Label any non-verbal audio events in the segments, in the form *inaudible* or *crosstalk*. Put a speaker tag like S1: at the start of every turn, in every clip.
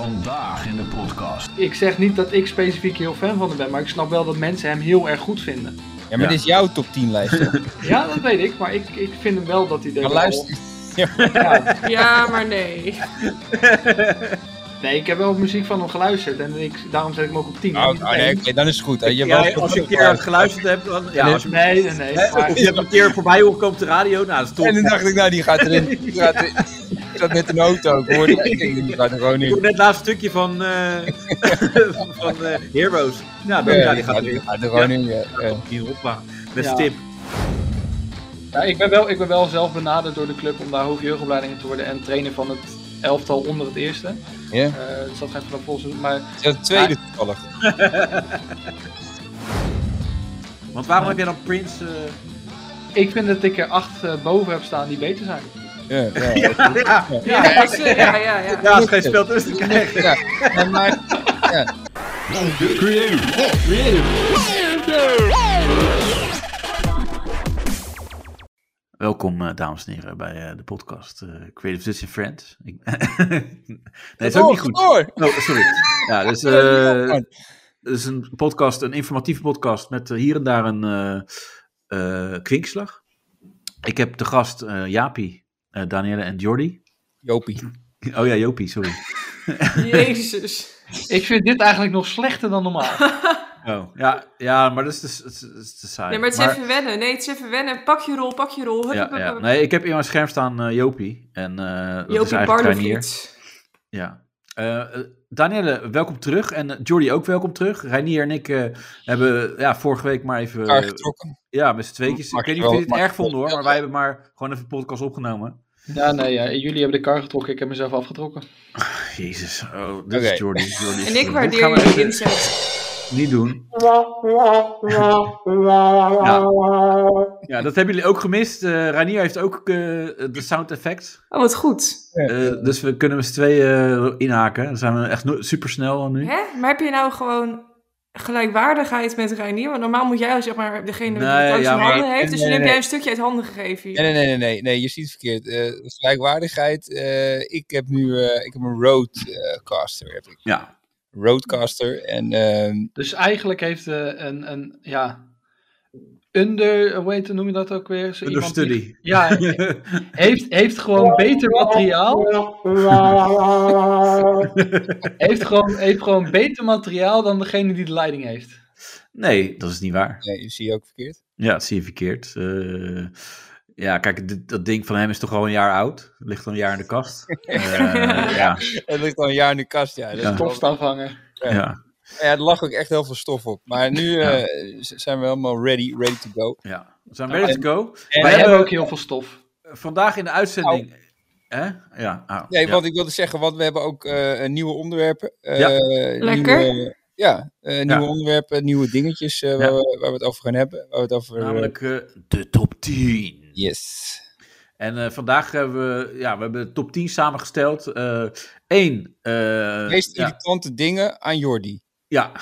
S1: Vandaag in de podcast.
S2: Ik zeg niet dat ik specifiek heel fan van hem ben, maar ik snap wel dat mensen hem heel erg goed vinden.
S3: Ja, maar dit is jouw top 10 lijst. toch?
S2: Ja, dat weet ik, maar ik, ik vind hem wel dat hij er
S3: Maar
S2: wel-
S3: luister.
S2: Ja.
S4: Ja, maar nee.
S2: Nee, ik heb wel muziek van hem geluisterd en ik, daarom zet ik hem ook op 10.
S3: Oh, oh, nee, oké, dan is het goed. hè. Je
S5: Ja,
S3: hebt wel-
S5: als je een keer geluisterd hebt, dan... Ja, als je,
S2: Nee, nee, nee.
S5: hè,
S2: maar-
S5: of je hebt een keer voorbij hoort komen op de radio, nou, dat is top.
S3: En dan dacht ik, nou, die gaat erin. Die gaat erin. Ik zat net in de auto, ik hoorde hem. Ik denk, die gaat er gewoon
S5: Ik hoor
S3: in.
S5: net het laatste stukje van, eh, *laughs* van eh, Heroes. Nou, dan, ja, die gaat
S3: die
S5: weer.
S3: gaat er gewoon in, ja, ja.
S5: Die hoppa. Dat is
S2: Ja.
S5: tip.
S2: Ja, ik, ben wel, ik ben wel zelf benaderd door de club om daar hoofdjeugdopleidingen te worden en trainer van het elftal onder het eerste.
S3: Ja.
S2: Eh, het zat geen vanaf volgens maar
S3: Ja, de tweede toevallig.
S5: Want waarom heb jij dan Prince... eh,
S2: ik vind dat ik er acht eh, boven heb staan die beter zijn.
S3: Ja, ja. ja.
S5: ja,
S4: Ja, dat is, eh, ja, ja, ja.
S5: ja, als geen spel tussen te krijgen.
S3: Ja, maar,
S1: Creative.
S6: Welkom, eh, dames en heren, bij eh, de podcast eh, Creative Dutch and Friends. Ik... *laughs* nee, dat is ook
S3: door,
S6: niet goed.
S3: door.
S4: *laughs*
S6: Oh, sorry. Ja, dus, eh het is een podcast, een informatieve podcast met eh, hier en daar een eh, eh, kwinkslag. Ik heb te gast eh Jaapie, eh Danielle en Jordi.
S3: Jopie.
S6: Oh ja, Jopie,
S4: *laughs*
S6: sorry.
S4: Jezus.
S2: Ik vind dit eigenlijk nog slechter dan *laughs* normaal.
S6: Oh, ja, ja, maar dat is, dus- het is, het is te saai.
S4: Nee, maar het is even wennen. Nee, het is even wennen. Pak je rol, pak je rol. Hup,
S6: ja,
S4: hup, hup,
S6: ja.
S4: hup.
S6: Nee, ik heb in mijn scherm staan eh, Jopie. En, eh dat is
S4: Jopie
S6: eigenlijk Reinier.
S4: Barnevliet.
S6: Ja. Eh, eh, Danielle, welkom terug. En eh, Jordi ook welkom terug. Reinier en ik eh, hebben ja, vorige week maar even...
S3: Elkaar getrokken.
S6: ja, met z'n tweetjes.
S3: Mag
S6: Ik weet
S3: je
S6: niet of
S3: wel-
S6: jullie
S3: mag
S6: het
S3: je
S6: erg vonden hoor,
S3: wel-
S6: maar wij hebben maar gewoon even een podcast opgenomen.
S2: Ja, nee, ja, jullie hebben de kar getrokken, ik heb mezelf afgetrokken.
S6: Jezus, oh, dit
S3: Oké.
S6: is Jordi. Jordi is
S4: En ik
S6: terug.
S4: waardeer
S6: Gaan we
S4: jullie
S6: even
S4: inzet.
S6: Niet doen. ja. ja, dat hebben jullie ook gemist. Eh Reinier heeft ook eh, de sound effect.
S4: Oh, wat goed.
S6: Eh, dus we kunnen met z'n tweeën eh, inhaken. Dan zijn we echt no- supersnel nu.
S4: Hè? Maar heb je nou gewoon gelijkwaardigheid met Reinier? Want normaal moet jij als zeg maar, degene die
S6: Nee,
S4: het langs
S6: ja,
S4: zijn
S6: maar-
S4: handen heeft. Dus
S3: nee,
S4: nu heb
S3: nee.
S4: jij een stukje uit handen gegeven hier.
S3: Nee, nee, nee, nee, nee, nee, je ziet het verkeerd. Eh, gelijkwaardigheid. eh, ik heb nu eh, ik heb een roadcaster. heb ik.
S6: Ja, *laughs*
S3: Roadcaster. En ehm,
S2: Dus eigenlijk heeft eh, een, een, ja, under, hoe heet- noem je dat ook weer? Zo
S6: door
S2: iemand die-
S6: studie.
S2: Ja, heeft, heeft gewoon beter materiaal. heeft, gewoon, heeft gewoon beter materiaal dan degene die de leiding heeft. Dus
S6: nee, dat is niet waar.
S3: nee, je ziet ook verkeerd.
S6: Ja, dat zie je verkeerd. Eh, ja, kijk, dit- dat ding van hem is toch al een jaar oud. Ligt al een jaar in de
S4: *laughs*
S6: kast. Eh, ja,
S3: Het ligt al een jaar in de kast. Ja, dat is
S6: Ja.
S3: wel-
S2: Kost afhangen.
S6: ja,
S3: Ja, er lag ook echt heel veel stof op. Maar nu eh, z- zijn we helemaal ready, ready to go.
S6: ja. We zijn ready to go.
S3: En
S2: Wij
S6: Wij
S2: hebben
S6: hebben
S2: ook heel veel stof.
S6: vandaag in de uitzending... Hè? Ja, ah,
S3: Nee,
S6: ja.
S3: wat ik wilde zeggen, want we hebben ook eh, nieuwe onderwerpen. Eh,
S6: Ja.
S4: Lekker.
S3: Nieuwe, ja, eh, nieuwe onderwerpen, nieuwe dingetjes eh, waar,
S6: Ja.
S3: we, waar we het over gaan hebben. Waar we het over,
S6: Namelijk eh, de top 10.
S3: Yes.
S6: En eh, vandaag hebben we, ja, we hebben de top 10 samengesteld. Eén.
S3: Meest
S6: Eh, ja,
S3: irritante dingen aan Jordi.
S6: ja,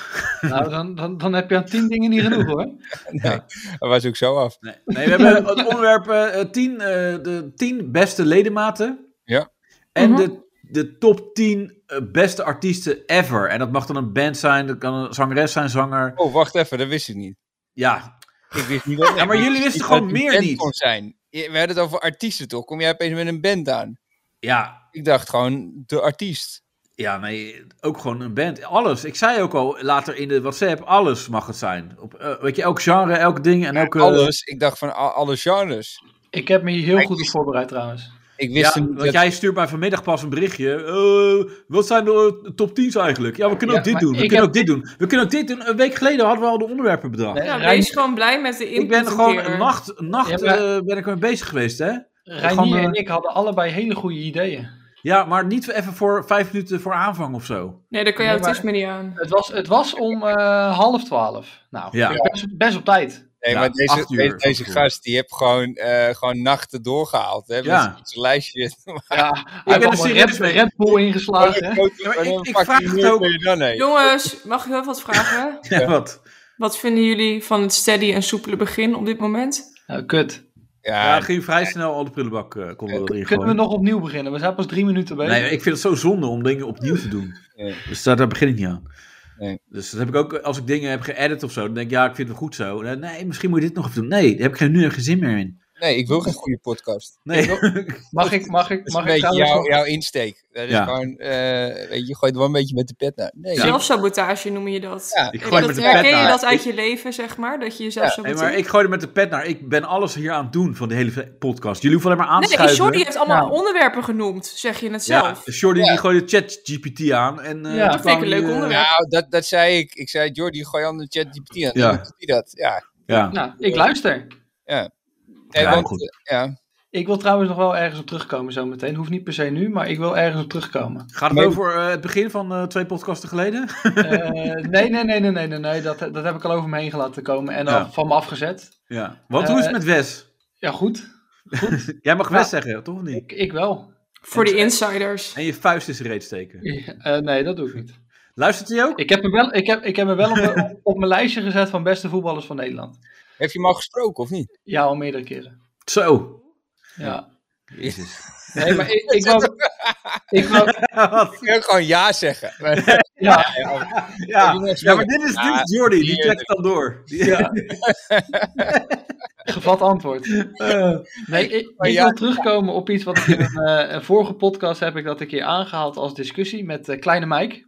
S2: Nou, dan, dan, dan heb je aan tien dingen niet genoeg hoor.
S3: Dat was ook zo af.
S6: Nee, nee, we hebben het onderwerp eh, 10, de 10 beste ledematen.
S3: Ja.
S6: En
S4: Mhm.
S6: de, de top 10 eh, beste artiesten ever. En dat mag dan een band zijn, dat kan een zangeres zijn, zanger.
S3: Oh, wacht even, dat wist ik niet.
S6: Ja,
S3: Ik wist niet dat,
S6: Ja, maar
S3: ik
S6: jullie
S3: wist
S6: wisten
S3: niet
S6: gewoon
S3: dat die
S6: meer
S3: band
S6: niet.
S3: kon zijn. Je- We hadden het over artiesten toch? Kom jij opeens met een band aan?
S6: ja,
S3: Ik dacht gewoon de artiest.
S6: ja, nee, ook gewoon een band. Alles. Ik zei ook al later in de WhatsApp, alles mag het zijn. Op, eh, weet je, elk genre, elk ding en elke...
S3: Alles. Ik dacht van a- alle genres.
S2: Ik heb me hier heel
S3: Hij
S2: goed op
S3: is-
S2: voorbereid trouwens.
S3: Ik wist
S6: Ja,
S3: er niet
S6: want jij stuurt mij vanmiddag pas een berichtje. Eh, wat zijn de eh, top 10's eigenlijk? Ja, we kunnen
S2: Ja,
S6: ook dit
S2: maar
S6: doen. We
S2: ik
S6: kunnen
S2: heb-
S6: ook dit doen. We kunnen ook dit doen. Een week geleden hadden we al de onderwerpen bedacht.
S2: Nee,
S4: Nou,
S2: Reinier-
S4: wees gewoon blij met de input.
S6: Ik ben
S4: een
S6: gewoon
S4: keer.
S6: een nacht, een nacht
S2: Ja, maar-
S6: eh, ben ik mee bezig geweest, hè?
S2: Reinier
S6: eh,
S2: en ik hadden allebei hele goede ideeën.
S6: Ja, maar niet even voor vijf minuten voor aanvang of zo.
S4: Nee, daar kan jouw
S2: Nee, maar-
S4: autisme niet aan.
S2: Het was, het was om eh, half twaalf. Nou,
S6: Ja.
S2: best, best op tijd.
S3: Nee,
S6: Ja,
S3: maar deze,
S6: acht uur
S3: deze,
S6: is
S3: deze
S6: goed.
S3: gast die heeft gewoon, eh, gewoon nachten doorgehaald. Hè, met
S6: Ja.
S3: zijn- zijn lijstje.
S6: *laughs*
S2: Ja,
S6: ben
S2: ik
S6: er
S2: heb een
S6: serieus
S2: Red,
S6: mee.
S2: Red Bull ingeslagen. hè.
S3: Wat
S6: maar ik-
S3: een
S6: ik
S3: fucking
S6: vraag het
S3: nerd
S6: ook.
S3: ben je dan, hé?
S4: Jongens, mag ik wel wat
S6: *laughs*
S4: vragen?
S6: *laughs* Ja, wat?
S4: Wat vinden jullie van het steady en soepele begin op dit moment?
S2: Nou, kut.
S6: Ja,
S3: Ja,
S6: het ging vrij snel al de prullenbak eh konden we erin
S2: Kunnen we
S6: gooien.
S2: nog opnieuw beginnen? We zijn pas drie minuten bezig.
S6: Nee, ik vind het zo zonde om dingen opnieuw te doen.
S3: Nee.
S6: Dus daar, daar begin ik niet aan.
S3: Nee.
S6: Dus dat heb ik ook, als ik dingen heb geëdit of zo, dan denk ik, ja, ik vind het goed zo. Nee, Nee, misschien moet je dit nog even doen. Nee, daar heb ik geen- nu geen zin meer in.
S3: nee, ik wil geen goede podcast.
S6: Nee. *laughs*
S3: Ik wil-
S2: mag ik, mag ik,
S3: Dat is
S2: mag ik
S3: een beetje
S2: trouwens
S3: jouw,
S2: nog-
S3: jouw insteek. Dat is
S6: Ja.
S3: gewoon, eh, weet je, je gooit er wel een beetje met de pet naar. Nee, ik-
S4: Zelfsabotage noem je dat.
S3: Ja.
S4: En
S6: Ik gooi
S4: dat-
S6: met de pet
S4: herken je
S6: naar.
S4: dat uit
S6: Ik-
S4: je leven, zeg maar? Dat je jezelf
S3: Ja,
S6: Nee,
S4: saboteert?
S6: maar ik gooi er met de pet naar. Ik ben alles hier aan het doen van de hele podcast. Jullie hoeven alleen maar aan te
S4: nee,
S6: schuiven.
S4: Jordi heeft allemaal
S2: Nou.
S4: onderwerpen genoemd, zeg je het
S6: ja,
S4: zelf.
S6: Jordi
S3: Ja.
S6: die gooide ChatGPT aan. En, eh,
S2: Ja. Dat
S6: toen
S4: vind ik
S6: kwam
S4: een leuk
S6: die, eh,
S4: onderwerp.
S3: nou, dat, dat zei ik. Ik zei, Jordi, gooi aan de chat GPT aan.
S6: Ja.
S3: Ja. Die dat, ja.
S6: Ja,
S2: Nou, ik luister.
S3: Nee,
S6: Ja,
S3: want,
S6: goed.
S3: eh, ja.
S2: Ik wil trouwens nog wel ergens op terugkomen zo meteen. Hoeft niet per se nu, maar ik wil ergens op
S6: *laughs*
S2: terugkomen.
S6: Gaat het
S3: Maar-
S6: over eh, het begin van eh, twee podcasten geleden? *laughs*
S2: Eh, nee, nee, nee, nee, nee, nee, nee. Dat, dat heb ik al over me heen gelaten komen en
S6: Ja.
S2: al van me afgezet.
S6: Ja. Want hoe is het
S2: Eh,
S6: met Wes?
S2: Ja, goed.
S6: Jij mag
S2: ja.
S6: Wes zeggen, toch of niet?
S2: Ik, ik wel. *laughs*
S4: Voor de insiders.
S6: En je vuist is reeds steken.
S2: Eh, nee, dat doe ik niet.
S6: Luistert hij ook?
S2: Ik heb hem wel, ik heb, ik heb hem wel op, mijn- op mijn lijstje gezet van beste voetballers van Nederland.
S3: Heb je hem al gesproken of niet?
S2: Ja, al meerdere keren.
S6: Zo.
S2: Ja.
S6: *laughs* Jezus.
S2: Nee, maar ik, ik wou... Ik wou
S6: Wat?
S3: Ik wil gewoon *laughs* ja zeggen. Maar-
S2: ja,
S6: ja.
S3: Heb je Wes
S6: ja, maar
S3: ook?
S6: dit is, dit
S3: Ja,
S6: is Jordi, die
S3: die,
S6: trekt dan door. Die-
S2: ja. Gevat antwoord. Nee, ik, ik
S3: Maar ja-
S2: wil terugkomen op iets wat ik in een, eh, een vorige podcast heb ik dat een keer aangehaald als discussie met eh, Kleine Mike.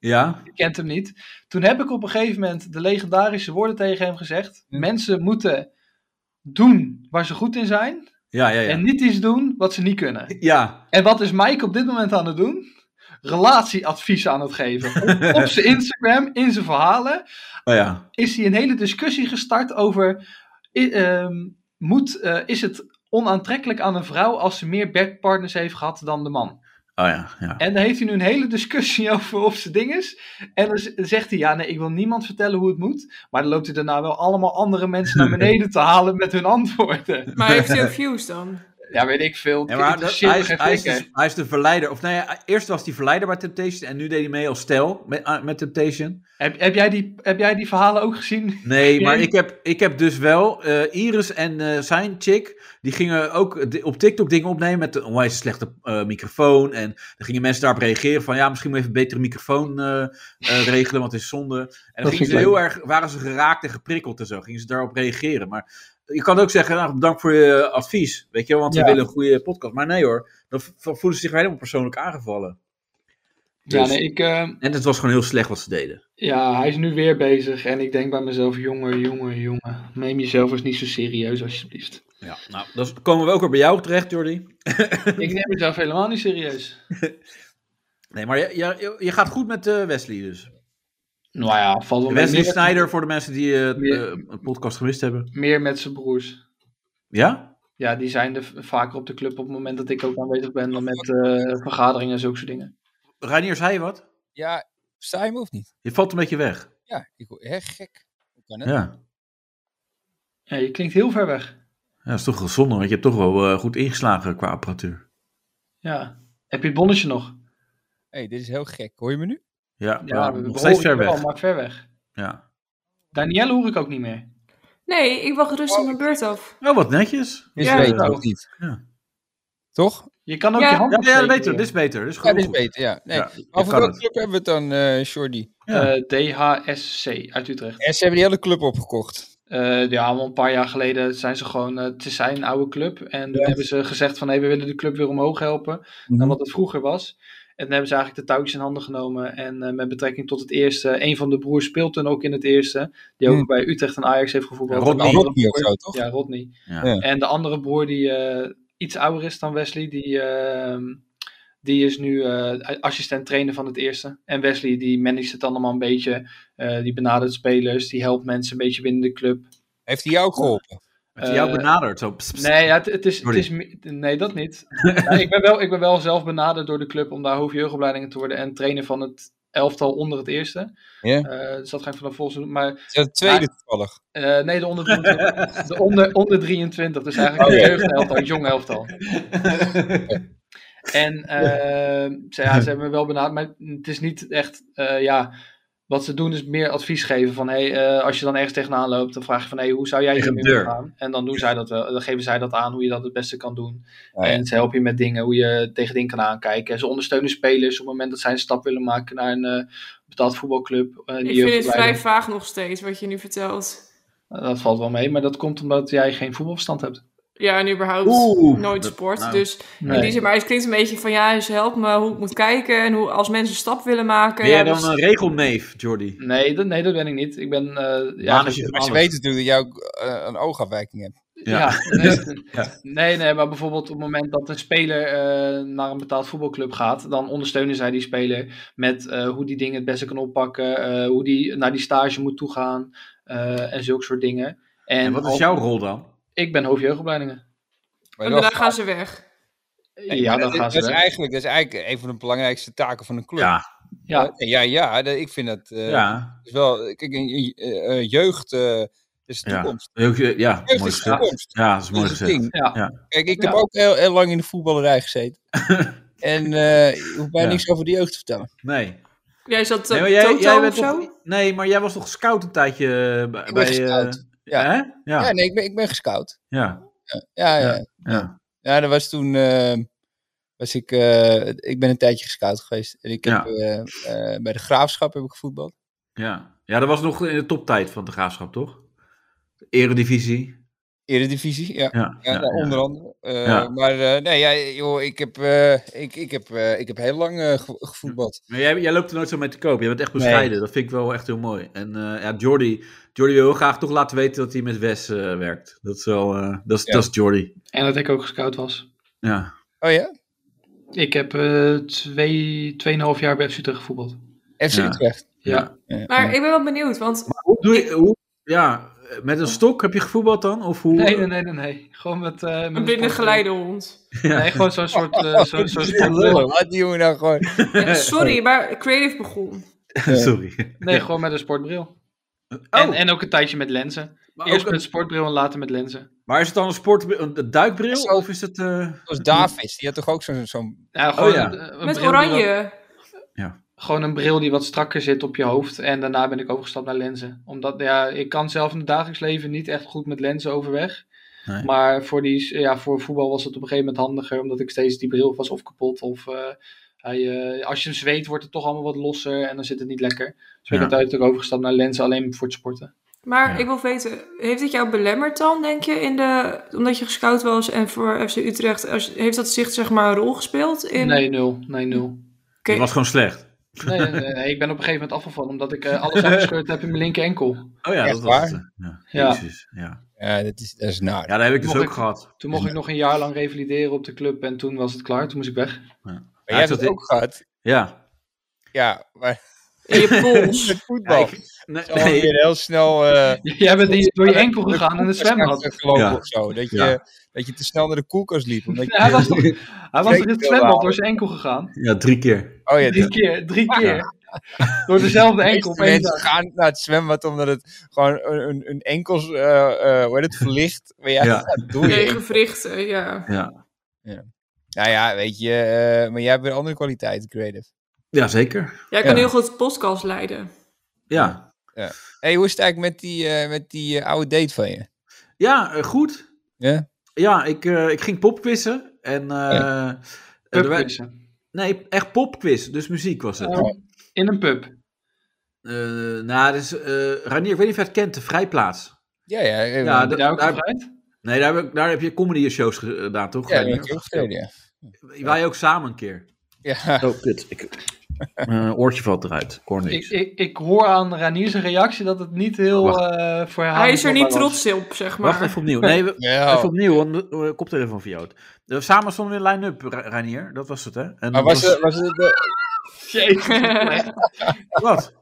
S6: ja.
S2: Je kent hem niet. Toen heb ik op een gegeven moment de legendarische woorden tegen hem gezegd.
S3: Ja.
S2: Mensen moeten doen waar ze goed in zijn
S6: Ja, ja,
S2: en
S6: ja.
S2: niet iets doen wat ze niet kunnen.
S6: Ja,
S2: En wat is Mike op dit moment aan het doen? Relatieadvies aan het
S3: *laughs*
S2: geven. Op, op zijn Instagram, in zijn verhalen,
S6: oh ja.
S2: is hij een hele discussie gestart over. i- ehm, moet, eh, is het onaantrekkelijk aan een vrouw als ze meer bedpartners heeft gehad dan de man?
S6: Oh ja, ja.
S2: En daar heeft hij nu een hele discussie *laughs* over of ze ding is. En dan z- zegt hij: Ja, nee, ik wil niemand vertellen hoe het moet. Maar dan loopt hij daarna wel allemaal andere mensen
S6: *laughs*
S2: naar beneden te halen met hun antwoorden.
S4: Maar heeft hij ook views dan?
S2: Ja, weet ik veel.
S6: Ja,
S2: Het
S6: maar dat-
S2: interesseert
S6: hij,
S2: me
S6: is,
S2: geen
S6: hij, is dus-
S2: flikker.
S6: de, hij is de verleider. Of nee, hij- eerst was hij verleider bij Temptation en nu deed hij mee als stijl met, ah, met Temptation.
S2: heb, heb, jij die, heb jij die verhalen ook gezien?
S6: Nee, maar
S2: Nee.
S6: ik heb, ik heb dus wel eh, Iris en eh, zijn chick, die gingen ook di- op TikTok dingen opnemen met een onwijs slechte eh, microfoon. En dan gingen mensen daarop reageren van ja, misschien moet je even een betere microfoon eh, eh, regelen, want het is zonde. En dan
S2: Dat
S6: gingen
S2: vind
S6: ze
S2: ik
S6: heel erg, waren ze geraakt en geprikkeld en zo, gingen ze daarop reageren. Maar je kan ook zeggen, nou, bedankt voor je advies, weet je, wel, want
S2: Ja.
S6: we willen een goede podcast. Maar nee hoor, dan v- voelen ze zich helemaal persoonlijk aangevallen.
S2: Ja,
S6: Dus-
S2: nee, ik, eh,
S6: En het was gewoon heel slecht wat ze deden.
S2: Ja, hij is nu weer bezig. En ik denk bij mezelf: jongen, jongen, jongen. Neem jezelf eens niet zo serieus,
S6: *laughs*
S2: alsjeblieft.
S6: Ja, nou, dan komen we ook weer bij jou terecht, Jordi.
S2: ik neem mezelf helemaal niet serieus.
S6: Nee, maar je, je, je gaat goed met eh, Wesley dus.
S2: Nou ja, valt wel mee.
S6: Wesley
S2: Meer,
S6: Snyder voor de mensen die eh, het
S2: Ja.
S6: eh, het podcast gemist hebben.
S2: meer met zijn broers.
S6: Ja?
S2: Ja, die zijn er v- vaker op de club op het moment dat ik ook aanwezig ben dan met eh, vergaderingen en zulke soort dingen.
S6: Reinier, zei je wat?
S3: ja, saai me of niet?
S6: Je valt een beetje weg.
S3: Ja, ik, hè, gek. Hoe kan het?
S6: Ja.
S2: Ja, je klinkt heel ver weg.
S6: ja, dat is toch wel zonde, want je hebt toch wel eh, goed ingeslagen qua apparatuur.
S2: Ja. Heb je het bonnetje nog?
S3: hey, dit is heel gek. Hoor je me nu?
S6: Ja,
S2: Ja,
S6: maar
S2: we
S6: nog
S2: horen
S6: steeds
S2: je
S6: ver
S2: wel,
S6: weg.
S2: Maar ver weg.
S6: Ja.
S2: Danielle hoor ik ook niet meer.
S4: Nee, ik wacht rustig mijn beurt af.
S6: Oh, wat netjes.
S3: Dit
S4: Ja,
S3: weet
S6: dat
S3: ik ook
S6: ook.
S3: niet.
S6: Ja.
S3: Toch?
S2: Je kan ook
S4: Ja.
S2: je hand
S6: Ja, ja,
S2: opsteken,
S6: beter. Dit is beter. Dit is
S3: Ja,
S6: gewoon
S3: dit is
S6: goed.
S3: beter, ja. Nee.
S6: Ja, je
S3: Over
S6: kan
S3: welke
S6: het.
S3: club hebben we het dan, eh Jordi?
S6: Ja.
S2: Eh, DHSC uit Utrecht.
S3: Ja, ze hebben die hele club opgekocht.
S2: Eh, ja, maar een paar jaar geleden zijn ze gewoon, eh, het is zijn oude club. En toen
S3: Ja.
S2: hebben ze gezegd van, hé, we willen de club weer omhoog helpen.
S6: Mhm.
S2: Dan wat het vroeger was. En dan hebben ze eigenlijk de touwtjes in handen genomen. En eh, met betrekking tot het eerste, een van de broers speelt toen ook in het eerste. Die ook
S3: Hmm.
S2: bij Utrecht en Ajax heeft gevoetbald.
S6: Rodney.
S2: En de andere
S3: Rodney of
S2: broer-
S3: zo, toch?
S2: Ja, Rodney.
S6: Ja.
S3: Ja.
S2: En de andere broer die eh, iets ouder is dan Wesley, die, eh, die is nu eh, assistent trainer van het eerste. En Wesley die managt het allemaal een beetje. Eh, die benadert spelers, die helpt mensen een beetje binnen de club.
S3: Heeft hij jou ook geholpen?
S6: Heeft hij jou
S2: Eh,
S6: benaderd? Zo, pss, pss.
S2: Nee, ja, het, het is, het
S6: Sorry.
S2: is. mi- Nee, dat niet. Maar ik, ben wel, ik ben wel zelf benaderd door de club om daar hoofdjeugdopleidingen te worden en trainer van het elftal onder het eerste.
S3: Ja.
S2: Eh, dus dat ga ik vanaf volgende doen. Maar
S3: Ja, de tweede toevallig.
S2: eh, nee, de onder, de onder, onder 23. Dus eigenlijk
S3: Oh,
S2: een
S3: ja.
S2: jeugdelftal, een jong elftal. ehm, En eh, ze, ja, ze hebben me wel benaderd, maar het is niet echt. eh, ja, Wat ze doen is meer advies geven van, hey, eh, als je dan ergens tegenaan loopt, dan vraag je van, hey, hoe zou jij
S6: Tegen
S2: hiermee
S6: de deur.
S2: omgaan? En dan, doen zij dat wel, dan geven zij dat aan, hoe je dat het beste kan doen.
S3: Ja, ja.
S2: En ze helpen je met dingen, hoe je tegen dingen kan aankijken. En ze ondersteunen spelers op het moment dat zij een stap willen maken naar een eh, betaald voetbalclub. eh, die
S4: Ik vind het vrij
S2: jeugdopleiding.
S4: vaag nog steeds wat je nu vertelt.
S2: Dat valt wel mee, maar dat komt omdat jij geen voetbalverstand hebt.
S4: Ja, en überhaupt
S6: Oeh,
S4: nooit
S6: dat-
S4: sport.
S6: nou.
S4: Dus in die zin, maar het klinkt een beetje van ja, ze helpt me hoe ik moet kijken en hoe als mensen een stap willen maken.
S6: Ben jij
S4: ja,
S6: dan
S4: dat-
S6: een regelneef, Jordi?
S2: Nee, dat, nee, dat ben ik niet. Ik ben. eh ja,
S6: Maan is je
S2: ge-
S3: dus- Maar ze
S6: Alles.
S3: weten natuurlijk dat jij ook eh, een oogafwijking hebt.
S2: ja.
S6: Ja.
S2: nee,
S6: Ja.
S2: nee, nee, maar bijvoorbeeld op het moment dat een speler eh, naar een betaald voetbalclub gaat, dan ondersteunen zij die speler met eh, hoe die dingen het beste kan oppakken, eh, hoe die naar die stage moet toegaan eh, en zulke soort dingen. En,
S6: En wat is
S2: al-
S6: jouw rol dan?
S2: Ik ben hoofdjeugdopleidingen.
S3: Maar
S4: En
S3: dat-
S4: daarna gaan ze weg.
S2: ja,
S3: maar
S2: dan
S3: dat,
S2: gaan ze
S3: dat is
S2: weg.
S3: eigenlijk, dat is eigenlijk een van de belangrijkste taken van een club.
S6: Ja,
S2: Ja,
S3: ja, ja dat- ik vind dat eh,
S6: ja.
S3: is wel. Kijk, een- een- eh, eh, jeugd eh, is de
S6: Ja.
S3: toekomst.
S6: Heel ge- Ja,
S3: Jeugd
S6: mooi
S3: is de
S6: gezegd.
S3: toekomst.
S6: Ja, dat is
S3: Dat
S6: mooi
S3: is het
S6: gezegd.
S3: ding.
S2: ja.
S3: Kijk, ik
S2: Ja.
S3: heb ook heel, heel lang in de voetballerij
S6: *laughs*
S3: gezeten. en eh, ik hoef mij
S6: Ja.
S3: niks over de jeugd te vertellen.
S6: Nee.
S4: Jij zat
S6: Nee,
S4: eh,
S6: maar jij,
S4: Toto
S6: jij
S4: of
S6: bent
S4: zo?
S6: toch, nee, maar jij was toch scout een tijdje eh, bij...
S3: Ik ben
S6: bij, eh,
S3: gescout. ja.
S6: Hè?
S3: Ja,
S6: Ja.
S3: nee, ik ben, ik ben gescout.
S6: Ja.
S3: Ja, ja. ja.
S6: Ja.
S3: dat was toen. eh, was ik, eh, ik ben een tijdje gescout geweest. En ik heb
S6: Ja.
S3: eh, eh, bij de graafschap heb ik gevoetbald.
S6: Ja. Ja, dat was nog in de toptijd van de graafschap, toch? Eredivisie.
S3: Eredivisie, ja.
S6: Ja.
S3: Ja,
S6: ja,
S3: nou,
S6: ja.
S3: onder andere. Eh,
S6: Ja.
S3: Maar eh, nee, ja, joh, ik, heb, eh, ik, ik, heb, eh, ik heb heel lang eh, ge- gevoetbald.
S6: Maar jij, jij loopt er nooit zo mee te koop. Jij bent echt bescheiden. Dat vind ik wel echt heel mooi. En eh, ja, Jordi, Jordi wil heel graag toch laten weten dat hij met Wes eh, werkt. Dat is wel... eh, dat, is,
S3: Ja.
S6: dat is Jordi.
S2: En dat ik ook gescout was.
S6: Ja.
S3: Oh ja?
S2: Ik heb eh twee, tweeënhalf jaar bij FC Utrecht gevoetbald.
S3: FC
S6: Ja.
S3: Utrecht.
S2: Ja.
S3: Ja.
S4: Maar ik ben wel benieuwd, want
S6: Hoe doe je... Hoe, ja, met een stok heb je gevoetbald dan? Of hoe?
S2: Nee, nee, nee, nee. nee. Gewoon met. eh met
S4: een blinde
S2: sportclub.
S4: geleidehond.
S2: Nee, gewoon zo'n soort.
S6: *laughs* Oh,
S2: eh zo, zo
S3: Lullen, Laat die jongen nou gewoon.
S4: Ja, sorry, maar creative begon.
S6: *laughs* Sorry.
S2: nee, gewoon met een sportbril.
S6: Oh,
S2: En, en ook een tijdje met lenzen.
S6: maar, Oh, ook
S2: Eerst
S6: een-
S2: met sportbril en later met lenzen.
S6: maar is het dan een sport, een een duikbril?
S3: Zo.
S6: Of is het... eh,
S3: Zoals Davis, die had toch ook zo'n... zo'n
S2: Ja, gewoon
S6: Oh, ja.
S2: een- een bril
S4: Met
S2: die wat-
S4: oranje.
S2: gewoon een bril die wat strakker zit op je hoofd. En daarna ben ik overgestapt naar lenzen. Omdat ja, ik kan zelf in het dagelijks leven niet echt goed met lenzen overweg.
S6: Nee.
S2: Maar voor, die, ja, voor voetbal was het op een gegeven moment handiger. Omdat ik steeds die bril was of kapot. Of eh, hij, eh, als je hem zweet wordt het toch allemaal wat losser. En dan zit het niet lekker. Dus ben
S6: Ja.
S2: ik uiteindelijk overgestapt naar lenzen alleen voor het sporten.
S4: Maar
S6: Ja.
S4: ik wil weten, heeft het jou belemmerd dan, denk je, in de, omdat je gescout was en voor FC Utrecht, als, heeft dat zicht zeg maar een rol gespeeld? In,
S2: Nee, nul. Nee, nul.
S4: Oké,
S6: Het was gewoon slecht.
S2: Nee, nee, nee, nee, ik ben op een gegeven moment afgevallen. Omdat ik eh, alles afgescheurd heb in mijn linker enkel.
S6: Oh ja,
S3: Echt
S6: dat was
S3: waar?
S6: het. eh, Ja.
S2: Ja.
S6: Jezus, ja.
S3: ja, dat is, dat is naar.
S6: ja, dat heb ik dus
S2: Mocht
S6: ook
S2: ik-
S6: gehad.
S2: Toen mocht ik nog een jaar lang revalideren op de club. En toen was het klaar. Toen moest ik weg.
S3: maar jij hebt
S6: dat
S3: het
S6: ik-
S3: ook gehad.
S6: Ja.
S3: Ja, maar
S4: in je pols.
S3: met voetbal.
S6: *laughs* Ja,
S3: Ja,
S6: Nee, nee.
S3: weer heel snel... eh,
S2: *laughs* Jij bent die- door je enkel
S3: de
S2: gegaan in de
S3: koelkast
S2: zwembad.
S3: uit gelopen
S6: Ja.
S3: of zo. Dat je,
S6: Ja.
S3: dat je te snel naar de koelkast liep. Omdat je,
S2: Ja, hij was toch- Hij was in het
S3: Zeker
S2: zwembad
S3: wel.
S2: door zijn enkel gegaan.
S6: *laughs* ja, drie keer.
S3: Oh ja,
S2: Drie
S3: de
S2: keer, drie
S6: Ja.
S2: keer. *laughs* Door dezelfde *laughs* enkel
S3: enkel
S2: op één
S3: mensen
S2: dag.
S3: gaan naar het zwembad omdat het gewoon een, een, een enkels... eh, eh, hoe heet het? Verlicht. Maar ja,
S6: Ja.
S3: dat doe je.
S4: Tegen wrichten, ja.
S6: Ja,
S3: Nou ja, weet je, eh, maar jij hebt weer andere kwaliteiten, creative.
S6: ja zeker.
S4: Jij kan
S3: Ja.
S4: heel goed podcast leiden.
S6: Ja,
S3: hey, hoe is het eigenlijk met die, eh, met die eh, oude date van je?
S6: ja eh, goed.
S3: Ja?
S6: Ja, ik, eh, ik ging popquizzen. En, eh, eh, er werd-
S2: Pubquizzen.
S6: nee, echt popquiz. Dus muziek was het.
S2: Oh. In een pub.
S6: Eh, nou, dus, eh Ranier, ik weet niet of je het kent, de Vrijplaats.
S3: Ja, ja. eh,
S6: Ja,
S2: Heb je
S6: dat-
S2: daar ook
S6: daar-
S2: gevrijd?
S6: Nee, daar heb, ik- daar heb je comedy shows gedaan, toch?
S3: ja,
S6: Reinier?
S3: dat heb ik ook gedaan, ja.
S6: Wij ook samen een keer.
S3: *laughs* Ja,
S6: Oh, kut. Ik... Mijn Eh, oortje valt eruit. Ik hoor
S2: Ik,
S6: niks.
S2: ik, ik hoor aan Ranier zijn reactie dat het niet heel
S6: Wacht.
S2: eh voor haar
S4: Hij is er niet
S2: was.
S4: trots op, zeg
S6: Wacht
S4: maar.
S6: even opnieuw. Nee, we-
S3: ja.
S6: Even opnieuw, want de eh, koptelefoon van jou. Eh, Samen stonden we in line-up, Ra- Reinier. Dat was het, hè? En
S3: Maar
S6: dat
S3: was het, was het de-
S2: Jezus.
S6: *laughs* Wat?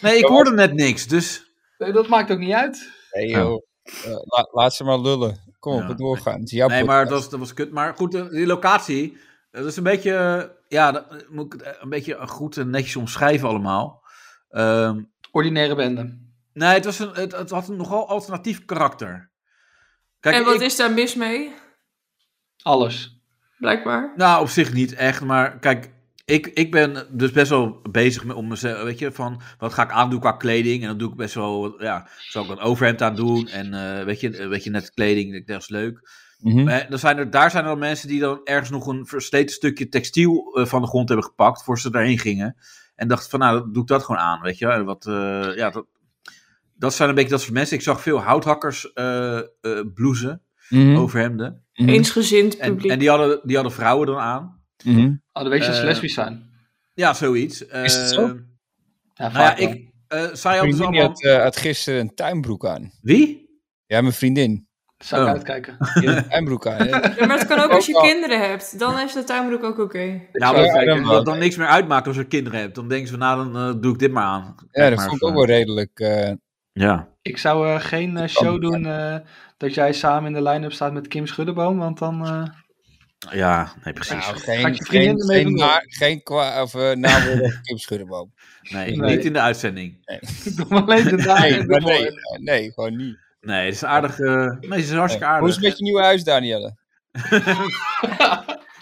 S6: Nee, ik hoorde net niks,
S2: *laughs*
S6: dus...
S2: Nee, dat maakt ook niet uit.
S3: Nee, joh. Eh, la- laat ze maar lullen. Kom
S6: Ja.
S3: op, het doorgaan. Het is jouw
S6: Nee, maar dat
S3: podcast.
S6: was, dat was kut. Maar goed, eh, die locatie, eh, dat is een beetje... eh, Ja, dat, eh, moet ik het eh, een beetje goed en netjes omschrijven allemaal. Ehm,
S2: Ordinaire bende.
S6: nee, het, was een, het, het had een nogal alternatief karakter. Kijk,
S4: En wat
S6: ik-
S4: is daar mis mee,
S2: Alles.
S4: blijkbaar?
S6: Nou, op zich niet echt, maar kijk, ik, ik ben dus best wel bezig met om mezelf, weet je, van wat ga ik aandoen qua kleding? En dan doe ik best wel, wat- ja, zal ik een overhemd aan doen? En eh, weet, je, eh, weet je, net kleding, ik denk dat is leuk.
S3: Hm.
S6: Maar dan zijn er, daar zijn er dan mensen die dan ergens nog een versleten stukje textiel eh, van de grond hebben gepakt, voor ze daarheen gingen. En dachten van, nou, dan doe ik dat gewoon aan, weet je. En wat, eh, ja, dat, dat zijn een beetje dat soort mensen. Ik zag veel houthakkers eh, eh, blouses, mhm,
S3: Hm.
S6: overhemden.
S4: Eensgezind
S6: En,
S4: publiek.
S6: en die, hadden, die hadden vrouwen dan aan.
S2: Oh, dan weet je dat ze
S6: Eh,
S2: lesbisch zijn.
S6: Ja, zoiets.
S3: Is dat zo?
S2: Ja,
S6: Eh, Nou ja,
S2: vaak wel.
S6: ik. eh zij
S3: Mijn
S6: hadden dus
S3: vriendin
S6: allemaal.
S3: had, eh, had gisteren een tuinbroek aan.
S6: Wie?
S3: Ja, mijn vriendin.
S2: Zou ik
S6: Oh.
S2: uitkijken.
S3: Die had een tuinbroek
S6: *laughs*
S3: aan. hè.
S4: Ja, maar het kan ook als je
S3: Ook al.
S4: kinderen hebt. Dan is de tuinbroek ook oké.
S6: Nou,
S3: zou
S6: maar
S3: zeggen,
S6: dat- dat dan niks meer uitmaakt als je kinderen hebt. Dan denken ze, van, nou, dan eh, doe ik dit maar aan.
S3: Ja,
S6: Kijk
S3: dat
S6: maar
S3: vond ik
S6: of,
S3: ook wel redelijk. eh,
S6: eh, Ja.
S2: Ik zou eh, geen eh, show doen eh, dat jij samen in de line-up staat met Kim Schuddeboom, want dan... eh, *laughs*
S6: Ja, nee, precies.
S3: nou,
S2: Gaat
S3: geen,
S2: je vriendin
S3: geen,
S2: ermee
S3: geen,
S2: vandoor?
S3: na, geen kwa, of, eh, nawoorden
S6: *laughs*
S3: over Kim Schuddenboom.
S6: nee,
S2: Nee.
S6: niet in de uitzending.
S2: ik doe maar alleen de dagen.
S3: Nee,
S2: en
S3: maar
S2: de
S3: nee,
S2: woorden.
S3: eh, nee, gewoon niet.
S6: Nee, het is aardig. eh, nee, het is hartstikke
S3: Hoe is
S6: aardig.
S3: het met je nieuwe huis, Danielle?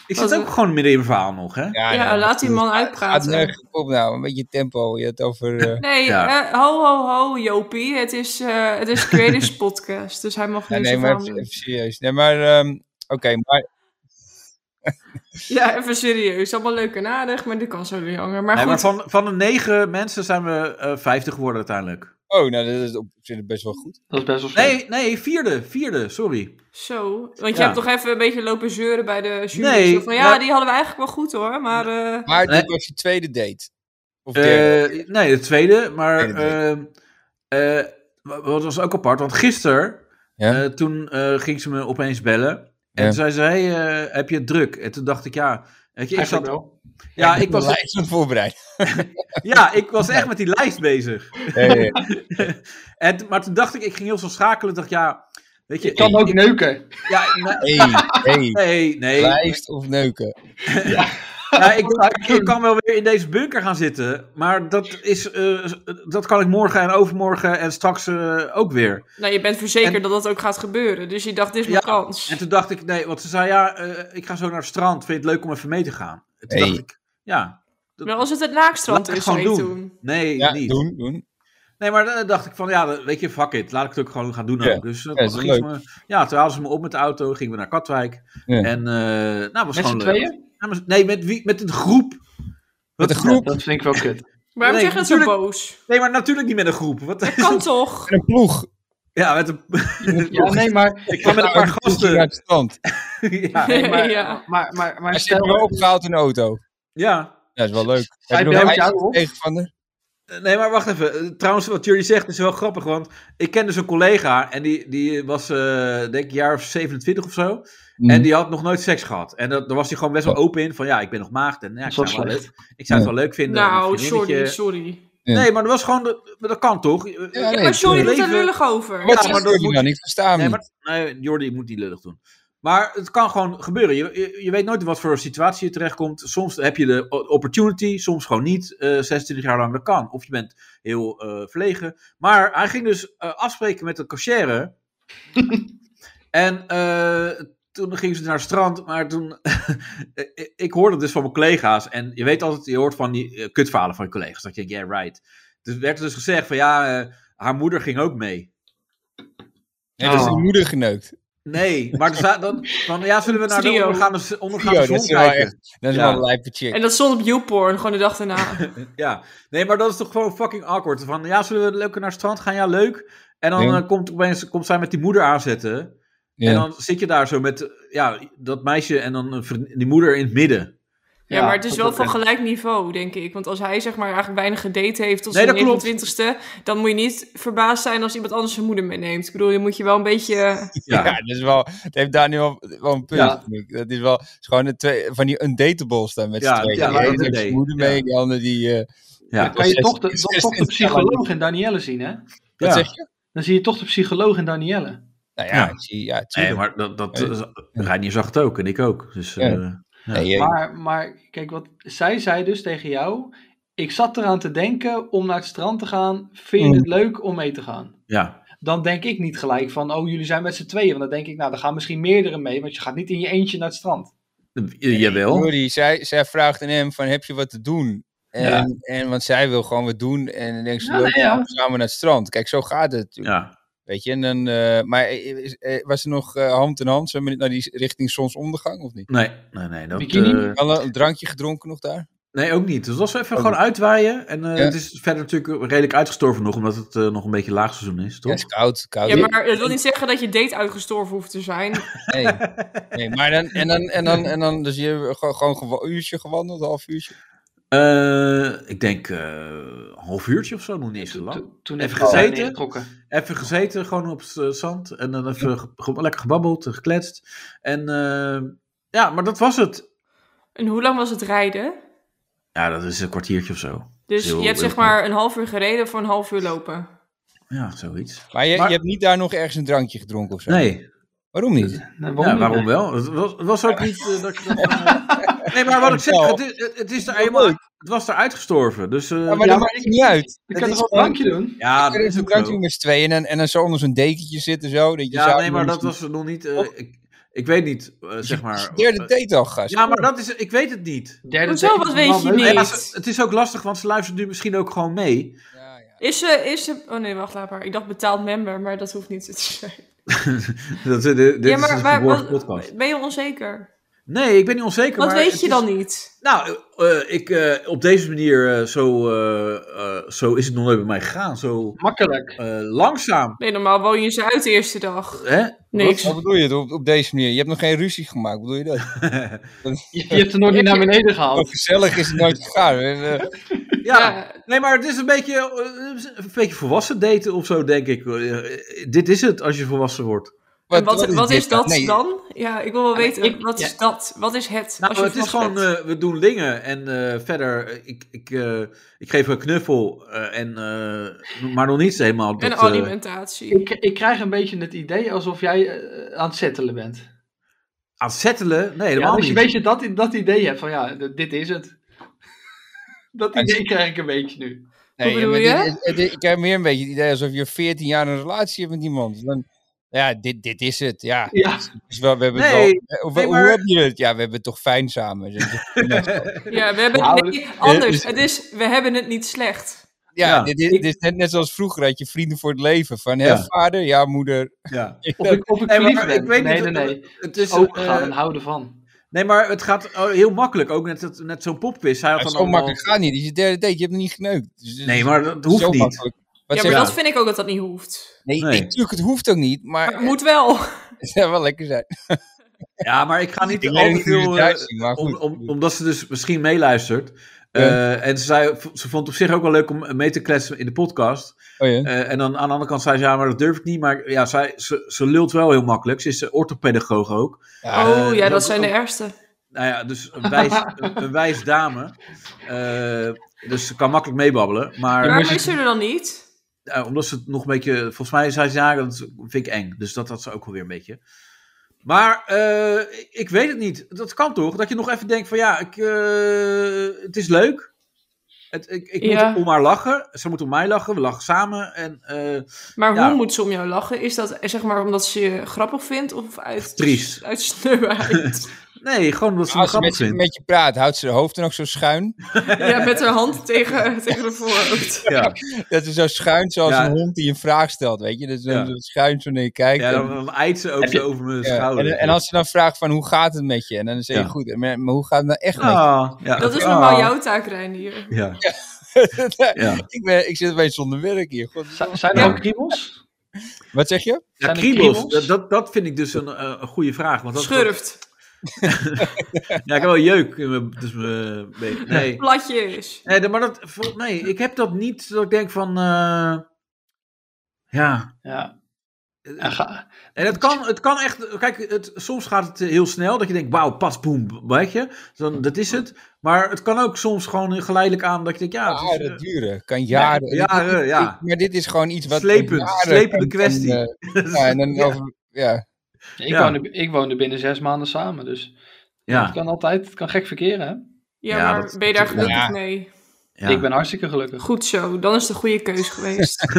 S6: Ik zit ook gewoon midden in mijn verhaal nog, hè?
S4: Ja, laat die man
S3: Gaat
S4: uitpraten.
S3: nergens op nou, een beetje tempo. Je had het over...
S4: *laughs*
S3: eh,
S4: Nee,
S6: Ja.
S4: eh, ho, ho, ho, Jopie. Het is, eh het is
S6: *laughs*
S4: Creators Podcast, dus hij mag
S3: ja,
S4: niet
S3: nee,
S4: zo
S3: maar
S4: van
S3: even, even serieus. Nee, maar... ehm, Oké, maar...
S4: Ja, even serieus. Allemaal leuk en aardig, maar dit kan zo weer hangen. Maar
S6: nee, maar
S4: goed,
S6: van, van de negen mensen zijn we eh, vijftig geworden uiteindelijk.
S3: Oh, nou, dat is op zich best wel goed.
S2: Dat is best wel slecht.
S6: Nee, nee, vierde. Vierde, sorry.
S4: zo. Want je
S6: Ja.
S4: hebt toch even een beetje lopen zeuren bij de jury.
S6: Nee,
S4: Zo van, ja,
S6: maar-
S4: die hadden we eigenlijk wel goed hoor, maar... eh,
S3: Maar
S6: Nee.
S3: dit was je tweede date. Of derde.
S6: Eh, nee, de tweede. Maar
S3: Tweede date.
S6: eh, eh, wa- wat was ook apart, want gisteren
S3: Ja?
S6: eh, toen eh, ging ze me opeens bellen. En
S3: Ja.
S6: toen zei ze, hey, eh, heb je het druk? En toen dacht ik, ja, weet je, ik
S2: Eigenlijk
S6: zat,
S2: wel.
S6: ja,
S3: *laughs*
S6: ik was,
S3: lijst aan het voorbereiden.
S6: *laughs* ja, ik was echt met die lijst bezig.
S3: Nee, nee, nee.
S6: En, t- maar toen dacht ik, ik ging heel snel schakelen. dacht ja, weet je,
S2: Ik kan
S6: ik-
S2: ook neuken.
S6: ja, nee,
S3: Hey, hey,
S6: nee, nee.
S3: Lijst of neuken.
S6: Ja, ik,
S2: *laughs*
S6: dacht, ik kan wel weer in deze bunker gaan zitten. Maar dat, is, eh, dat kan ik morgen en overmorgen en straks eh, ook weer.
S4: Nou, je bent verzekerd
S6: En-
S4: dat dat ook gaat gebeuren. Dus je dacht, dit is mijn
S6: Ja,
S4: kans.
S6: En toen dacht ik, nee, want ze zei, ja, eh, ik ga zo naar het strand. Vind je het leuk om even mee te gaan? En toen
S3: Nee.
S6: dacht ik, ja. dat-
S4: Maar als het het naakstrand
S6: laat ik
S4: is, zou
S6: gewoon
S4: je het
S6: doen.
S4: doen.
S6: Nee,
S3: Ja,
S6: niet.
S3: doen, doen.
S6: Nee, maar dan dacht ik van, ja, dan- weet je, fuck it. Laat ik het ook gewoon gaan doen
S3: Ja.
S6: ook. Dus eh,
S3: Ja, is
S6: toen
S3: wel
S6: ging ze me, ja, toen haalden ze me op met de auto. Gingen we naar Katwijk.
S3: Ja.
S6: En, eh nou, was
S2: Met z'n
S6: gewoon leuk.
S2: tweeën?
S6: Ja, maar- nee, met wie? Met een groep.
S3: Met een
S6: Wat-
S3: groep,
S2: Dat vind ik wel kut.
S4: Waarom
S6: Nee,
S4: zeg je dat zo
S6: natuurlijk-
S4: boos?
S6: Nee, maar natuurlijk niet met een groep. Wat *laughs*
S4: Dat
S6: is
S4: kan
S6: dat?
S4: toch?
S3: en een ploeg.
S6: Ja, met een...
S2: Ja, nee, maar,
S6: Ik ga *laughs* met een paar
S3: Naar
S6: gasten.
S3: het strand.
S6: *laughs* ja,
S2: nee, maar,
S4: *laughs* Ja.
S2: maar, maar, maar
S3: Hij zit wel
S2: stel,
S3: opgehaald in de auto.
S6: ja.
S3: Ja, is wel leuk. Heb
S2: Hij
S3: je nog
S2: belt
S3: een
S2: jou
S3: ijsje
S2: op?
S3: tegenstander?
S6: Nee, maar wacht even. Eh, Trouwens, wat jullie zegt is wel grappig. Want ik ken dus een collega. En die, die was, eh, denk ik, een jaar of 27 of zo.
S3: Mhm.
S6: En die had nog nooit seks gehad. En dat, daar was hij gewoon best wel open in. Van ja, ik ben nog maagd. En ja, ik
S2: Dat
S6: zou,
S2: is
S6: het wel
S2: wel
S6: leuk, ik zou het wel leuk vinden. om een
S4: Nou,
S6: vriendinnetje-
S4: sorry, sorry.
S6: Nee, maar dat was gewoon. de- Dat kan toch? Eh,
S3: Ja, nee,
S4: Ja, maar sorry, doe
S6: tuurlijk.
S4: daar lullig over.
S3: Hm. Wat
S6: Ja,
S3: is
S6: maar dat
S3: Jordi
S6: moet-
S3: dan? Ik versta hem
S6: Nee,
S3: niet.
S6: maar, nee, Jordi moet niet lullig doen. Maar het kan gewoon gebeuren. Je, je, je weet nooit in wat voor situatie je terechtkomt. Soms heb je de o- opportunity, soms gewoon niet. eh 26 jaar lang, dat kan. Of je bent heel eh, verlegen. Maar hij ging dus eh, afspreken met de cachère. en eh, toen gingen ze naar het strand. Maar toen... *laughs* ik- ik hoorde het dus van mijn collega's. En je weet altijd, je hoort van die eh, kutverhalen van je collega's. Dat je denkt, yeah, right. Dus werd er dus gezegd van, ja, eh, haar moeder ging ook mee.
S3: Nee,
S6: Ah.
S3: dat is
S2: Oh.
S3: zijn moeder geneukt.
S6: Nee, maar er za- dan, van, ja, zullen we naar de
S4: Trio.
S6: ondergaande, ondergaande
S3: Trio,
S6: zon
S3: dat is wel
S6: kijken?
S3: echt. Dat is
S6: Ja.
S3: wel een lijpe chick.
S4: En dat stond op YouPorn, gewoon de dag daarna.
S6: Ja, nee, maar dat is toch gewoon fucking awkward. Van, ja, zullen we lekker naar het strand gaan? Ja, leuk. En dan
S3: Ja.
S6: eh, komt, opeens, komt zij met die moeder aanzetten.
S3: Ja.
S6: En dan zit je daar zo met eh, ja, dat meisje en dan een vriend- die moeder in het midden.
S4: Ja, maar het is
S2: dat-
S4: wel
S2: dat-
S4: van gelijk niveau, denk ik. Want als hij zeg maar eigenlijk weinig gedate heeft tot
S6: Nee,
S4: zijn
S6: dat klopt.
S4: 29ste, dan moet je niet verbaasd zijn als iemand anders zijn moeder meeneemt. Ik bedoel, je moet je wel een beetje...
S3: *laughs* Ja,
S6: Ja, ja.
S3: dat is wel. Dat heeft daar nu wel, wel een punt.
S2: Ja.
S3: vind ik. Dat is wel het is gewoon de twee, van die undateables daar met
S6: Ja,
S3: z'n tweeën.
S6: ja,
S3: Ja,
S6: maar
S3: de
S6: dat
S3: ene heeft
S6: deed.
S3: zijn moeder
S6: Ja.
S3: mee, die andere die. eh,
S6: ja.
S2: kan je toch de,
S3: zes-
S2: toch de
S3: zes-
S2: psycholoog in Danielle zien, hè?
S3: Wat
S6: Ja.
S3: zeg je?
S2: Dan zie je toch de psycholoog in Danielle.
S3: Nou ja,
S6: Ja.
S3: ik zie, ja
S6: Nee,
S3: tuurlijk.
S6: maar dat, dat
S3: Nee.
S6: eh, Reinier zag het ook en ik ook. Dus,
S3: Ja.
S6: eh, Ja.
S3: Nee, eh,
S2: Maar, maar kijk, wat zij zei dus tegen jou. Ik zat eraan te denken om naar het strand te gaan. Vind
S3: Mm.
S2: je het leuk om mee te gaan?
S6: ja.
S2: Dan denk ik niet gelijk van, oh, jullie zijn met z'n tweeën. Want dan denk ik, nou, er gaan misschien meerdere mee. Want je gaat niet in je eentje naar het strand.
S6: Jawel.
S3: Jordi, zij, zij vraagt aan hem van heb je wat te doen? En, en, want zij wil gewoon wat doen en dan denkt ze,
S2: Ja,
S3: "Loop
S2: nee, ja.
S3: maar samen naar het strand. Kijk, zo gaat het natuurlijk.
S6: Ja.
S3: Weet je, en dan, eh, maar eh, is- eh, was er nog eh, hand in hand? Zijn we naar die richting zonsondergang of niet?
S6: Nee, nee, nee. Dat,
S2: Bikini?
S6: eh,
S3: Wel een- een drankje gedronken nog daar?
S6: Nee, ook niet. Dus als we even gewoon uitwaaien. En eh,
S3: Oh. Ja.
S6: het is verder natuurlijk redelijk uitgestorven nog, omdat het eh, nog een beetje laagseizoen is,
S3: Ja,
S6: toch?
S3: is koud, koud.
S4: Ja, maar dat wil niet zeggen dat je date uitgestorven hoeft te
S6: *laughs*
S4: zijn.
S3: Nee, nee maar dan, en dan, en dan, en dan dus je hebt gewoon, gewoon gewa- een uurtje gewandeld, een half uurtje.
S6: Eh, ik denk eh, een half uurtje of zo, nog niet eens zo lang.
S2: Toen, toen
S6: Even
S2: heb ik al
S6: gezeten?
S2: neergetrokken.
S6: Even gezeten, gewoon op het eh, zand. En dan even ge- ge- lekker gebabbeld, en gekletst. En eh, ja, maar dat was het.
S4: En hoe lang was het rijden?
S6: Ja, dat is een kwartiertje of zo.
S4: Dus
S6: Heel-
S4: je hebt
S6: heel
S4: zeg maar een half uur gereden voor een half uur lopen.
S6: Ja, zoiets.
S3: Maar je,
S6: Maar-
S3: je hebt niet daar nog ergens een drankje gedronken of zo?
S6: Nee,
S3: Waarom niet?
S2: Nou,
S6: ja,
S2: niet?
S6: waarom wel? Het was, het was ook niet eh, dat ik dat, eh, Nee,
S3: *laughs*
S6: maar wat ik zeg, het, is, het, is er eenmaal, het was er uitgestorven. Dus eh,
S3: Ja, maar dat maakt niet uit.
S2: Je
S3: Het
S2: kan
S3: is
S2: toch wel een
S3: gewoon-
S2: drankje doen?
S6: ja,
S3: Er is een drankje
S6: ook
S3: met z'n tweeën en, dan- en dan zo onder zo'n dekentje zitten zo. Dat je
S6: Ja,
S3: samen
S6: nee, maar
S3: onder
S6: dat
S3: zo'n-
S6: was er nog niet. eh, ik, ik weet niet, eh, zeg
S3: Het is
S6: maar.
S3: de Derde date al, gast.
S6: ja, maar dat is. Ik weet het niet.
S2: Derde
S4: Hoezo,
S2: date
S4: wat
S2: is
S4: weet
S2: wel
S4: je
S2: leuk.
S4: niet?
S6: Nee, maar ze- het is ook lastig, want ze luistert nu misschien ook gewoon mee. *laughs*
S3: Ja, ja.
S4: Is ze, is ze... Oh nee, wacht, laat maar. Ik dacht betaald member, maar dat hoeft niet te *laughs* zijn.
S6: dat, dit dit
S4: ja, maar
S6: is een
S4: waar-
S6: verborgen
S4: wat-
S6: podcast.
S4: ben je onzeker?
S6: Nee, ik ben niet onzeker.
S4: Wat
S6: maar
S4: weet
S6: het
S4: je
S6: is-
S4: dan niet?
S6: Nou, eh, eh, ik, eh, op deze manier, eh, zo, eh, eh, zo is het nog nooit bij mij gegaan.
S2: *laughs*
S6: Zo
S2: Makkelijk.
S6: eh, langzaam.
S4: Nee, normaal woon je ze uit de eerste dag.
S6: Hè?
S4: Niks.
S3: Wat bedoel je op, op deze manier? Je hebt nog geen ruzie gemaakt, bedoel je dat?
S2: Je, je hebt er nog niet naar beneden
S3: Zo
S2: gehaald.
S3: gezellig is het nooit gegaan. hè? Eh,
S6: Ja.
S4: Ja.
S6: nee, maar het is een beetje, eh, een beetje volwassen daten of zo, denk ik. Eh, dit is het als je volwassen wordt.
S4: en wat, wat is
S3: dit
S4: dat
S3: Nee,
S4: dan? Ja, ik wil wel weten,
S2: ik-
S4: wat
S2: ja.
S4: is dat? Wat is het?
S6: Nou,
S4: als je
S6: het is
S4: vast
S6: gewoon,
S4: bent?
S6: eh, we doen dingen en eh, verder, eh, ik, ik, eh, ik geef een knuffel, eh, en, eh, maar nog niet helemaal. Dat,
S4: en
S6: eh,
S2: *laughs*
S4: alimentatie.
S2: Ik, ik krijg een beetje het idee alsof jij eh, aan het settelen bent.
S6: aan het settelen? Nee,
S2: Ja,
S6: helemaal
S2: dat je
S6: niet.
S2: een beetje dat, dat idee hebt van ja, d- dit is het. *laughs* Dat idee krijg ik een beetje nu.
S3: nee,
S4: Hoe bedoel
S3: maar dit-
S4: je?
S3: het- het- ik heb meer een beetje het idee alsof je 14 jaar een relatie hebt met iemand. Dan, ja, dit, dit is het. Ja.
S2: Ja,
S3: Dus wel, we hebben het
S6: Nee,
S3: wel- eh, hoe-
S6: nee,
S3: hoe
S6: maar-
S3: heb je het? Ja, we hebben het toch fijn samen. Dus-
S6: *laughs*
S4: Ja, we hebben
S2: Nou,
S4: nee, anders. Het is, we hebben het niet slecht.
S3: Ja,
S6: Ja.
S3: Dit, dit is net, net zoals vroeger had je vrienden voor het leven. Van hè,
S6: Ja.
S3: vader, ja, moeder.
S6: Ja.
S2: of ik, of ik
S6: Nee, maar
S2: verliefd ben.
S6: ik weet
S2: nee,
S6: niet
S2: nee, Oh,
S6: of-
S2: nee.
S6: Het is,
S2: Opengaan
S6: eh,
S2: en houden van.
S6: nee, maar het gaat eh, heel makkelijk, ook net, dat- net zo'n popquiz. Hij had
S3: Maar
S6: dan
S3: zo
S6: allemaal-
S3: makkelijk gaat niet. Dit is je derde date, je hebt hem niet geneukt. Dus- dus-
S6: Nee, maar dat hoeft
S3: zo
S6: niet.
S3: makkelijk. Wat
S4: ja,
S3: zeg
S4: maar
S3: je?
S4: dat vind ik ook dat dat niet hoeft.
S3: Nee,
S6: Nee.
S3: natuurlijk, het hoeft ook niet, maar,
S4: Maar het moet *laughs*
S3: *laughs*
S4: wel. Oh,
S3: het zou wel lekker zijn.
S6: Ja, maar ik ga niet
S3: Ik
S6: al
S3: weet
S6: te
S3: niet hoe
S6: veel...
S3: het
S6: eh,
S3: eruit ziet, maar
S6: om,
S3: goed.
S6: om, omdat ze dus misschien meeluistert.
S3: Ja.
S6: Eh, en ze, zei, ze vond het op zich ook wel leuk om mee te kletsen in de podcast.
S3: Oh ja.
S6: Eh, en dan aan de andere kant zei ze, ja, maar dat durf ik niet. Maar ja, zij, ze, ze lult wel heel makkelijk. Ze is eh, orthopedagoog ook.
S3: Ja,
S4: oh
S6: dat
S4: ja, dat
S6: is
S4: zijn de
S6: ook-
S4: ergste.
S6: Nou ja, dus een
S3: *laughs*
S6: wijs, een, een wijs dame. Eh, dus ze kan makkelijk meebabbelen. Maar
S4: Waarom
S2: maar-
S4: is ze er dan niet?
S6: eh, omdat ze het nog een beetje... Volgens mij zei ze, ja, dat vind ik eng. Dus dat had ze ook wel weer een beetje. Maar eh, ik- ik weet het niet. Dat kan toch? Dat je nog even denkt van, ja, ik, eh, het is leuk. Het, ik ik
S4: Ja.
S6: moet om haar lachen. Ze moet om mij lachen. We lachen samen. En eh,
S4: Maar
S6: Ja.
S4: hoe moet ze om jou lachen? Is dat eh, zeg maar omdat ze je grappig vindt of uit,
S6: Triest.
S4: uit sneuheid?
S6: nee, gewoon omdat ze me
S3: Als ze met,
S6: grappig
S3: je-
S6: vindt.
S3: met je praat, houdt ze haar hoofd dan ook zo schuin? *laughs*
S4: ja, met haar hand tegen, tegen de voorhoofd.
S6: Ja.
S3: Dat ze zo schuin, zoals
S6: Ja.
S3: een hond die een vraag stelt, weet je? Dat ze
S6: Ja.
S3: zo schuin zo naar je kijkt.
S6: Ja,
S3: en-
S6: dan, dan eit ze ook
S2: Heb je-
S6: zo over mijn
S3: ja.
S6: schouder.
S3: En, en als ze dan vraagt van, hoe gaat het met je? En dan zeg je,
S6: Ja.
S3: goed, maar, maar hoe gaat het nou echt met
S6: Ah, ja.
S4: Dat is
S6: Ah,
S4: normaal jouw taak, Reinier.
S6: Ja.
S3: je? *laughs*
S6: Ja.
S3: ik, ben, ik zit een beetje zonder werk hier. God,
S2: Z- zijn er
S6: Ja.
S2: ook kriebels?
S3: wat zeg je?
S6: Ja,
S2: Zijn er
S6: kriebels,
S2: kriebels?
S6: dat- dat, dat vind ik dus een, eh, een goede vraag. Want dat,
S4: Schurft,
S6: ja, ik heb wel jeuk. in mijn- Dus mijn
S4: *laughs*
S6: been. nee.
S4: platjes.
S6: Nee, dat- maar dat, vol- nee, ik heb dat niet dat ik denk van... eh, ja.
S2: Ja.
S6: Eh,
S2: En ga-
S6: En het kan, het kan echt... Kijk, het, soms gaat het eh, heel snel. Dat je denkt, wauw, pas, boem, weet je. Dus Dan, dat is het. Maar het kan ook soms gewoon geleidelijk aan dat je denkt, ja... het is,
S3: Jaren duren, kan jaren.
S6: eh, jaren, ja.
S3: Maar dit is gewoon iets wat...
S6: Slepend,
S3: jaren
S6: slepende
S3: kan- kan,
S6: kwestie.
S3: eh, ja, en
S6: *laughs*
S3: dan over... Ja. *laughs*
S2: ik,
S6: eh, Ja.
S2: woonde, ik woonde binnen zes maanden samen, dus
S6: Ja.
S2: het kan altijd, het kan gek verkeren. Hè?
S4: Ja,
S6: Ja,
S4: maar
S6: dat-
S4: ben je daar
S6: dat-
S4: gelukkig
S3: ja.
S4: mee?
S6: ja.
S2: Ik ben hartstikke gelukkig.
S4: Goed zo, dan is het de goede keus geweest.
S6: *laughs*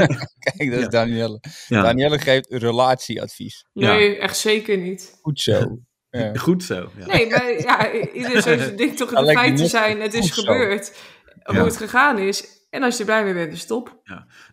S3: Kijk, dat is
S6: Ja.
S3: Danielle.
S6: Ja.
S3: Danielle geeft relatieadvies.
S6: Ja.
S4: Nee, echt zeker niet.
S3: Goed zo. Ja.
S6: Goed zo. Ja.
S4: Nee, maar ja,
S6: *laughs*
S4: iedereen denkt toch in de
S3: Alleen die
S4: feiten
S3: mop-
S4: zijn. Het is
S3: Of zo.
S4: gebeurd.
S6: Ja.
S4: Hoe het gegaan is. En als je er blij mee bent, is top.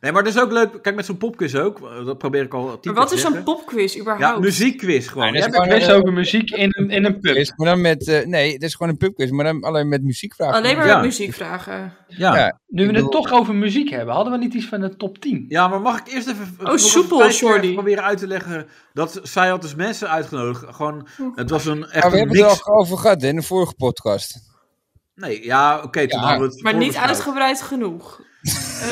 S6: Nee, maar dat is ook leuk. Kijk, met zo'n popquiz ook. eh, Dat probeer ik al tien
S4: Maar wat
S6: keer
S4: is
S6: te
S4: een
S6: zeggen.
S4: popquiz
S6: Ja,
S4: überhaupt?
S6: muziekquiz gewoon.
S3: Ja, dat
S6: Jij
S3: is
S6: bent-
S3: gewoon
S2: Best over muziek in een, in een pub.
S3: Quiz, maar dan met, eh, nee, het is gewoon een pubquiz, maar dan alleen met muziekvragen.
S4: Alleen maar
S6: Ja.
S4: met muziekvragen.
S6: ja.
S3: Ja.
S6: Ja.
S2: Nu we
S3: Ik
S2: het
S3: bedoel-
S2: toch over muziek hebben, hadden we niet iets van een top 10?
S6: maar mag ik eerst even... nog
S4: Oh, soepel,
S6: vijf keer
S4: Jordi.
S6: proberen uit te leggen dat zij had dus mensen uitgenodigd. Gewoon, het was een echt
S3: Maar we
S6: een
S3: hebben het
S6: mix.
S3: er al over gehad hè, in de vorige
S6: *laughs*
S3: podcast.
S6: Nee, ja, oké, toen
S3: Ja,
S6: hadden we het
S4: Maar niet
S6: voorbesproken.
S4: uitgebreid
S6: *laughs*
S4: genoeg.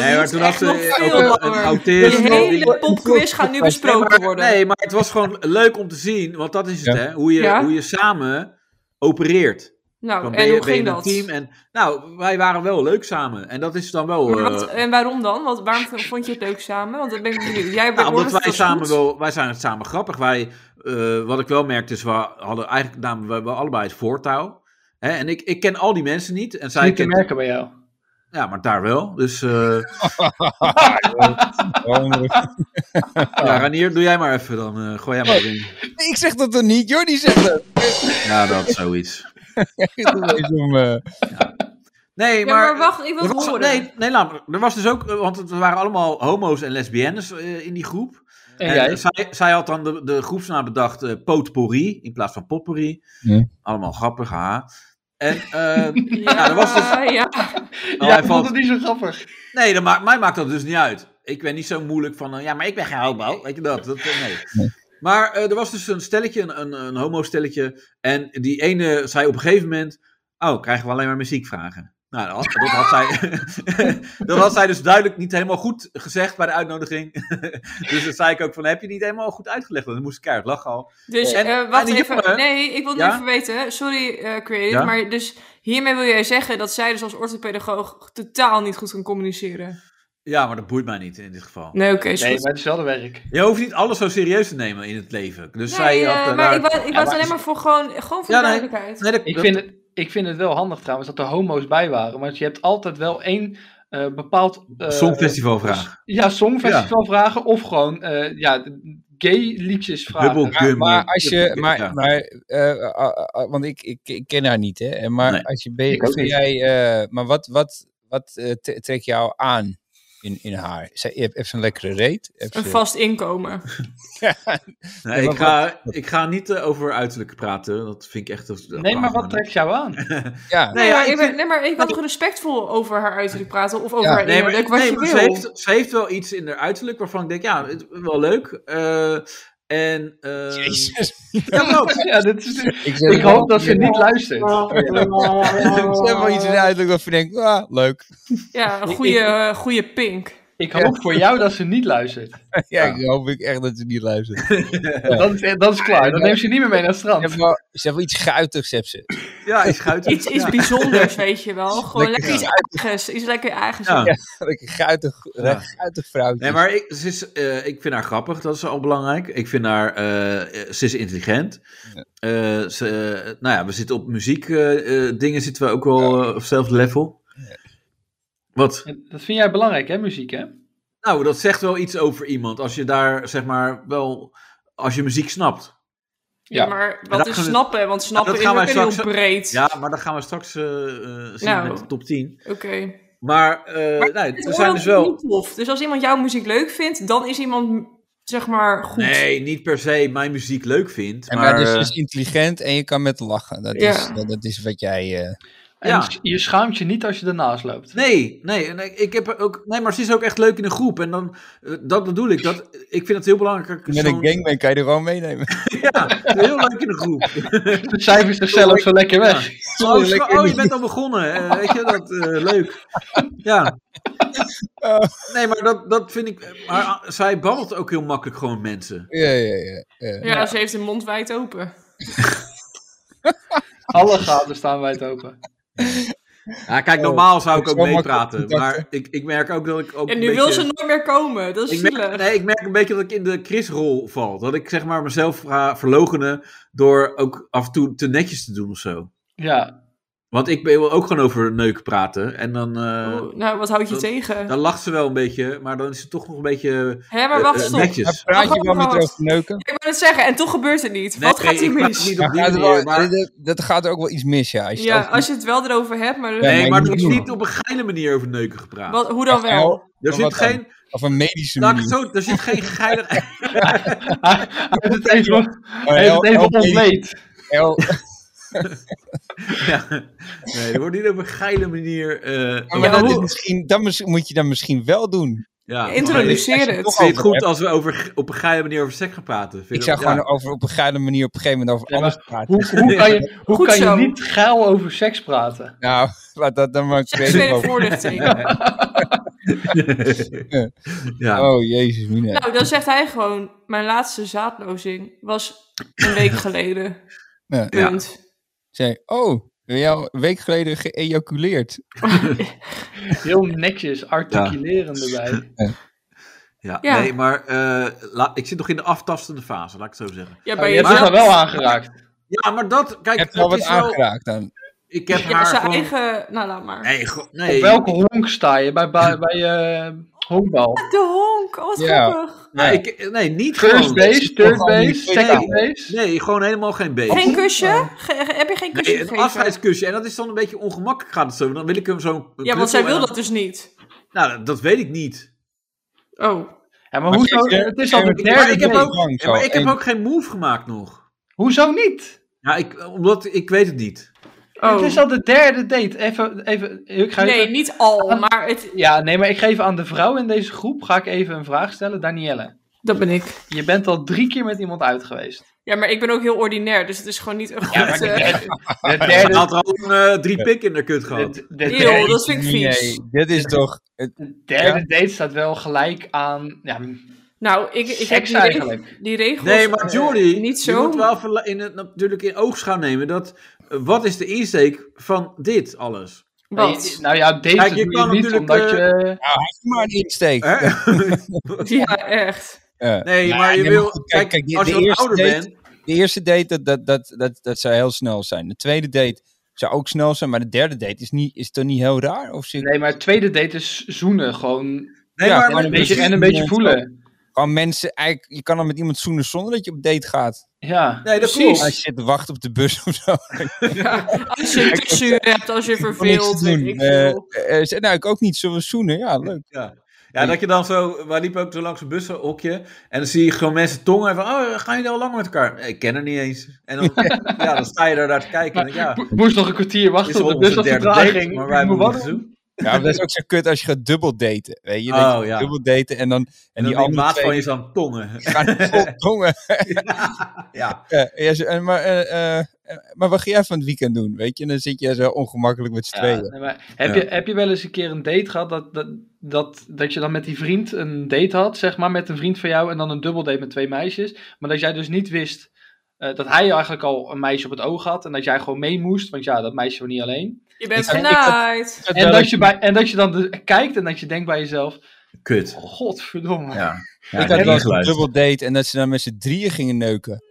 S6: Nee, maar toen had
S4: echt
S6: ze
S4: nog
S6: eh,
S4: veel
S6: ook een-
S4: langer.
S6: een
S4: De
S6: autist.
S3: is nog-
S4: hele popquiz gaat nu besproken
S6: Nee, maar,
S4: worden.
S6: nee, maar het was gewoon leuk om te zien, want dat is het,
S3: Ja.
S6: hè? Hoe je,
S4: Ja.
S6: hoe je samen opereert.
S4: Nou,
S6: Dan
S4: en
S6: ben je,
S4: hoe
S6: ben je
S4: ging
S6: in
S4: dat?
S6: een team. En, nou, wij waren wel leuk samen. En dat is dan wel.
S4: Maar
S6: eh,
S4: wat- en waarom dan? Want waarom vond je het leuk samen? Want dan ben ik benieuwd. Jij bent
S6: nou, omdat wij samen
S4: goed.
S6: wel. Wij zijn het samen grappig. Wij, eh, wat ik wel merkte, is we hadden eigenlijk namen we, we allebei het voortouw. Hè? En ik, ik ken al die mensen niet. En zij
S2: niet te
S6: kent.
S2: merken bij jou.
S6: Ja, maar daar wel.
S2: *laughs*
S6: Dus. eh
S3: eh,
S6: ja, Ranier, doe jij maar even dan. eh, gooi jij maar in.
S3: *laughs* ik zeg dat er niet, Jordi zegt dat. *laughs*
S6: Ja, dat zoiets.
S3: Dat is om, eh,
S6: Nee,
S4: Ja, maar wacht, ik wil
S6: Er
S4: het
S6: was,
S4: horen.
S6: nee, nee, laat maar. Er was dus ook, eh, want het waren allemaal homo's en lesbiennes eh, in die groep.
S2: En, jij?
S6: zij, zij had dan de, de groepsnaam bedacht eh Potpourri in plaats van Potpourri.
S3: Ja.
S6: Allemaal grappig, ha. En eh,
S2: *laughs*
S4: Ja,
S6: ja, er was dus,
S4: *laughs* ja.
S6: oh,
S2: ja,
S6: hij
S2: ik vond
S6: valt,
S2: het niet zo grappig.
S6: nee, dat maakt, mij maakt dat dus niet uit. Ik ben niet zo moeilijk van, eh, ja, maar ik ben geen homo. Weet je dat? dat eh, nee.
S3: Nee.
S6: Maar eh, er was dus een stelletje, een, een, een homo-stelletje. En die ene zei op een gegeven moment, oh, krijgen we alleen maar muziekvragen. Nou, dat had, dat had zij, *laughs* dat had zij dus duidelijk niet helemaal goed gezegd bij de uitnodiging. *laughs* dus dat zei ik ook van, heb je niet helemaal goed uitgelegd? Dan moest ik keihard lachen al.
S4: Dus
S6: En-
S4: eh, wacht
S6: en die
S4: even.
S6: jongen-
S4: nee, ik wil nu
S6: Ja?
S4: even weten. Sorry, eh Creative.
S6: Ja?
S4: Maar dus hiermee wil jij zeggen dat zij dus als orthopedagoog totaal niet goed kan communiceren.
S6: Ja, maar dat boeit mij niet in dit geval.
S4: Nee, oké. is
S2: Nee,
S4: goed.
S2: maar het is wel de werk.
S6: Je hoeft niet alles zo serieus te nemen in het leven. Dus zij
S4: Nee, eh,
S6: had, eh,
S4: maar
S6: daar-
S4: ik wou, ik
S2: maar-
S4: was alleen maar voor gewoon, gewoon voor
S6: Ja, nee.
S4: duidelijkheid.
S6: Nee, dat-
S2: Ik
S6: dat-
S2: vind, het, ik vind het wel handig trouwens dat er homo's bij waren. Want je hebt altijd wel één eh, bepaald... eh,
S6: Songfestivalvraag.
S2: Ja, songfestival vragen of gewoon eh, ja, gay liedjes vragen.
S6: Dubbel
S3: maar,
S6: gum.
S3: maar als je, maar,
S6: Ja.
S3: maar eh, ah, ah, want ik, ik, ik ken haar niet, hè? En Maar
S6: Nee,
S3: als je ben,
S2: ik ook
S3: vind
S2: niet.
S3: jij, eh, maar wat, wat, wat eh, tre- trekt jou aan in, in haar? Zij heeft, heeft ze een lekkere reet? Heeft
S4: Een
S3: ze-
S4: vast inkomen.
S6: Nee, ik, ga, ik ga niet eh, over uiterlijk praten. Dat vind ik echt... dat- dat
S2: Nee, maar
S6: praat
S2: wat
S6: me niet.
S2: trekt jou aan?
S3: ja,
S4: Nee,
S6: ja,
S4: maar
S6: ik
S4: ik ben,
S6: vind-
S4: nee, maar ik kan toch respectvol over haar uiterlijk praten of over
S3: Ja.
S4: haar
S6: Nee, maar,
S4: innerlijk, wat
S6: nee,
S4: je
S6: maar
S4: wil.
S6: ze, heeft, ze heeft wel iets in haar uiterlijk waarvan ik denk, ja, het, wel leuk. Eh, en... eh,
S3: *laughs* Jezus.
S6: Ja, wel.
S2: *laughs* Ja, dit is,
S3: Ik, zeg
S2: ik
S3: wel-
S2: hoop dat ze niet luistert.
S3: *laughs* Ze hebben wel iets in de uiterlijk waarvan je denkt, ah, leuk.
S4: Ja, een goede, eh, goede pink.
S2: Ik hoop voor jou dat ze niet luistert.
S3: Ja, ik hoop ik echt dat ze niet
S6: *laughs*
S3: luistert. Ze
S2: Dat is, dat is klaar. Dan neemt ze niet meer mee naar het strand.
S3: heeft wel, ze heeft wel iets guitigs, heeft ze.
S6: ja, is
S4: *laughs*
S6: guitig.
S4: Iets, iets
S6: Ja. *laughs*
S4: bijzonders, weet je wel. Gewoon
S3: Lekker,
S4: lekker iets eigens. Iets lekker eigens.
S6: Ja.
S3: Lekker guitig,
S6: Ja.
S3: guitig vrouwtje.
S6: Nee, maar ik, ze is, eh, ik vind haar grappig, dat is al belangrijk. Ik vind haar, eh, eh, ze is intelligent. Eh, ze, eh, nou ja, we zitten op muziek eh, eh, dingen zitten we ook wel eh, op hetzelfde level. Wat?
S2: Dat vind jij belangrijk, hè, muziek, hè?
S6: Nou, dat zegt wel iets over iemand. Als je daar, zeg maar, wel, als je muziek snapt.
S4: Ja,
S2: Ja.
S4: maar
S6: Maar
S4: wat
S6: dat
S4: is
S6: gaan we-
S4: snappen? Want snappen
S6: dat
S4: is
S6: gaan
S4: ook
S6: wij
S4: heel
S6: straks-
S4: breed.
S6: Ja, maar dat gaan we straks eh, eh, zien
S4: Nou.
S6: met de top 10.
S4: Oké.
S6: Maar, eh nee,
S4: Het
S6: er zijn
S4: oordeel
S6: dus
S4: is
S6: wel...
S4: niet tof. Dus als iemand jouw muziek leuk vindt, dan is iemand, zeg maar, goed.
S6: Nee, niet per se mijn muziek leuk vindt.
S3: En
S6: Maar,
S3: maar dus
S6: eh,
S3: je is intelligent en je kan met lachen. Dat,
S4: Ja.
S3: is, dat, dat is wat jij... eh,
S2: En
S6: Ja.
S2: s- je schaamt je niet als je ernaast loopt.
S6: Nee, nee, nee, ik heb er ook, nee, maar ze is ook echt leuk in een groep. En dan, eh, dat bedoel ik. Dat, ik vind het heel belangrijk.
S3: met een
S6: zo'n-
S3: gangbang kan je er gewoon meenemen.
S6: Ja, heel leuk in een groep.
S2: Ze cijfert zichzelf zo lekker weg.
S6: Oh,
S3: Sorry, lekker
S6: oh, je
S3: niet.
S6: bent al begonnen. eh, weet je, dat, eh, leuk. Ja.
S3: Eh.
S6: Nee, maar dat, dat vind ik... Maar ah, zij babbelt ook heel makkelijk gewoon met mensen.
S3: Ja, ja, ja.
S4: Ja, ze heeft de mond wijd open.
S2: Alle gaten staan wijd open.
S6: Ja, kijk, normaal zou ik
S3: dat
S6: ook
S3: is wel Oh, makkelijk
S6: meepraten.
S3: contact,
S6: Maar ik, ik merk ook dat ik ook
S4: En
S6: een
S4: nu
S6: beetje-
S4: wil ze nooit meer komen. Dat is
S6: Ik merk,
S4: zielig.
S6: nee, ik merk een beetje dat ik in de Chris-rol val. Dat ik zeg maar mezelf ga verlogenen door ook af en toe te netjes te doen of zo.
S2: Ja,
S6: Want ik wil ook gewoon over neuk praten. En dan, eh,
S4: Oeh, nou, wat houd je
S6: dat-
S4: tegen?
S6: dan lacht ze wel een beetje, maar dan is ze toch nog een beetje
S4: Hé,
S6: eh,
S4: maar wacht,
S6: eh,
S4: stop.
S6: netjes.
S3: Maar praat je wel met haar over neuken?
S4: Ik wil het zeggen, en toch gebeurt het niet.
S6: Nee,
S4: wat gaat
S6: nee,
S4: hier
S6: ik praat
S4: mis?
S6: niet
S3: Ja,
S6: op die
S3: gaat er
S6: manier,
S3: wel,
S6: eh, maar-
S3: dat, dat gaat ook wel iets mis, ja. Als je
S4: Ja,
S3: het
S4: als je het wel erover hebt, maar...
S3: Ja,
S6: Nee,
S3: maar
S6: maar
S3: niet
S6: er is
S3: doen.
S6: niet op een geile manier over neuken gepraat.
S4: Wat, hoe dan
S3: echt
S4: wel?
S3: wel-
S6: er zit
S3: wat dan?
S6: geen,
S3: Of een medische
S6: laat ik het
S3: manier.
S6: zo, er zit geen geile...
S3: *laughs*
S2: Hij heeft het even, hij heeft
S3: Heel-
S2: het even
S3: heel medisch-
S2: ontleed.
S3: heel-
S6: ja. Nee, er wordt niet op een geile manier... eh,
S3: Ja, maar
S4: Ja,
S3: dat, is
S4: hoe-
S3: misschien, dat mis- moet je dan misschien wel doen.
S6: ja, nou, maar
S4: Introduceer
S3: maar-
S6: Ik
S4: het.
S6: vind het
S3: over,
S6: goed
S3: hè?
S6: als we over, op een geile manier over seks gaan praten. Vind je
S3: Ik zou
S6: dat-
S3: gewoon
S6: ja.
S3: over, op een geile manier op een gegeven moment over
S2: Ja, maar
S3: alles praten.
S2: Hoe, hoe kan je, hoe
S4: Goed
S2: kan je
S4: zo.
S2: niet geil over seks praten?
S3: Nou, *laughs* laat dat dan maar tweede
S4: Seksuele
S3: over.
S4: voorlichting.
S3: *laughs*
S6: ja. *laughs*
S3: Oh, jezus, mina.
S4: Nou, dan zegt hij gewoon, mijn laatste zaadlozing was een
S3: *laughs*
S4: week geleden.
S3: Ja.
S4: Punt.
S3: Zei, oh, ben jij al een week geleden geëjaculeerd?
S2: Heel netjes, articuleren erbij.
S6: Ja,
S4: Ja.
S6: nee, maar eh, la- ik zit nog in de aftastende fase, laat ik het zo zeggen.
S4: Ja,
S2: Maar Oh,
S4: bij
S2: je hebt haar
S4: jezelf.
S2: wel aangeraakt.
S6: Ja, maar dat, kijk,
S3: Ik heb je al
S6: dat
S3: wat
S6: is wel,
S3: aangeraakt dan?
S6: ik heb
S4: Ja,
S6: haar
S4: zijn
S6: gewoon...
S4: eigen... Nou, laat maar.
S6: Nee, go- nee.
S2: Op welke honk sta je bij, bij, bij eh, honkbal?
S4: De honk, oh, wat
S3: Ja.
S4: grappig.
S6: Nee, Ah, ik- nee, niet
S2: First
S6: gewoon.
S2: base, third
S3: gewoon
S2: base,
S3: niet
S2: second
S6: tweede.
S2: base.
S6: Nee, gewoon helemaal geen base.
S4: Geen kusje? Ge- ge- heb je geen kusje
S6: Nee, een
S4: gegeven?
S6: afscheidskusje. En dat is dan een beetje ongemakkelijk gaat het zo. Dan wil ik hem zo...
S4: Ja, want zij wil dat dus niet.
S6: Nou, dat- dat weet ik niet.
S4: Oh,
S2: Ja, maar
S3: Maar
S2: hoezo,
S3: kijk,
S2: het is al
S3: kijk,
S2: de
S3: maar
S6: Maar
S2: derde
S6: ik heb
S2: date.
S6: ook,
S3: Lang
S6: ja, maar
S3: zo.
S6: ik heb
S3: En-
S6: ook geen move gemaakt nog.
S2: Hoezo niet?
S6: Ja, ik, omdat ik weet het niet.
S4: oh.
S2: Het is al de derde date. Even, even, ik ga
S4: nee,
S2: even-
S4: niet al, maar het,
S2: Ja, nee, maar ik geef aan de vrouw in deze groep, ga ik even een vraag stellen. Danielle,
S4: dat ben ik.
S2: je bent al drie keer met iemand uit geweest.
S4: Ja, maar ik ben ook heel ordinair, dus het is gewoon niet een goed...
S2: maar
S4: eh, *laughs*
S2: De
S6: Hij
S2: derde,
S6: had al een, eh, drie pik in de kut
S2: de,
S6: gehad.
S2: de
S4: Eeuw,
S2: derde,
S4: dat vind ik vies.
S3: Nee, dit is toch... het-
S2: de derde date staat wel gelijk aan ja,
S4: Nou, ik, ik heb
S2: seks
S4: die, reg-
S2: eigenlijk.
S4: die regels
S6: Nee, maar
S4: eh,
S6: Jordi,
S4: niet
S6: je
S4: zo.
S6: moet wel verla- in het, natuurlijk in oogschouw nemen dat eh, wat is de insteek van dit alles?
S2: Nee,
S4: Wat?
S2: Nou ja, date
S6: Kijk, je
S2: doe je
S6: kan
S2: niet
S6: natuurlijk,
S2: omdat
S6: eh,
S2: je...
S3: Nou, hij is maar een insteek.
S6: Hè? *laughs*
S4: Ja, echt.
S3: Ja.
S6: nee,
S3: Nou,
S6: maar je
S3: nee,
S6: wil,
S3: maar goed,
S6: kijk,
S3: kijk, kijk, de-
S6: als je
S3: de
S6: wat
S3: eerste
S6: ouder
S3: date-
S6: bent,
S3: De eerste date, dat, dat, dat, dat, dat zou heel snel zijn. De tweede date zou ook snel zijn, maar de derde date is, niet, is toch niet heel raar? Of zit
S2: Nee, maar het tweede date is zoenen. Gewoon
S6: nee,
S3: Ja,
S6: maar,
S3: maar
S2: en een beetje,
S3: precies,
S2: en een beetje
S3: iemand
S2: voelen.
S3: gewoon mensen, eigenlijk, je kan dan met iemand zoenen zonder dat je op date gaat.
S2: Ja.
S6: nee, dat
S4: Precies.
S6: klopt.
S3: Als je zit te wachten op de bus of zo.
S4: Als je tussenuur hebt, als je
S3: Om niks
S4: verveelt,
S3: te doen.
S4: weet ik
S3: Eh,
S4: veel.
S3: eh, zei, nou, ik ook niet. Zullen we zoenen? Ja, leuk.
S6: Ja, dat je dan zo, wij liepen ook zo langs een bushokje en dan zie je gewoon mensen tongen en van, oh, gaan jullie al lang met elkaar? Nee, ik ken er niet eens. En dan, ja, dan sta je daar naar te kijken en dan, ja,
S2: Ik moest nog een kwartier
S6: dit
S2: *laughs* wachten
S6: is
S2: op de
S6: onze
S2: bus Dus dat
S6: derde
S2: vertraging.
S6: date, maar wij hebben
S2: Wat?
S6: moeten doen.
S3: Ja, maar dat is ook zo kut als je gaat dubbel daten. Weet je? Dat
S6: Oh,
S3: je
S6: ja.
S3: dubbel daten en dan... En, die
S6: En dan die
S3: andere
S6: maat van
S3: twee
S6: je is aan het tongen. *laughs*
S3: gaan vol tongen.
S6: Ja,
S3: Ja, en jij zo, en maar, eh, eh, eh, maar wat ga jij van het weekend doen? Weet je? En dan zit je zo ongemakkelijk met z'n
S2: Ja,
S3: tweeën.
S2: nee, maar heb,
S6: Ja.
S2: je, heb je wel eens een keer een date gehad dat, dat, dat, dat je dan met die vriend een date had, zeg maar, met een vriend van jou en dan een dubbeldate met twee meisjes, maar dat jij dus niet wist eh, dat hij eigenlijk al een meisje op het oog had en dat jij gewoon mee moest, want ja, dat meisje was niet alleen.
S4: Je bent
S3: Ik- ik-
S4: genaaid.
S2: En dat je, bij, en dat je dan de- kijkt en dat je denkt bij jezelf,
S6: kut.
S2: godverdomme.
S6: Ja. Ja,
S3: ik had wel eens een dubbel date en dat ze dan met z'n drieën gingen neuken.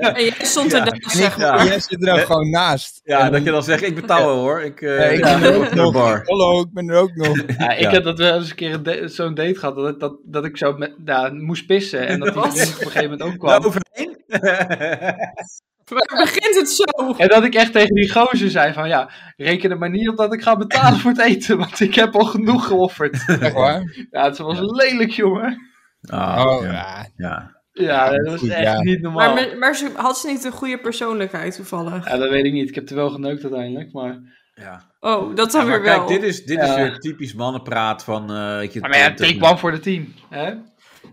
S4: En jij stond er dan, zeg maar.
S6: Ja.
S3: En jij zit er dan gewoon naast.
S6: Ja,
S3: En
S6: dat je
S3: dan-
S6: dan zegt, ik betaal wel hoor. Ik, eh
S3: Ja, ik
S6: ga
S3: ben er ook
S6: naar de
S3: nog. *laughs*
S6: bar.
S3: Hallo, ik ben er ook nog.
S2: Ja, ik
S6: Ja.
S2: heb dat wel eens een keer een da- zo'n date gehad, dat, dat, dat ik zo met, ja, moest pissen en
S6: *laughs*
S2: dat die
S4: Wat?
S2: vriend op een gegeven moment ook kwam.
S6: Daar overheen? *laughs*
S4: Waar begint het zo?
S2: En dat ik echt tegen die gozer zei van ja, reken er maar niet op dat ik ga betalen voor het eten, want ik heb al genoeg geofferd.
S3: Echt waar?
S2: Ja, het was lelijk jongen.
S3: Oh,
S6: *laughs* ja.
S3: ja.
S6: Ja.
S2: Ja, dat was
S3: goed,
S2: echt
S3: ja.
S2: niet normaal.
S4: Maar, me- maar ze, had ze niet een goede persoonlijkheid toevallig?
S2: Ja, dat weet ik niet. Ik heb er wel geneukt uiteindelijk, maar...
S6: Ja.
S4: Oh, dat dan
S6: Maar
S4: weer
S6: kijk,
S4: wel.
S6: dit is, dit is
S2: Ja.
S6: weer typisch mannenpraat van... eh weet je,
S2: Maar ja,
S6: dat-
S2: take one voor de team. Hè?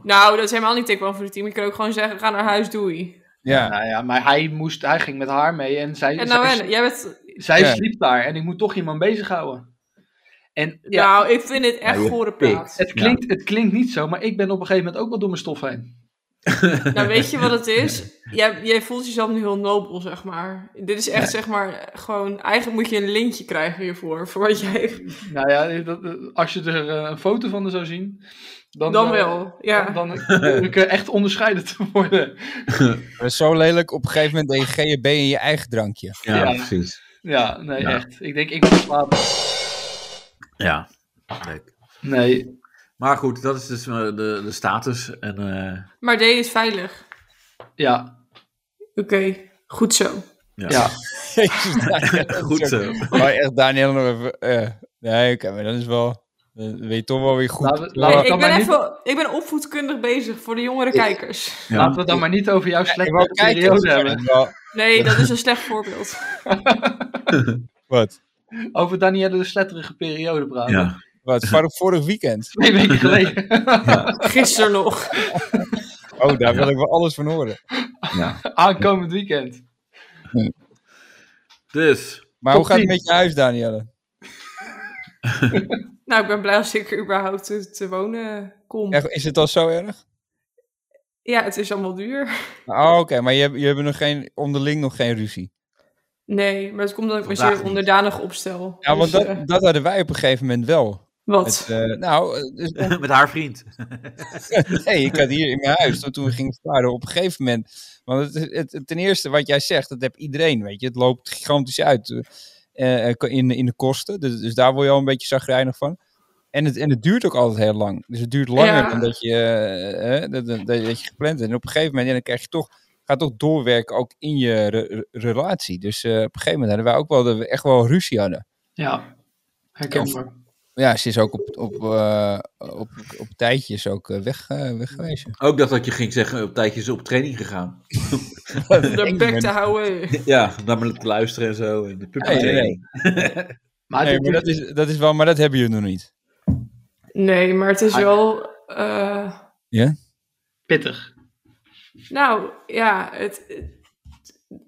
S4: Nou, dat is helemaal niet tikkel voor het team. Ik kan ook gewoon zeggen, ga naar huis, doei.
S3: Ja.
S2: Nou ja, maar hij, moest, hij ging met haar mee en zij,
S4: En nou,
S2: zij,
S4: en, jij bent...
S2: zij
S3: Ja.
S2: sliep daar en ik moet toch iemand bezighouden. En ja,
S4: Nou, ik vind dit echt
S6: Ja, je
S4: gore
S6: pikt.
S4: praat.
S2: het, klinkt, het klinkt niet zo, maar ik ben op een gegeven moment ook wel door mijn stof heen.
S4: Nou, weet je wat het is? Jij, jij voelt jezelf nu heel nobel, zeg maar. Dit is echt, zeg maar, gewoon... Eigenlijk moet je een lintje krijgen hiervoor, voor wat jij...
S2: Nou ja, dat- als je er eh, een foto van zou zien, dan,
S4: Dan
S2: eh,
S4: wel, ja.
S2: Dan, dan hoef ik eh, echt onderscheiden te worden.
S3: Dat is zo lelijk. Op een gegeven moment deed je GHB in je eigen
S6: *laughs*
S3: drankje.
S6: Ja,
S2: Ja.
S6: precies.
S2: Ja, nee,
S6: Ja.
S2: echt. Ik denk, ik moet slapen.
S6: Ja, leuk.
S2: Nee,
S6: Maar goed, dat is dus eh, de, de status. En, eh,
S4: Maar D is veilig.
S2: ja,
S4: Oké, goed zo.
S6: ja.
S2: ja.
S3: Jezus, Daniel, dat is
S6: Goed
S3: ook-
S6: zo.
S3: Maar echt, Daniel nog even... eh, nee, oké, maar dat is wel... Dan weet je toch wel weer goed.
S2: Laten we- laten
S4: Hey,
S2: kan
S4: ik, ben
S2: mij niet-
S4: even, ik ben opvoedkundig bezig voor de jongere kijkers.
S6: Ja.
S2: Laten we het dan maar niet over jouw
S3: Ik
S2: slechte
S3: wou kijken,
S2: periode
S3: maar
S2: hebben.
S3: dat is wel-
S4: Nee, dat is een slecht *laughs* voorbeeld.
S3: Wat?
S2: Over Danielle de sletterige periode praten.
S6: Ja.
S3: Wat?
S6: *laughs*
S3: Van vorig weekend?
S2: *laughs* Twee weken geleden.
S4: Gisteren nog.
S3: Oh, daar wil ik wel alles van horen.
S2: Aankomend weekend.
S6: Dus,
S3: Maar
S2: Top
S3: hoe gaat het
S2: tien.
S3: met je huis, Danielle?
S4: Nou, ik ben blij als ik er überhaupt te, te wonen kom.
S3: Echt, is het al zo erg?
S4: Ja, het is allemaal duur.
S3: Oh, oké, maar je, hebt- je hebt nog geen, onderling nog geen ruzie.
S4: Nee, maar het komt omdat ik me
S6: Vandaag
S4: zeer
S6: niet.
S4: onderdanig opstel.
S3: Ja, want
S4: Dus, eh,
S3: dat, dat hadden wij op een gegeven moment wel.
S4: wat?
S3: Het, eh, nou, eh, dus
S6: met haar vriend.
S3: Nee, ik had hier in mijn huis, toen- toen we gingen verklaren, op een gegeven moment. Want het, het, het- ten eerste, wat jij zegt, dat heb iedereen, weet je. Het loopt gigantisch uit eh, eh, in, in de kosten. Dus, dus daar word je al een beetje zagrijnig van. En het, en het duurt ook altijd heel lang. Dus het duurt langer
S4: Ja.
S3: dan dat je, eh, eh, dat, dat, dat je gepland hebt. En op een gegeven moment, ja, dan krijg je toch, gaat toch doorwerken ook in je re- re- relatie. Dus eh, op een gegeven moment hadden wij ook wel, dat we echt wel ruzie hadden.
S2: Ja, herkenbaar.
S3: Ja, ze is ook op, op, eh, op, op tijdjes ook eh, weg, eh, weg *laughs* geweest.
S6: Ook dat dat je ging zeggen, op tijdje is ze op training gegaan.
S3: eh,
S4: Om de bek te houden.
S6: Ja, om naar me te luisteren en zo. En de pubertraining.
S3: Nee, nee.
S2: Maar,
S3: Nee,
S2: dit-
S3: maar dat is, dat is wel, maar dat hebben jullie nog niet.
S4: Nee, maar het is wel... eh,
S2: pittig.
S4: nou, ja, het, het-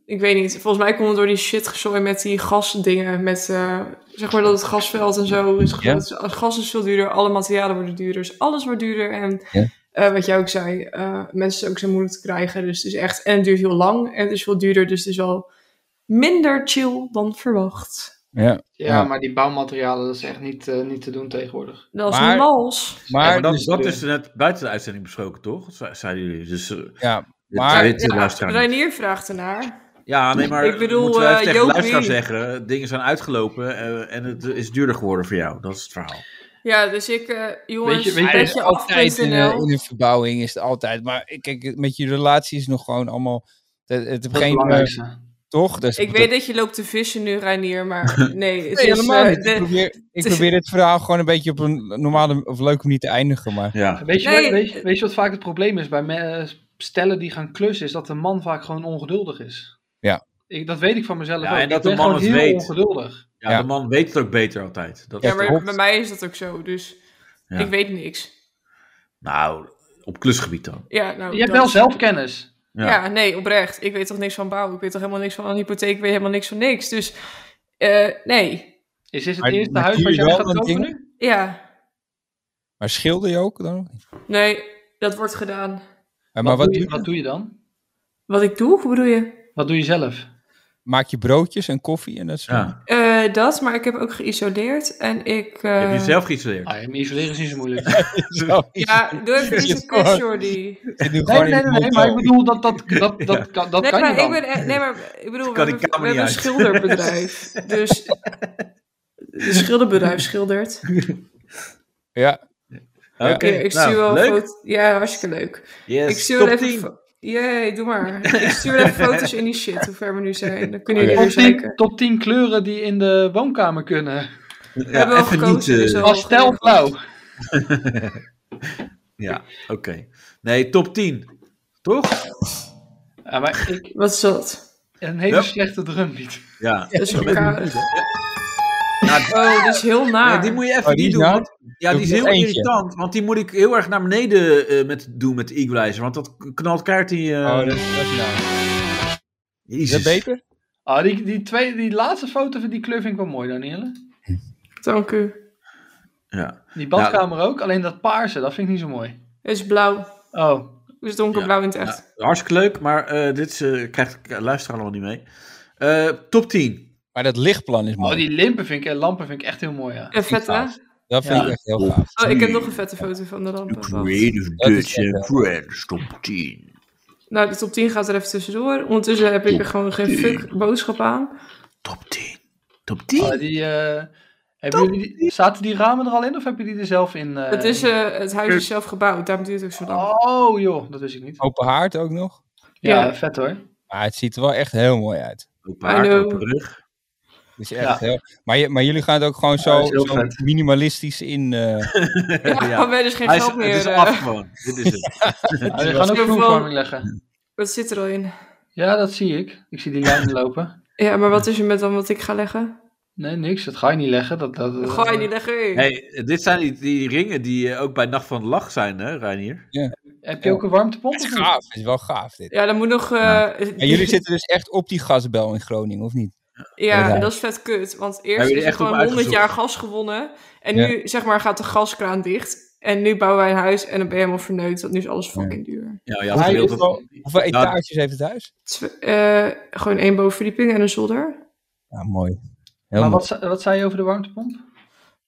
S4: Ik weet niet. Volgens mij komt het door die shit gezooi met die gasdingen. Met, eh, zeg maar dat het gasveld en zo is
S3: Ja.
S4: groot. Het gas is veel duurder. Alle materialen worden duurder. Dus alles wordt duurder. En
S3: Ja.
S4: eh, wat jij ook zei, eh, mensen zijn ook zo moeilijk te krijgen. Dus het is echt... En het duurt heel lang. En het is veel duurder. Dus het is wel minder chill dan verwacht.
S3: Ja.
S2: Ja,
S3: Ja.
S2: maar die bouwmaterialen, dat is echt niet, eh, niet te doen tegenwoordig.
S4: Dat is
S3: Maar-
S4: mals.
S3: Maar,
S6: Ja, maar dat,
S3: dus-
S6: dat is net buiten de uitzending besproken, toch? Ze- Zeiden jullie. Dus, eh,
S3: ja,
S6: dit
S3: Maar-
S6: weet de
S4: Ja,
S6: luisteraar niet.
S4: Reinier vraagt ernaar.
S6: Ja, nee, maar
S4: Ik bedoel,
S6: moeten we even
S4: eh,
S6: tegen de
S4: Joop
S6: luisteraar
S4: Wie.
S6: zeggen, eh, dingen zijn uitgelopen eh, en het is duurder geworden voor jou. Dat is het verhaal.
S4: Ja, dus ik, eh jongens,
S2: Weet je- weet je-
S3: er
S4: petje
S3: is altijd in,
S4: af.nl.
S3: een- in een verbouwing is het altijd. Maar eh, kijk, met je relatie is nog gewoon allemaal. Het, het op
S2: Dat is het
S3: geen moment
S2: belangrijkste.
S3: toch? Dus
S4: Ik weet dat je loopt te vissen nu, Reinier, maar nee. Het
S3: Nee,
S4: is,
S3: helemaal
S4: eh,
S3: niet. Ik
S4: de-
S3: probeer, ik
S4: het is-
S3: probeer het verhaal gewoon een beetje op een normale of leuke manier te eindigen. Maar
S6: Ja.
S2: Weet je,
S4: Nee,
S2: wat- weet, je,
S4: eh,
S2: weet je wat vaak het probleem is bij me- eh, stellen die gaan klussen? Is dat de man vaak gewoon ongeduldig is.
S3: Ja.
S2: Ik, dat weet ik van mezelf
S6: Ja,
S2: ook.
S6: en dat
S2: ik ben
S6: de man
S2: gewoon
S6: het
S2: heel
S6: weet.
S2: ongeduldig.
S6: Ja,
S3: Ja.
S6: de man weet het ook beter altijd. Dat
S4: ja,
S6: is-
S4: maar
S3: klopt.
S4: bij mij is dat ook zo, dus
S6: Ja.
S4: ik weet niks.
S6: Nou, op klusgebied dan.
S4: Ja, nou,
S2: Je hebt
S4: dat-
S2: wel zelfkennis.
S4: Ja. nee, oprecht. Ik weet toch niks van bouw. Ik weet toch helemaal niks van een hypotheek. Ik weet helemaal niks van niks. Dus eh, nee,
S2: Is dit het
S3: Maar-
S2: eerste
S3: maar
S2: huis
S3: doe
S2: wat
S3: je
S2: jij
S3: wel
S2: gaat
S3: aan
S2: kopen
S3: dingen?
S2: nu?
S4: ja,
S3: maar schilder je ook dan?
S4: nee, dat wordt gedaan.
S3: Eh, maar
S2: wat, doe
S3: wat
S2: je,
S3: doe je?
S2: wat doe je dan?
S4: Wat ik doe, hoe bedoel je?
S2: Wat doe je zelf?
S3: Maak je broodjes en koffie en dat soort
S6: Ja.
S4: Eh, dat, maar ik heb ook geïsoleerd en ik... eh,
S6: Heb je zelf geïsoleerd?
S2: Ah, ja, maar isoleren is niet zo moeilijk.
S3: *laughs* Zo,
S4: Ja, doe even
S3: Is
S4: iets
S3: het
S4: een kus,
S3: gewoon-
S4: Jordi.
S3: ik zit nu
S2: Nee,
S3: gewoon
S2: nee,
S3: in
S2: nee,
S3: het
S2: nee, maar ik
S3: hotel.
S2: bedoel, dat, *laughs* dat, dat, dat, kan,
S6: Oh,
S2: dat
S4: nee,
S2: kan je
S4: maar
S2: dan.
S4: ik ben, eh, nee, maar ik bedoel, we
S6: *laughs* kan die
S4: hebben,
S6: kamer
S4: we hebben een
S6: niet uit. *laughs*
S4: schilderbedrijf. dus het schilderbedrijf schildert.
S3: Ja,
S6: Oké,
S4: Ja, ik stuur wel
S6: nou, leuk.
S4: foto- Ja, hartstikke leuk.
S6: Yes,
S4: ik stuur
S6: top
S4: wel even...
S6: 10.
S4: fo- Jee, doe maar. Ik stuur wel even foto's in die shit, hoe ver we nu zijn. Dan kunnen
S3: Oké.
S4: jullie
S2: Top
S4: weer
S2: 10,
S4: kijken.
S2: top 10 kleuren die in de woonkamer kunnen.
S4: We hebben wel
S6: even
S4: gekozen,
S6: eh,
S4: dus wel-
S2: Pastelblauw.
S6: Ja, oké. Nee, top 10. Toch?
S2: Ja, maar ik,
S4: Wat is dat?
S2: een hele
S6: Ja.
S2: slechte drumbeat.
S6: Ja.
S4: Dat is
S6: Ja,
S4: elkaar.
S6: Nou,
S4: *laughs* Oh, dat is heel naar.
S6: Nee, die moet je even
S3: Oh, die
S6: niet
S3: is
S6: doen.
S3: nou-
S6: want- ja,
S3: doe
S6: die is
S3: ik nog
S6: heel
S3: eentje.
S6: irritant. Want die moet ik heel erg naar beneden eh, met, doen met de equalizer. Want dat knalt kaart die... eh,
S3: oh, dat, dat is nou. Is
S6: Jezus.
S3: dat beter?
S2: Ah, die, die, twee, die laatste foto van die kleur vind ik wel mooi, Danielle.
S4: Dank u.
S6: Ja.
S2: Die badkamer ook, alleen dat paarse, dat vind ik niet zo mooi.
S4: Het is blauw.
S2: Oh, oké.
S4: Dus donkerblauw in het echt.
S6: Hartstikke leuk, maar eh, dit is, eh, krijgt de luisteraar nog niet mee. Eh, top 10.
S3: Maar dat lichtplan is mooi.
S2: Oh, die lampen vind ik, eh, lampen vind ik echt heel mooi, ja.
S4: En vette.
S3: gaaf. Dat vind
S2: Ja.
S3: ik echt heel gaaf.
S4: Eh, Oh, ik heb nog een vette foto van de
S6: The
S4: lampen. Wacht.
S6: Creative
S3: Dat is
S6: Dutch and Friends, top 10.
S4: Nou, de top 10 gaat er even tussendoor. Ondertussen heb ik er gewoon geen fuck boodschap aan.
S6: Top 10. Top 10?
S2: Oh, die, eh, hebben jullie die- zaten die ramen er al in of heb je die er zelf in? eh,
S4: Het, is, eh, het huis is zelf gebouwd, daarom duurt het ook zo lang.
S2: Oh joh, dat wist ik niet.
S3: eh, Open haard ook nog.
S2: Ja,
S4: Ja.
S2: vet hoor.
S3: Maar het ziet er wel echt heel mooi uit.
S6: Op haar,
S4: know.
S6: op rug.
S3: Dus echt heel... maar, je- maar jullie gaan het ook gewoon
S2: dat
S3: zo,
S2: is heel
S3: zo
S2: vet.
S3: minimalistisch in. eh,
S4: Ja, dan
S6: *laughs* ja.
S4: ben je dus geen
S6: Hij is,
S4: geld
S6: het
S4: meer.
S6: is
S4: eh,
S6: af gewoon. Dit is
S4: *laughs*
S6: het.
S2: Ja, Ah, we gaan ook
S4: Heel veel-
S2: vloervorming leggen.
S4: wat zit er al in?
S2: Ja, dat zie ik. Ik zie die lijnen *laughs* lopen.
S4: Ja, maar wat is er met dan wat ik ga leggen?
S2: Nee, niks. Dat ga je niet leggen. Dat, dat,
S4: Dat ga je niet leggen. hé.
S6: Hey, dit zijn die, die ringen die eh, ook bij Nacht van de Lach zijn, hè, Reinier?
S2: eh, Heb je ook een warmtepomp?
S3: het is
S2: of niet?
S3: gaaf. Het is wel gaaf dit.
S4: Ja, dan moet nog... eh,
S3: En jullie zitten dus echt op die gasbel in Groningen, of niet?
S4: Ja,
S3: Ja.
S4: dat is vet kut. Want eerst
S6: Hebben
S4: is
S6: jullie
S4: er
S6: echt op
S4: gewoon 100
S6: uitgezocht?
S4: jaar gas gewonnen. En
S3: Ja.
S4: nu, zeg maar, gaat de gaskraan dicht. En nu bouwen wij een huis en dan ben je helemaal verneukt. Want nu is alles fucking duur.
S6: Ja, ja,
S3: Hoeveel-
S6: dat beeld-
S3: hoeveel, hoeveel etages heeft het huis?
S4: Tw- eh, gewoon één bovenverdieping en een zolder.
S3: Ja, mooi. Heel
S2: Maar
S3: mooi.
S2: wat, ze- wat zei je over de warmtepomp?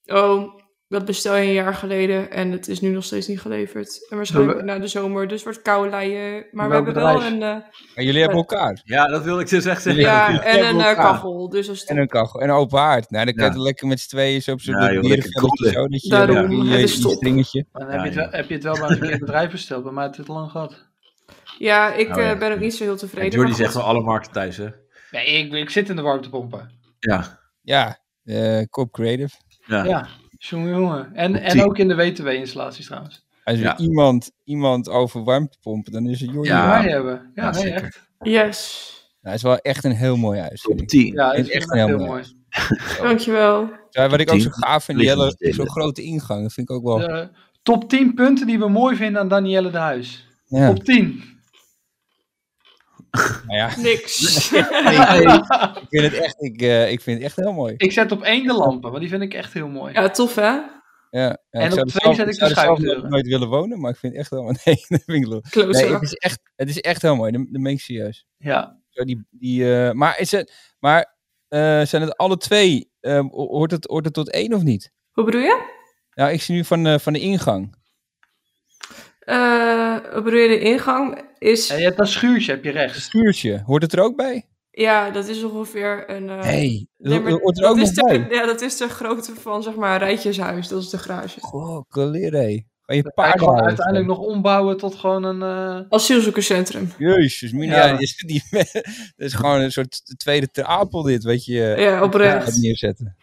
S4: Oh, dat bestel je een jaar geleden. En het is nu nog steeds niet geleverd. En waarschijnlijk na de zomer. Dus wordt koude leien. Maar we
S2: Welk
S4: hebben wel
S2: bedrijf?
S4: een, eh,
S3: Maar jullie hebben elkaar.
S6: ja, dat wil ik dus echt zeggen.
S4: ja, en
S3: hebben
S4: een eh,
S3: elkaar.
S4: kachel. Dus als
S3: En een kachel. En een open haard. Nou, dan kan je
S6: Ja.
S3: het lekker met z'n tweeën zo op zo'n
S6: Ja, joh, lekker
S3: dierenvelletje
S6: koelen.
S3: zo. Dat je
S4: Daarom,
S3: ja, die,
S4: het
S3: eh,
S4: is
S3: die
S4: top.
S3: stringetje.
S2: Dan
S6: Ja,
S2: heb, je het,
S6: ja.
S2: wel- heb je het wel bij een verkeerd bedrijf besteld, bij mij heeft het te lang gehad.
S4: Ja, ik
S6: Oh, ja.
S4: eh, ben ook niet zo heel tevreden.
S6: Jordi
S4: maar
S6: zegt
S4: goed.
S6: wel alle markten thuis, hè?
S2: Nee, ik, ik zit in de warmtepompen.
S6: Ja.
S3: Ja, eh Cop Creative.
S6: ja.
S2: Ja, jongen, jongen. En, en
S6: Tien.
S2: ook in de WTW-installaties trouwens.
S3: Als er
S6: Ja.
S3: iemand, iemand over warmtepompen, dan is het Jordi.
S6: Ja.
S2: Ja, wij hebben. Ja,
S6: Ja,
S2: nee,
S6: zeker.
S2: echt.
S4: Yes.
S3: Nou, het is wel echt een heel mooi huis. vind
S6: Top
S3: ik.
S6: 10.
S2: Ja,
S3: Is
S2: het is
S3: echt
S2: echt heel
S3: helemaal
S2: mooi.
S4: Dankjewel.
S3: Ja, wat ik ook zo
S6: Tien.
S3: gaaf vind, die hele,
S6: Lichtjes.
S3: zo'n grote ingang, dat vind ik ook wel... Ja,
S2: De top 10 punten die we mooi vinden aan Danielle de Huis. Top 10.
S3: nou ja,
S4: Niks.
S3: ik, vind het echt, ik, eh, ik vind het echt heel mooi.
S2: Ik zet op één de lampen, want die vind ik echt heel mooi.
S4: *laughs* Ja, tof hè?
S3: Ja, ja,
S2: En op
S3: ik zou er
S2: twee
S3: zelf-
S2: zet ik de
S3: zou er zelf
S2: schuifdeuren.
S3: nooit willen wonen, maar ik vind het echt wel... *laughs* Nee, dat vind ik lul.
S4: Close
S3: Nee, het is echt, het is echt heel mooi, dat, dat meen ik serieus.
S2: Ja.
S3: Zo die, die, eh, maar is het, maar eh, zijn het alle twee, eh, hoort, het, hoort het tot één of niet?
S4: Hoe bedoel je?
S3: Nou, ik zie nu van, eh, van de ingang.
S4: Eh hoe bedoel je de ingang? Is,
S2: En je hebt dat schuurtje, heb je
S3: Het
S2: rechts.
S3: schuurtje, hoort het er ook bij?
S4: ja, dat is ongeveer een... eh,
S3: Nee,
S4: nee,
S3: dat
S4: maar
S3: hoort er ook
S4: dat
S3: nog
S4: is de,
S3: bij.
S4: Ja, dat is de grootte van, zeg maar, Rijtjeshuis. Dat is de garage.
S3: Goh, colere. Van je
S2: Hij
S3: paard
S2: kan
S3: houden.
S2: uiteindelijk nog ombouwen tot gewoon een... eh,
S4: Asielzoekerscentrum.
S3: Jezus, mina,
S2: Ja.
S3: ja. die, die- *laughs* dat is gewoon een soort tweede trapel dit, wat je eh,
S4: Ja,
S3: gaat
S4: oprecht.
S3: neerzetten.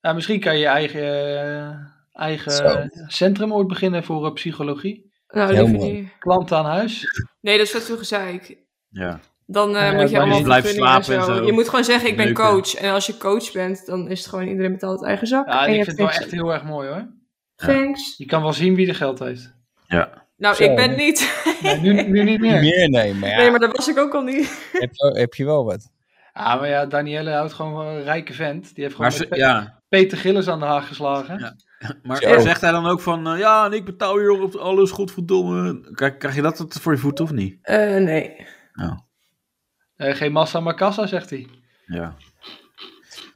S2: Nou, misschien kan je je eigen, eh,
S3: Zo.
S2: eigen centrum ooit beginnen voor eh, psychologie.
S4: Nou,
S3: Heel
S4: liever
S3: mooi.
S4: niet.
S2: Klanten aan huis.
S4: Nee, dat is wat veel gezeik.
S6: Ja.
S4: Dan eh,
S2: Ja,
S4: moet je
S2: maar
S4: allemaal
S2: je
S6: blijft
S4: vergunningen en zo.
S6: slapen en zo.
S4: Je moet gewoon zeggen, ik ben
S6: Neuken.
S4: coach. En als je coach bent, dan is het gewoon iedereen betaalt het eigen zak.
S2: Ja,
S4: en je
S2: ik
S4: hebt
S2: vind het wel
S4: geen-
S2: echt heel erg mooi hoor.
S4: Thanks.
S2: Je kan wel zien wie er geld heeft.
S4: Nou,
S3: Zo,
S4: ik ben
S3: hè?
S4: niet...
S2: Nee, nu, nu niet
S3: Niet
S2: meer.
S3: Meer nee, maar ja,
S4: Nee, maar dat was ik ook al niet.
S3: Heb, je, heb je wel wat.
S2: Ah, maar ja, Danielle houdt gewoon van een rijke vent. Die heeft gewoon
S6: Maar,
S2: met
S6: ze-
S2: Pe-
S6: ja.
S2: Peter Gillis aan de haag geslagen.
S6: Ja. maar
S3: Zo.
S6: zegt hij dan ook van, eh, ja, en ik betaal hier op alles, godverdomme. Krijg, krijg je dat voor je voet of niet?
S4: Eh, nee.
S2: Eh, geen massa, maar kassa, zegt hij.
S6: Ja.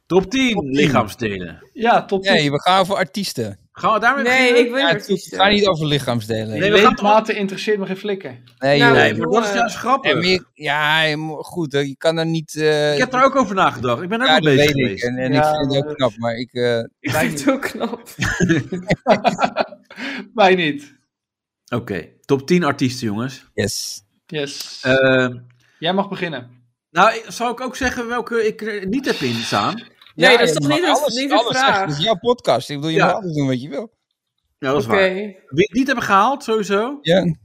S6: Top 10 lichaamsdelen.
S2: Ja, top 10.
S3: Nee, we gaan voor artiesten.
S6: Gaan we daarmee
S4: Nee,
S6: beginnen?
S4: ik wil
S3: Ja,
S4: niet
S3: het gaat
S4: *laughs*
S3: niet over lichaamsdelen.
S6: Nee,
S3: Nee,
S6: we gaan
S2: Leefmaten interesseert me geen flikken.
S4: Nou,
S3: joh.
S6: Nee, maar dat is juist grappig.
S3: En meer- ja, je mo- goed, hè, je kan er niet... eh,
S6: Ik heb er ook over nagedacht. Ik ben er
S3: ja,
S6: ook mee
S3: dat
S6: bezig
S3: weet ik.
S6: geweest.
S3: En, en
S2: Ja,
S3: ik vind het
S2: maar-
S3: ook knap, maar ik... eh,
S4: Ik
S2: Wij
S4: vind het ook knap.
S2: Wij niet.
S6: Oké, top 10 artiesten, jongens.
S3: yes.
S2: Yes.
S6: Eh,
S2: Jij mag beginnen.
S6: nou, ik- zou ik ook zeggen welke ik er niet heb in staan?
S4: Nee,
S3: Ja,
S4: dat is
S3: je
S4: toch
S3: mag
S4: niet, dat is
S3: alles-
S4: niet de
S3: alles zeggen.
S4: vraag.
S3: Het is jouw podcast. Ik bedoel, je
S6: Ja.
S3: mag alles doen wat je wil.
S6: Ja, dat is
S4: Oké.
S6: waar. Wie ik niet heb gehaald, sowieso,
S3: Ja,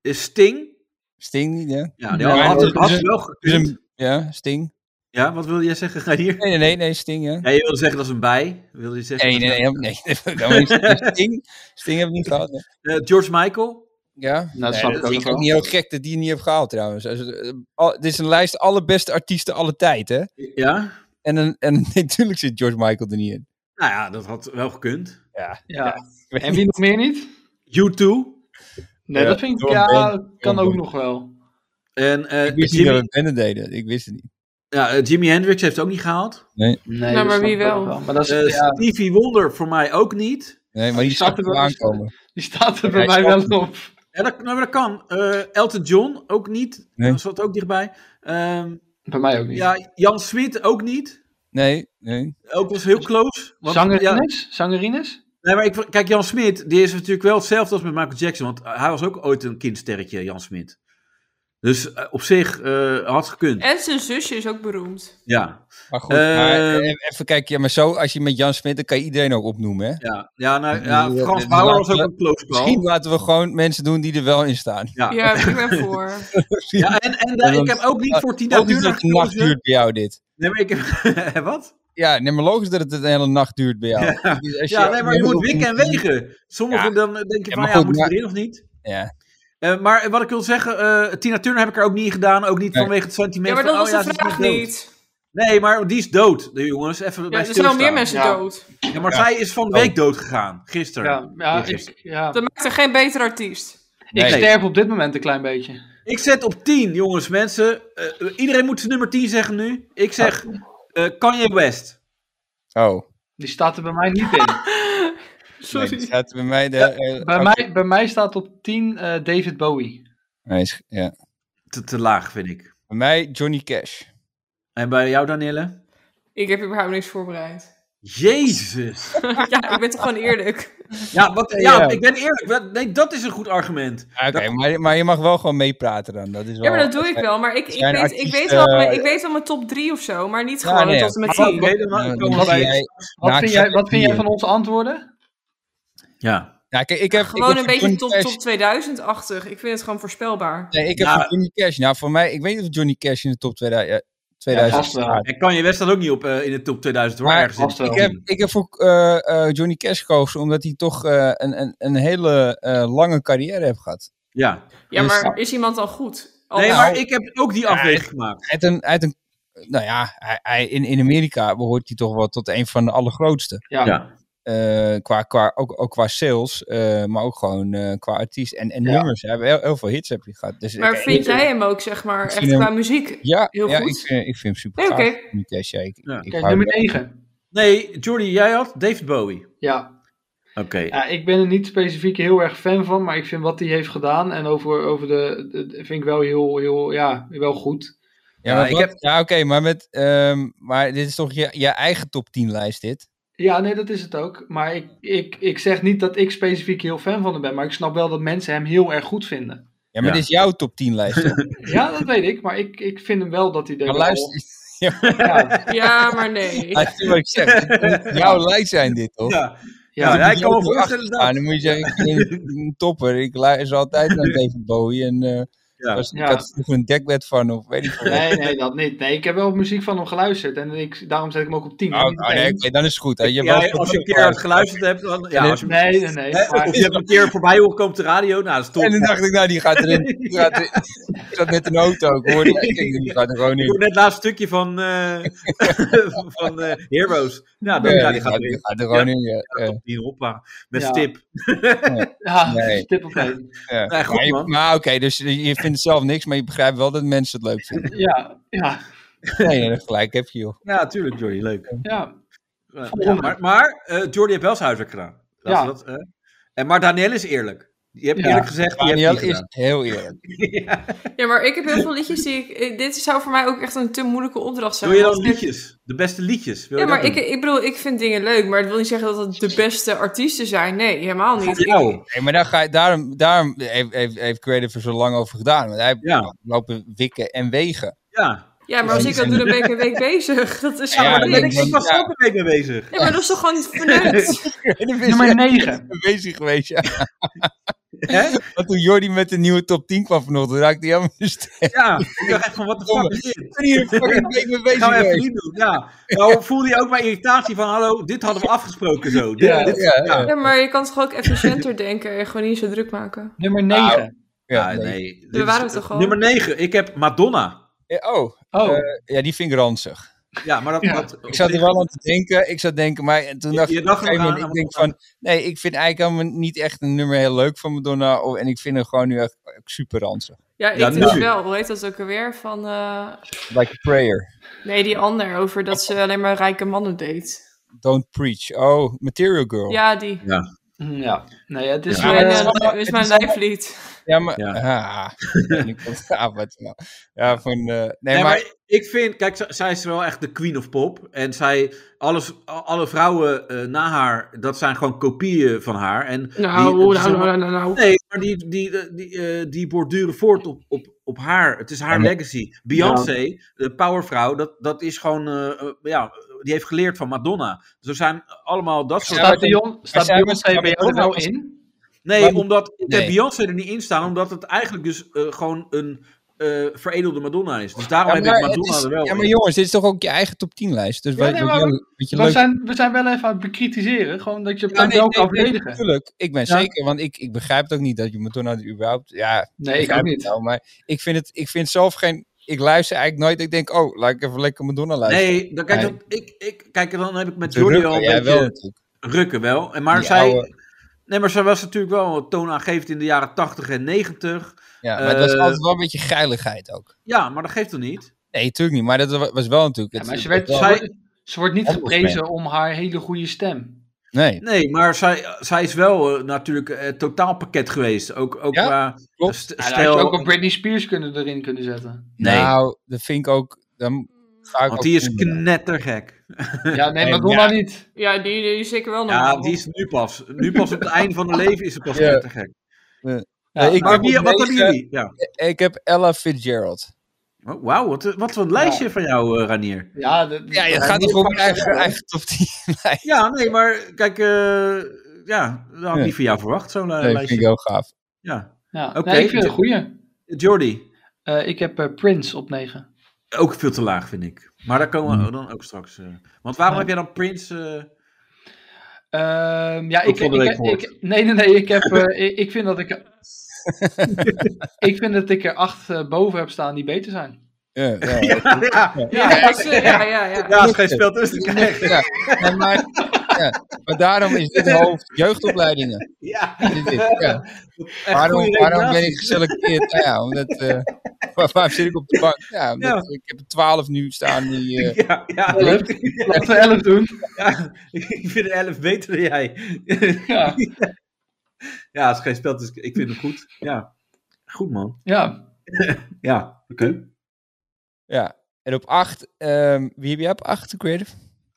S6: is Sting.
S3: Sting niet, ja.
S6: Ja, die
S3: Ja,
S6: had,
S3: dat
S6: had,
S3: is
S6: had
S3: een-
S6: wel gekund.
S3: Ja, Sting.
S6: Ja, wat wil jij zeggen, Reinier?
S3: Nee, nee, nee, nee Sting, ja.
S6: Ja, je wilde zeggen dat is een bij. Wilde je zeggen,
S3: Nee, nee, nee, helemaal- nee. *laughs* dat kan wel niet. dus Sting, Sting heb ik niet gehad. nee.
S6: Eh, George Michael.
S3: Ja.
S2: Nou,
S3: Nee, dat vind ik ook niet heel gek dat die het niet heb gehaald trouwens. Als, eh, al- dit is een lijst allerbeste artiesten alle tijd, hè?
S6: Ja?
S3: En, een, en *laughs* natuurlijk zit George Michael er niet in.
S6: Nou ja, dat had wel gekund.
S3: Ja.
S2: Ja.
S3: ik weet
S2: En wie nog meer niet?
S6: U2.
S2: Nee,
S3: Ja,
S2: dat vind ik,
S3: door
S2: ja,
S3: een
S2: kan
S3: door
S2: ook
S3: een
S2: nog wel.
S6: En eh,
S3: Ik wist
S6: Jimi-
S3: niet dat het Bennett deden. Ik wist het niet.
S6: ja, eh, Jimi Hendrix heeft het ook niet gehaald.
S2: Nee,
S4: maar
S2: dat snap
S4: wie
S2: ik ook
S4: wel?
S2: Maar dat is,
S6: Eh,
S2: ja,
S6: Stevie Wonder voor mij ook niet.
S3: Nee, maar die
S2: die zat
S3: zag
S2: er
S3: er wel
S2: wel eens-
S3: aankomen.
S2: die staat er bij
S3: hij
S2: mij
S3: snapt
S2: wel op.
S6: Ja, dat, nou, maar dat kan. Eh, Elton John ook niet.
S3: Nee.
S6: Dat zat ook dichtbij. Ehm,
S2: Bij mij ook niet.
S6: ja, Jan Smit ook niet.
S3: Nee, nee.
S6: Ook was heel close. Want, ja,
S2: Zangerines? Zangerines?
S6: nee, maar ik, kijk, Jan Smit die is natuurlijk wel hetzelfde als met Michael Jackson. Want hij was ook ooit een kindsterretje, Jan Smit. Dus eh, op zich eh, had gekund.
S4: En zijn zusje is ook beroemd.
S6: Ja.
S3: Maar goed,
S6: Eh,
S3: maar, eh, even kijken. Ja, maar zo, als je met Jan Smit, dan kan je iedereen ook opnoemen, hè?
S6: Ja, ja, nou,
S3: Dus,
S6: ja
S3: eh,
S6: Frans
S3: dus
S6: Bauer was
S3: laten
S6: ook
S3: we-
S6: een close call.
S3: Misschien laten we gewoon mensen doen die er wel in staan.
S6: Ja. Ja.
S4: Ja, ik ben
S6: *laughs*
S4: voor.
S6: en, en eh, ik heb ook niet voor Tina
S3: Logisch
S6: Turner
S3: dat het een nacht
S6: gekozen.
S3: duurt bij jou, dit.
S6: Nee, maar ik heb... *laughs* Hè, Wat?
S3: Ja, nee, maar logisch dat het een hele nacht duurt bij jou. Dus als
S6: Ja, nee, maar je moet wikken en
S3: Ja,
S6: wegen. Sommigen
S3: Ja.
S6: dan denk je
S3: Ja,
S6: van,
S3: maar
S6: ja,
S3: goed,
S6: moet je
S3: maar-
S6: erin of niet?
S3: Ja.
S6: Eh, maar wat ik wil zeggen, eh, Tina Turner heb ik er ook niet in gedaan. Ook niet
S3: Nee.
S6: vanwege het sentiment
S4: Ja, maar dat
S6: van,
S4: was
S6: oh ja,
S4: de
S6: ze is
S4: vraag
S6: dood.
S4: niet.
S6: Nee, maar die is dood, de jongens. Even bij
S4: Ja, er zijn al
S6: stilstaan.
S4: meer mensen
S2: Ja.
S4: dood.
S6: Ja, maar zij is van de week dood gegaan, gisteren.
S2: Ja, ja,
S6: Eergisteren.
S2: ik, ja.
S4: Dat maakt er geen beter artiest.
S2: ik
S3: Nee.
S2: sterf op dit moment een klein beetje.
S6: Ik zet op 10, jongens, mensen. Eh, iedereen moet zijn nummer 10 zeggen nu. Ik zeg eh, Kanye West.
S3: Oh,
S2: Die staat er bij mij niet in.
S3: *laughs* nee,
S4: Sorry.
S3: die staat bij mij de... eh,
S2: Bij,
S3: oké.
S2: mij, bij mij staat op 10 eh, David Bowie.
S3: Hij is- ja.
S6: Te, te laag, vind ik.
S3: Bij mij Johnny Cash.
S6: En bij jou, Danielle?
S4: Ik heb überhaupt niks voorbereid. *laughs*
S6: Jezus.
S4: ja, ik ben toch gewoon eerlijk.
S6: Ja, wat, ja,
S3: Ja.
S6: ik ben eerlijk. Wat- Nee, dat is een goed argument.
S3: Ah, Oké, maar, maar je mag wel gewoon meepraten dan. Dat is wel,
S4: Ja, maar dat doe ik wel. Maar ik, ik,
S3: zijn
S4: weet, ik, weet,
S3: artiesten-
S4: wel, mijn- ik weet wel mijn top 3 of zo, maar niet
S3: Ja,
S4: gewoon
S3: nee.
S4: tot en met
S6: Maar
S4: 10.
S6: oké, dan
S3: Nou,
S6: komen
S3: dan
S6: we bij-
S3: zie jij-
S2: Wat,
S3: Nou, ik
S2: vind,
S3: zet
S2: jij, wat
S3: op
S2: vind jij
S3: vier.
S2: van onze antwoorden?
S6: Ja.
S3: Nou, kijk, ik heb, ik
S4: Gewoon
S3: heb
S4: een
S3: voor
S4: beetje
S3: Johnny
S4: top,
S3: Cash-
S4: top 2000-achtig. Ik vind het gewoon voorspelbaar.
S3: Nee, ik heb
S6: Ja.
S3: voor Johnny Cash. Nou, voor mij, ik weet niet of Johnny Cash in de top 2000 ja, 2000
S2: vast wel.
S3: staat.
S6: En Kanye West staat ook niet op eh, in de top 2000. Hoor,
S3: Maar
S6: ergens in.
S2: vast wel.
S3: Ik heb, ik heb voor eh, eh, Johnny Cash gekozen omdat hij toch eh, een, een, een hele eh, lange carrière heeft gehad.
S6: Ja.
S4: Ja,
S3: Dus-
S4: maar is iemand dan goed? Al-
S6: Nee,
S3: Nou.
S6: maar ik heb ook die afweging gemaakt.
S3: Uit een, uit een, nou ja, hij, hij- in, in Amerika behoort hij toch wel tot een van de allergrootste.
S2: Ja.
S6: Ja.
S3: Eh, qua, qua, ook, ook qua sales, eh, maar ook gewoon eh, qua artiest en, en
S2: Ja.
S3: nummers. Hij heeft heel, heel veel hits heb je gehad. Dus
S4: maar
S3: ik-
S4: vind
S3: ik-
S4: jij hem ook, zeg maar,
S3: vind
S4: echt
S3: hem-
S4: qua muziek?
S3: Ja,
S4: heel
S3: ja
S4: goed?
S3: Ik, vind, ik vind hem super
S4: Nee,
S3: gaaf.
S4: oké.
S3: Johnny Cash, ja, ik,
S6: Ja.
S3: ik
S2: Kijk,
S3: hou
S2: nummer
S3: wel-
S2: 9.
S6: Nee, Jordi, jij had David Bowie.
S2: Ja.
S6: Oké.
S2: ja, ik ben er niet specifiek heel erg fan van, maar ik vind wat hij heeft gedaan en over, over de, de- de- vind ik wel heel, heel ja, wel goed.
S3: Ja,
S6: Ja,
S3: maar
S6: ik
S3: wat-
S6: heb-
S3: ja oké, maar, met, ehm, maar dit is toch je, je eigen top 10 lijst, dit?
S2: Ja, nee, dat is het ook. Maar ik, ik, ik zeg niet dat ik specifiek heel fan van hem ben, maar ik snap wel dat mensen hem heel erg goed vinden.
S3: Ja, maar
S6: Ja.
S3: dit is jouw top 10 lijst. toch?
S2: Ja, dat weet ik, maar ik, ik vind hem wel dat hij er
S3: maar
S2: wel-
S3: luister,
S2: Ja,
S4: Ja, maar
S3: *laughs*
S4: nee.
S3: luister wat ik zeg. Dit moet jouw lijst zijn dit, toch?
S6: Ja,
S2: ja,
S3: *laughs*
S6: ja, ik kan me
S3: Moet je ook
S6: voorstellen
S3: erachter staan,
S6: dat.
S3: dan moet je zeggen, ik ben een- een topper. Ik luister altijd naar David Bowie. En eh,
S6: Ja.
S3: was,
S2: Ja.
S3: ik had vroeger een dekbed van, of weet ik veel. wat. *laughs*
S2: Nee, nee, dat niet. Nee, ik heb wel muziek van hem geluisterd en ik, daarom zet ik hem ook op 10.
S3: Oh, oh, nee, oké, dan is het goed. Hè. Je hebt
S6: Ja,
S3: wel-
S6: als je een keer uit geluisterd hebt, dan... Ja, als je,
S2: Nee, nee, nee.
S6: hè,
S2: maar-
S3: *laughs*
S6: of *laughs* je hebt een keer voorbij horen komen op de radio, nou, dat is top.
S3: En dan dacht ik, nou, die gaat erin.
S6: *laughs*
S3: Die gaat erin. Ik zat net in de auto, ik hoorde ik denk, die gaat er gewoon
S6: Ik hoor
S3: in.
S6: net het laatste stukje van, eh, *laughs* van eh, Heroes. Ja, dan, ja,
S3: Ja,
S6: die gaat
S3: die
S6: weer
S3: gaat er gewoon in, ja. ja.
S6: op die hoppa. Met
S2: Ja.
S6: stip.
S2: Ja,
S3: *laughs* Nee.
S2: tip op één.
S3: Ja.
S6: Nee, goed,
S3: maar je-
S6: man.
S3: maar oké, dus je vindt het zelf niks, maar je begrijpt wel dat mensen het leuk vinden.
S2: Ja, ja,
S3: Nee, nee, gelijk heb je, joh.
S6: Ja, tuurlijk, Jordi. Leuk.
S2: ja.
S6: Ja, maar maar eh Jordi heeft wel zijn huiswerk gedaan. Laten we Dat, eh, en, maar Danielle is eerlijk. Je hebt
S2: Ja.
S6: eerlijk gezegd, die
S3: Daniel
S6: heeft
S3: is
S6: niet
S3: heel eerlijk.
S6: gedaan. Ja.
S4: Ja, maar ik heb heel veel liedjes die ik... eh, Dit zou voor mij ook echt een te moeilijke opdracht zijn.
S6: Wil je
S4: want
S6: dan
S4: ik-
S6: liedjes? De beste liedjes? Wil
S4: Ja,
S6: je dat
S4: maar ik,
S6: doen?
S4: ik bedoel, ik vind dingen leuk, maar het wil niet zeggen dat het de beste artiesten zijn. Nee, helemaal niet.
S6: Van
S4: Ik-
S6: jou.
S3: Nee, maar daar ga je, daarom, daarom heeft, heeft, heeft Creative er zo lang over gedaan. Want hij heeft
S6: Ja.
S3: lopen wikken en wegen.
S6: Ja.
S4: ja, maar als ik dat doe, dan ben ik een week bezig. *laughs* Dat is
S3: Ja,
S4: gewoon
S6: Maar daar
S4: niks.
S6: ben ik, ik was
S3: Ja.
S6: ook een week mee bezig.
S4: Nee, maar dat is toch gewoon verneukt?
S2: Nummer 9.
S3: Bezig geweest, ja.
S6: Hè?
S3: Want toen Jordi met de nieuwe top 10 kwam vanochtend, raakte hij helemaal in de *laughs* steek.
S6: Ja, ik dacht echt van, wat de fuck is dit?
S3: Ik ben hier een fucking week mee bezig
S6: Gaan we even
S3: geweest.
S6: niet doen, ja. Nou, voelde je ook mijn irritatie van, hallo, dit hadden we afgesproken zo. Dit,
S2: Ja,
S6: dit,
S3: ja,
S6: ja.
S3: ja.
S4: Ja, maar je kan toch ook efficiënter denken en gewoon niet zo druk maken.
S2: Nummer
S3: Nou,
S2: 9.
S3: Ja,
S6: Ja,
S3: nee.
S6: nee. dit
S4: We
S6: is-
S4: waren het toch al?
S6: Nummer 9, ik heb Madonna.
S3: Eh, Oh,
S2: Oh,
S3: ja, die vind ik ranzig.
S6: Ja, maar dat...
S2: Ja.
S6: dat
S3: Ik zat er wel aan te denken. Ik zat denken, maar en toen
S6: Je-
S3: dacht
S6: je
S3: ik op
S6: dacht
S3: een gegeven
S6: nog
S3: moment,
S6: aan-
S3: ik denk van, nee, ik vind eigenlijk helemaal niet echt een nummer heel leuk van Madonna. Of, en ik vind hem gewoon nu echt super ranzig.
S4: Ja, ik
S6: Ja,
S4: vind het
S6: nu.
S4: wel. Hoe heet dat ook alweer? Van, eh,
S3: Like a prayer.
S4: nee, die ander over dat ze alleen maar rijke mannen deed.
S3: Don't preach. Oh, Material Girl. Ja,
S4: Ja, die.
S2: Hm, Ja, nee, het is
S4: Is
S2: wel-
S4: mijn,
S3: maar het is
S4: eh,
S3: allemaal-
S4: is
S3: het
S4: mijn
S3: is allemaal-
S4: lijflied.
S3: maar...
S7: Ja.
S3: Ah, ik weet niet wat- ah, wat nou. Ja, van... eh, nee,
S6: Nee,
S3: maar...
S6: maar ik vind, kijk, z- zij is wel echt de queen of pop. En zij, alles, a- alle vrouwen eh, na haar, dat zijn gewoon kopieën van haar. En
S4: Nou,
S6: die-
S4: nou,
S6: het is
S4: nou,
S6: allemaal-
S4: nou, nou, nou.
S6: Nee, maar die, die, die, eh, die borduren voort op, op, op haar. Het is haar
S3: Ja, maar-
S6: legacy. Beyoncé, de powervrouw, dat, dat is gewoon, eh, eh, ja, die heeft geleerd van Madonna. Dus er zijn allemaal dat soort...
S3: Ja, maar-
S2: Staat Dion, staat
S3: zij was-
S2: Beyoncé bij jou er
S3: Madonna
S2: nou
S3: was-
S2: in?
S6: Nee,
S3: Maar-
S6: omdat ik heb
S3: Nee.
S6: Beyoncé er niet in staan, omdat het eigenlijk dus eh, gewoon een eh, veredelde Madonna is. Dus daarom
S3: Ja,
S6: heb ik
S3: maar, het
S6: Madonna
S3: is-
S6: er wel
S3: ja, maar
S6: in.
S3: jongens, dit is toch ook je eigen top 10 lijst? Dus wat,
S2: nee,
S3: wat
S2: maar
S3: je, wat je
S2: We
S3: leuk
S2: zijn, we zijn wel even aan het bekritiseren. Gewoon dat je
S3: Ja,
S2: Madonna ook kan verdedigen.
S3: natuurlijk. Ik ben
S2: Ja.
S3: zeker, want ik, ik begrijp het ook niet dat je Madonna er überhaupt... Ja,
S2: Nee, ik
S3: begrijp
S2: ook
S3: het
S2: niet.
S3: wel, maar ik vind, het, ik vind zelf geen... Ik luister eigenlijk nooit. Ik denk, oh, laat ik even lekker Madonna luisteren.
S6: Nee, dan, kijk,
S3: Nee.
S6: dan, ik, ik, kijk, dan heb ik met
S3: De
S6: Jordi
S3: Rukken,
S6: al een
S3: ja,
S6: beetje...
S3: wel natuurlijk.
S6: Rukken wel. En maar
S3: Die
S6: zij...
S3: oude-
S6: Nee, maar zij was natuurlijk wel toonaangevend in de jaren 80 en 90.
S3: Ja, maar dat is
S6: eh,
S3: altijd wel een beetje geiligheid ook.
S6: Ja, maar dat geeft toch niet?
S3: Nee, natuurlijk niet. Maar dat wa- was wel natuurlijk...
S2: Ja,
S3: het-
S2: maar ze,
S3: het
S2: werd,
S3: was
S2: ze,
S3: wel-
S2: wordt, ze wordt niet
S3: Handelsmerk.
S2: geprezen om haar hele goede stem.
S3: Nee,
S6: Nee, maar zij, zij is wel eh, natuurlijk eh, het totaalpakket geweest. Ook, ook
S3: Ja,
S6: qua
S3: klopt.
S6: st-
S2: Ja, dan had je
S6: stijl.
S2: ook een Britney Spears kunnen erin kunnen
S3: *laughs*
S2: zetten.
S6: Nee.
S3: nou, dat vind ik ook... Dan ga ik
S6: want
S3: ook
S6: die is
S3: vinden.
S6: knettergek.
S2: Ja, nee,
S3: Nee,
S2: Madonna
S3: ja.
S2: niet.
S4: Ja, die, die is zeker wel normaal.
S6: Ja, die is nu pas. Nu pas op het einde van haar leven is ze pas
S3: Ja.
S6: knettergek.
S2: Ja,
S3: ik-
S6: Maar
S3: heb
S6: wie,
S3: op
S6: wat hebben
S3: negen-
S6: jullie? Ja.
S3: Ik heb Ella Fitzgerald.
S6: Oh, Wauw, wat, wat voor een lijstje van jou, eh, Ranier.
S2: ja, dat,
S3: Ja, je
S2: dat-
S3: gaat
S2: dat-
S3: toch ook je eigen, eigen top 10 *laughs* lijst.
S6: Ja, nee, maar kijk, eh, ja, dat had ik
S3: Ja.
S6: niet van jou verwacht, zo'n eh,
S3: Nee,
S6: lijstje.
S3: vind ik heel gaaf.
S6: Ja.
S2: Ja,
S6: Oké.
S2: nee, ik vind het een goeie.
S6: Jordi,
S2: Eh, ik heb eh, Prince op 9.
S6: ook veel te laag, vind ik. Maar daar komen we dan ook straks. eh. Want waarom
S2: Ja.
S6: heb jij dan Prince... eh,
S2: Ehm, ja,
S6: Ook
S2: ik,
S6: van
S2: ik,
S6: de week
S2: ik,
S6: gehoord.
S2: ik- nee, nee, nee, ik, heb, eh, *laughs* ik, ik vind dat ik, ik vind dat ik er acht eh, boven heb staan die beter zijn.
S3: Ja, ja.
S6: ja,
S4: Ja, dat is, eh, ja, ja, ja.
S6: ja, is geen spel tussen te krijgen.
S3: Ja, en maar, ja, maar daarom is dit hoofd jeugdopleidingen.
S6: Ja,
S3: Dit is, ja.
S6: echt
S3: Waarom,
S6: goede
S3: waarom
S6: redenatie.
S3: ben ik geselecteerd? Nou ja, omdat, eh, *laughs* waar- waarom zit ik op de bank? Ja, omdat Ik heb er 12 nu staan. Die, eh,
S6: *laughs* Ja, ja,
S2: Elf. *laughs* Laten we 11 doen.
S6: ja, ik vind 11 beter dan jij.
S2: Ja,
S6: ja, het is geen spel, dus ik vind het goed. Ja, goed man.
S2: ja.
S6: Ja, oké.
S3: ja. En op 8, wie heb jij op 8, Creative?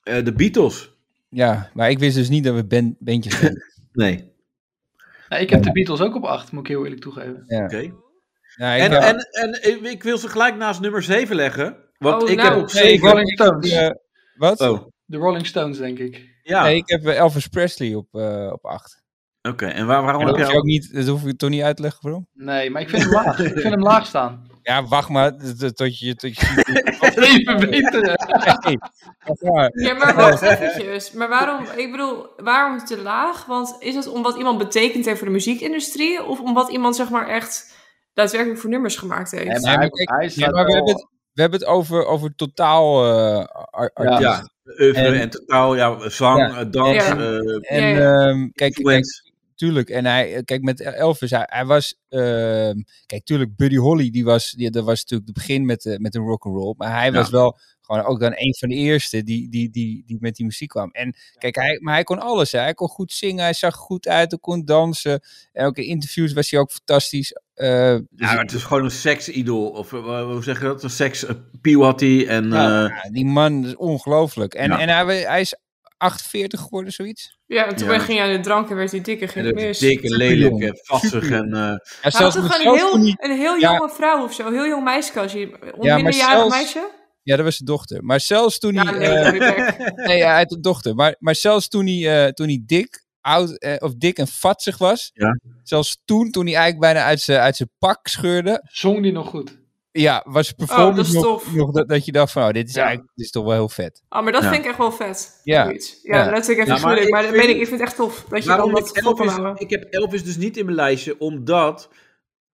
S6: Eh, de Beatles.
S3: Ja, maar ik wist dus niet dat we ben, bandjes zijn.
S6: Nee.
S2: Nou, ik heb de Beatles ook op 8, moet ik heel eerlijk toegeven.
S6: Oké.
S3: Ja, ik heb-
S6: En, en, en ik wil ze gelijk naast nummer 7 leggen. Want
S4: Oh,
S6: ik
S4: nou.
S6: heb op
S3: Nee, ik
S6: 7.
S3: heb-
S2: Rolling Stones.
S3: eh, wat?
S6: Oh,
S2: De Rolling Stones, denk ik.
S6: ja. Oh,
S3: Nee, ik heb eh, Elvis Presley op, eh op 8.
S6: Oké, en waar, waarom
S3: Dat,
S6: heb
S3: hoef
S6: jij
S3: je ook niet, dat hoef ik toch niet uit te leggen, waarom?
S2: Nee, maar ik vind hem laag. Ik vind hem laag staan.
S3: Ja, wacht maar t- t- tot je... Tot
S6: *laughs*
S3: je
S2: Even beter.
S3: Nee, wacht maar.
S4: Ja, maar wacht eventjes. Maar waarom, ik bedoel, waarom te laag? Want is het om wat iemand betekent heeft voor de muziekindustrie? Of om wat iemand, zeg maar, echt daadwerkelijk voor nummers gemaakt heeft?
S3: maar hij- Ja, maar we hebben het, we hebben het over, over totaal eh, ar- artiest.
S6: Ja, oeuvre en,
S3: En-
S6: totaal, ja, zang,
S3: Ja.
S6: eh, dans,
S4: Ja.
S6: eh,
S3: En
S4: Ja, ja.
S3: ehm, kijk, kijk,
S6: influence.
S3: tuurlijk. En hij, eh, kijk, met Elvis, hij, hij was... ehm, kijk, tuurlijk, Buddy Holly, die was, die, dat was natuurlijk het begin met, de met een rock'n'roll. Maar hij was wel gewoon ook dan een van de eerste die, die, die, die met die muziek kwam. En kijk, hij, maar hij kon alles. Hè. Hij kon goed zingen, hij zag er goed uit, hij kon dansen. En ook in interviews was hij ook fantastisch. eh, dus
S6: Ja, maar het is gewoon een seksidol. Of eh, hoe zeg je dat? Een sekspiel had hij. En,
S2: Ja.
S6: eh,
S3: Ja, die man is ongelooflijk. En,
S6: Ja.
S3: en hij, we- hij is 48 geworden, zoiets.
S4: Ja, en toen
S6: Ja.
S4: ging hij aan de drank en werd hij dikker,
S6: en
S4: ging
S6: dat
S4: het
S6: is
S4: mis.
S6: dik en lelijk en vassig.
S3: Superjong.
S6: En, eh,
S3: Ja,
S4: Hij had
S3: zelfs
S4: toch
S3: met
S4: gewoon een heel,
S3: zelfs niet-
S4: een heel
S3: Ja.
S4: jonge vrouw of zo, een heel jong meisje als je, een
S3: Ja, maar
S4: minderjarig
S3: zelfs-
S4: meisje?
S3: ja, dat was zijn dochter. Maar zelfs toen
S4: Ja,
S3: hij...
S4: nee,
S3: eh,
S4: sorry, Beck.
S3: nee, ja, hij had een dochter. Maar, maar zelfs toen hij, eh, toen hij dik, oud, eh, of dik en vatzig was...
S6: Ja.
S3: Zelfs toen, toen hij eigenlijk bijna uit zijn, uit zijn pak scheurde...
S2: Zong die nog goed?
S3: Ja, was het
S4: Oh, dat is
S3: performance nog,
S4: tof.
S3: nog dat, dat je dacht van... Oh, dit is
S2: Ja.
S3: eigenlijk dit is toch wel heel vet.
S4: Ah, maar dat
S6: Ja.
S4: vind ik echt wel vet.
S3: Ja.
S4: zoiets. ja,
S3: Ja.
S4: letterlijk even
S6: Ja, maar
S4: maar
S6: ik
S4: maar dat
S6: vind-
S4: weet ik, ik vind het echt tof dat je dan
S6: waarom
S4: dat
S6: ik,
S4: vol kan
S6: Elvis,
S4: houden.
S6: ik heb Elvis dus niet in mijn lijstje, omdat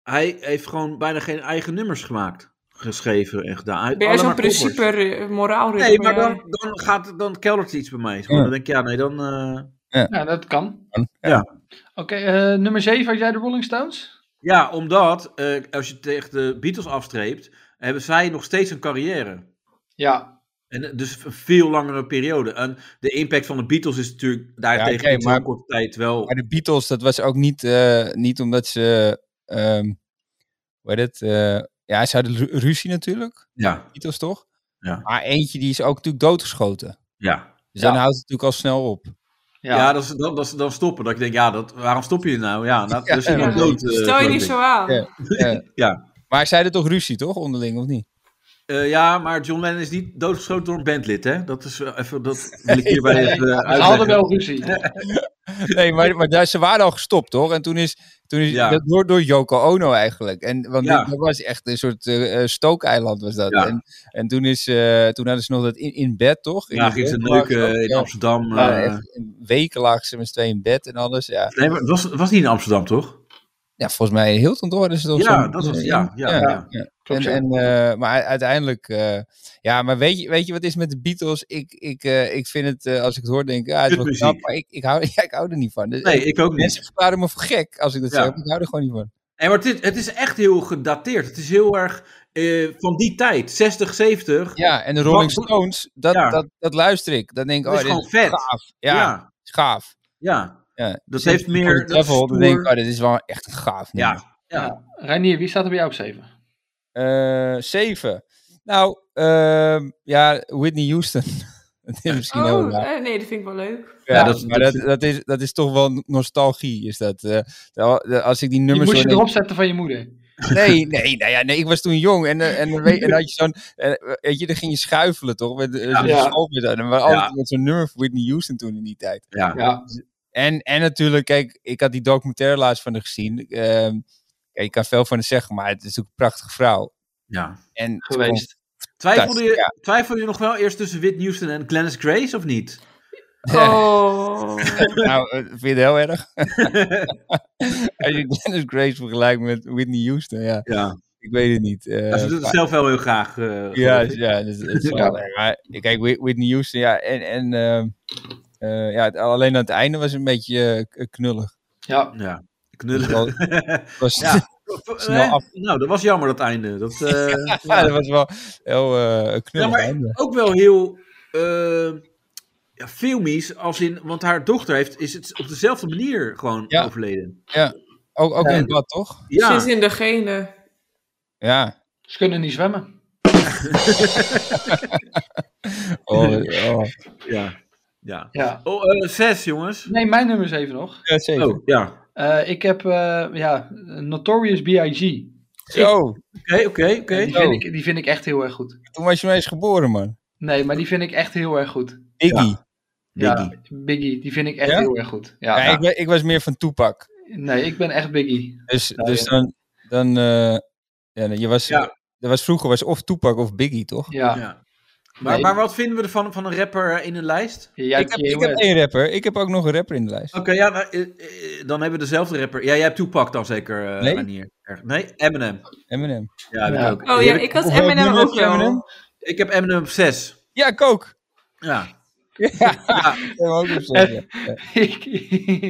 S6: hij heeft gewoon bijna geen eigen nummers gemaakt. geschreven en gedaan.
S4: Ben jij zo'n
S6: Allemaal koppers.
S4: principe re- moraalridder?
S6: Nee, maar
S4: ben jij?
S6: dan, dan, gaat, dan keldert iets bij mij.
S3: Ja.
S6: Dan denk ik, ja, nee, dan... eh,
S2: Ja, dat kan.
S6: Ja.
S2: Oké, eh, nummer 7 had jij de Rolling Stones?
S6: Ja, omdat eh, als je tegen de Beatles afstreept, hebben zij nog steeds een carrière.
S2: Ja,
S6: En eh, dus een veel langere periode. En de impact van de Beatles is natuurlijk daartegen
S3: oké,
S6: in zo'n
S3: maar-
S6: korte tijd wel.
S3: Maar de Beatles, dat was ook niet, eh, niet omdat ze. ehm hoe heet het? eh, ja, ze hadden ru- ruzie natuurlijk.
S6: Ja,
S3: Beatles toch?
S6: Ja.
S3: Maar eentje die is ook natuurlijk doodgeschoten.
S6: ja.
S3: Dus
S2: Ja.
S3: dan houdt het natuurlijk al snel op.
S6: Ja,
S2: ja.
S6: dat, is, dat, dat is dan stoppen. Dat ik denk, ja, dat, waarom stop je nou? Ja, nou,
S3: *laughs* Ja.
S6: dus je
S4: Ja.
S6: bent dood. eh,
S4: Stel je niet
S6: denk
S4: zo aan.
S3: Ja.
S6: Ja.
S3: Maar zij hadden toch ruzie, toch? Onderling, of niet?
S6: ik. Eh, ja, maar John Lennon is niet doodgeschoten door een bandlid, hè? Dat is eh, even,
S3: *laughs*
S6: dat wil ik hierbij even eh,
S2: Ze hadden
S6: uitleggen.
S2: wel ruzie.
S3: Nee, maar, maar daar, ze waren al gestopt, toch? En toen is. Toen is
S6: Ja.
S3: dat door, door Yoko Ono eigenlijk. En, want
S6: Ja.
S3: dit- dat was echt een soort eh eh, stookeiland, was dat.
S6: Ja.
S3: En, en toen, is, eh, toen hadden ze nog dat in, in bed, toch?
S6: Ja,
S3: de
S6: ging ze
S3: bed
S6: neuken in
S3: Ja.
S6: Amsterdam.
S3: Ja,
S6: eh.
S3: echt, weken lagen ze met z'n tweeën in bed en alles. Ja.
S6: nee, maar het was, het was niet in Amsterdam, toch?
S3: Ja, volgens mij in Hilton toch hadden ze toch
S6: Ja,
S3: zo'n-
S6: dat was,
S3: eh,
S6: ja, ja,
S3: ja.
S6: ja.
S2: Klopt,
S3: En,
S2: ja.
S3: en, eh, maar u- uiteindelijk, eh, ja, maar weet je, weet je wat is met de Beatles? Ik, ik, eh, ik vind het, eh, als ik het hoor, denk ik, ah, het was
S6: Kutmuziek.
S3: knap, maar ik, ik, hou, *laughs* ja, ik hou er niet van. Dus,
S6: Nee, ik ook niet.
S3: mensen verklaren me voor gek als ik dat
S6: Ja.
S3: zeg, maar ik hou er gewoon niet van.
S6: En maar het is, het is echt heel gedateerd. Het is heel erg eh, van die tijd, 60, 70.
S3: Ja, en de Rolling
S6: Maar-
S3: Stones, dat,
S6: Ja.
S3: dat, dat luister ik. Dan denk ik,
S6: Dat
S3: oh,
S6: is
S3: dit
S6: gewoon
S3: is
S6: vet.
S3: gaaf. Ja,
S6: Ja, ja.
S3: is gaaf. Ja.
S6: Dat
S3: Dus
S6: heeft
S3: als ik
S6: meer-
S3: van
S6: dat is
S3: Travel, dan
S6: stoer.
S3: denk ik, oh, dit is wel echt een gaaf. nummer.
S6: ja. ja.
S2: Reinier, wie staat er bij jou op 7?
S3: Eh, Zeven. Nou, ehm, ja, Whitney Houston. *laughs* dat is misschien heel
S4: Oh,
S3: raar.
S4: eh, nee, dat vind ik wel leuk.
S3: Ja,
S6: Ja,
S3: dat,
S6: dat-
S3: maar
S6: dat-
S3: dat, dat, is, dat is toch wel nostalgie, is dat. eh, terwijl, eh, als ik die
S2: Die
S3: nummers...
S2: moest je
S3: hoor,
S2: erop zetten van je moeder.
S3: denk- nee, nee, nou ja, nee, ik was toen jong en, eh, en, dan weet- en dan had je zo'n... eh, weet je, dan ging je schuifelen, toch? Met, eh, zo'n
S2: Ja.
S3: schoolbus aan. En we waren altijd met zo'n nummer van Whitney Houston toen in die tijd.
S6: ja.
S2: Ja,
S3: En, en natuurlijk, kijk, ik had die documentaire laatst van haar gezien. Ehm ja, je kan veel van haar zeggen, maar het is natuurlijk een prachtige vrouw.
S6: Ja.
S3: En ze kon-
S2: geweest.
S6: Twijfelde, je,
S3: Ja.
S6: twijfelde je nog wel eerst tussen Whit Newton en Glennis Grace of
S3: *laughs*
S6: niet?
S3: Ja.
S4: Oh.
S3: Nou, eh, vind je het
S2: *laughs*
S3: heel erg? Als je Dennis Grace vergelijkt met Whitney Houston, ja.
S6: Ja.
S3: Ik weet het niet. Eh,
S6: ze doet het zelf wel heel graag. eh,
S3: Ja,
S6: geloof ik.
S3: ja, dat is, dat is
S2: Ja.
S3: wel erg. Maar Kijk, Whit- Whitney Houston, ja, en, en ehm, eh, ja, het- alleen aan het einde was een beetje eh, k- knullig.
S2: Ja,
S6: ja.
S3: Dus
S6: Knullen.
S3: *laughs*
S6: *laughs*
S3: wel- was, *laughs*
S6: Ja.
S3: ja. Snel
S6: Eh,
S3: af.
S6: Nou, dat was jammer dat einde. Dat, eh, *laughs*
S3: dat was wel heel eh, een knullig
S6: Ja, maar-
S3: einde.
S6: ook wel heel eh, ja, filmisch, als in, want haar dochter heeft, is het op dezelfde manier gewoon
S3: Ja.
S6: overleden.
S3: Ook, ook
S2: Ja.
S3: in het bad, toch?
S6: Ja,
S4: Zit in de genen.
S3: Ja.
S2: ze kunnen niet zwemmen.
S3: Oh, oh.
S6: ja, ja.
S2: Ja.
S6: Oh, eh, zes jongens.
S2: Nee, mijn nummer 7 nog.
S3: Ja, zeker.
S6: Oh, ja. Oké,
S2: Eh, ik heb eh, ja, Notorious B.I.G.
S3: Zo,
S6: oké, oké.
S2: Die, vind ik, die vind ik echt heel erg goed.
S3: toen was je maar eens geboren, man.
S2: Nee, maar die vind ik echt heel erg goed.
S3: Iggy.
S6: Biggie.
S2: Biggie, die vind ik echt
S3: Ja?
S2: heel erg goed. Ja,
S3: Ja, Ik, wa- ik was meer van Tupac.
S2: Nee, ik ben echt Biggie.
S3: Dus,
S2: Ja,
S3: dus
S2: ja.
S3: dan, dan eh, ja, je was,
S6: Ja.
S3: er was vroeger was of Tupac of Biggie, toch?
S2: Ja,
S6: Ja. Maar,
S2: Nee.
S6: maar wat vinden we ervan van een rapper eh, in een lijst?
S2: ja
S3: ik, heb,
S2: Kanye
S3: ik heb
S2: West.
S3: één rapper. Ik heb ook nog een rapper in de lijst.
S6: Oké, ja, nou, eh, eh, dan hebben we dezelfde rapper. Ja, jij hebt Tupac dan zeker, eh
S3: Nee.
S6: Ranier. Erg- Nee, Eminem.
S3: Eminem.
S6: Ja, heb
S2: Ja.
S6: ik ook.
S4: Oh
S6: Die
S4: ja,
S6: heb ik,
S4: ik had
S3: Hoeveel
S4: Eminem
S3: nummers
S4: ook wel.
S3: Eminem?
S6: ik heb Eminem op zes.
S3: Ja, ik ook.
S6: Ja.
S3: Ik heb hem ook op zes, ja.
S2: *laughs* ik,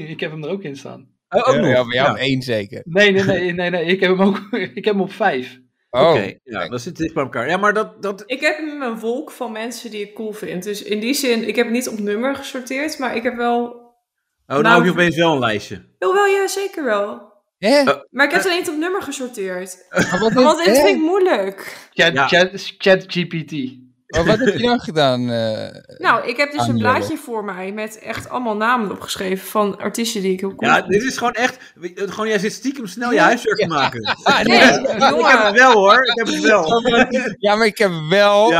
S2: ik heb hem er ook in staan.
S6: Oh, *laughs* ook nog.
S3: Ja, bij jou
S6: Ja.
S3: op één zeker.
S2: Nee, nee, nee, nee, nee ik heb hem ook *laughs* ik heb hem op 5.
S3: Oh,
S6: Oké, ja, dat zit dicht bij elkaar. Ja, maar dat, dat
S4: Ik heb hem in een wolk van mensen die ik cool vind. Dus in die zin, ik heb het niet op nummer gesorteerd, maar ik heb wel...
S6: Oh, nou,
S4: Nou,
S6: heb je opeens wel een lijstje.
S4: Wel, wel, ja, zeker wel.
S3: hè?
S6: Eh, Oh.
S4: Maar ik heb het alleen niet op nummer gesorteerd.
S3: Maar wat,
S4: Want
S3: heb-
S4: dit
S3: hè?
S4: vind ik moeilijk.
S2: Chat,
S6: Ja.
S2: chat, chat GPT.
S3: Maar wat heb je dan gedaan?
S6: *laughs*
S3: eh?
S4: Nou, ik heb dus een
S3: Aanbellen.
S4: blaadje voor mij met echt allemaal namen opgeschreven van artiesten die ik heel cool
S6: Ja,
S4: vind.
S6: dit is gewoon echt. Gewoon, jij zit stiekem snel je huiswerk te maken.
S3: Ah,
S4: *laughs* Nee,
S3: nee.
S6: Ik heb het
S4: jongen.
S6: wel hoor, ik heb het wel.
S3: Ja, maar ik heb wel.
S6: Ja.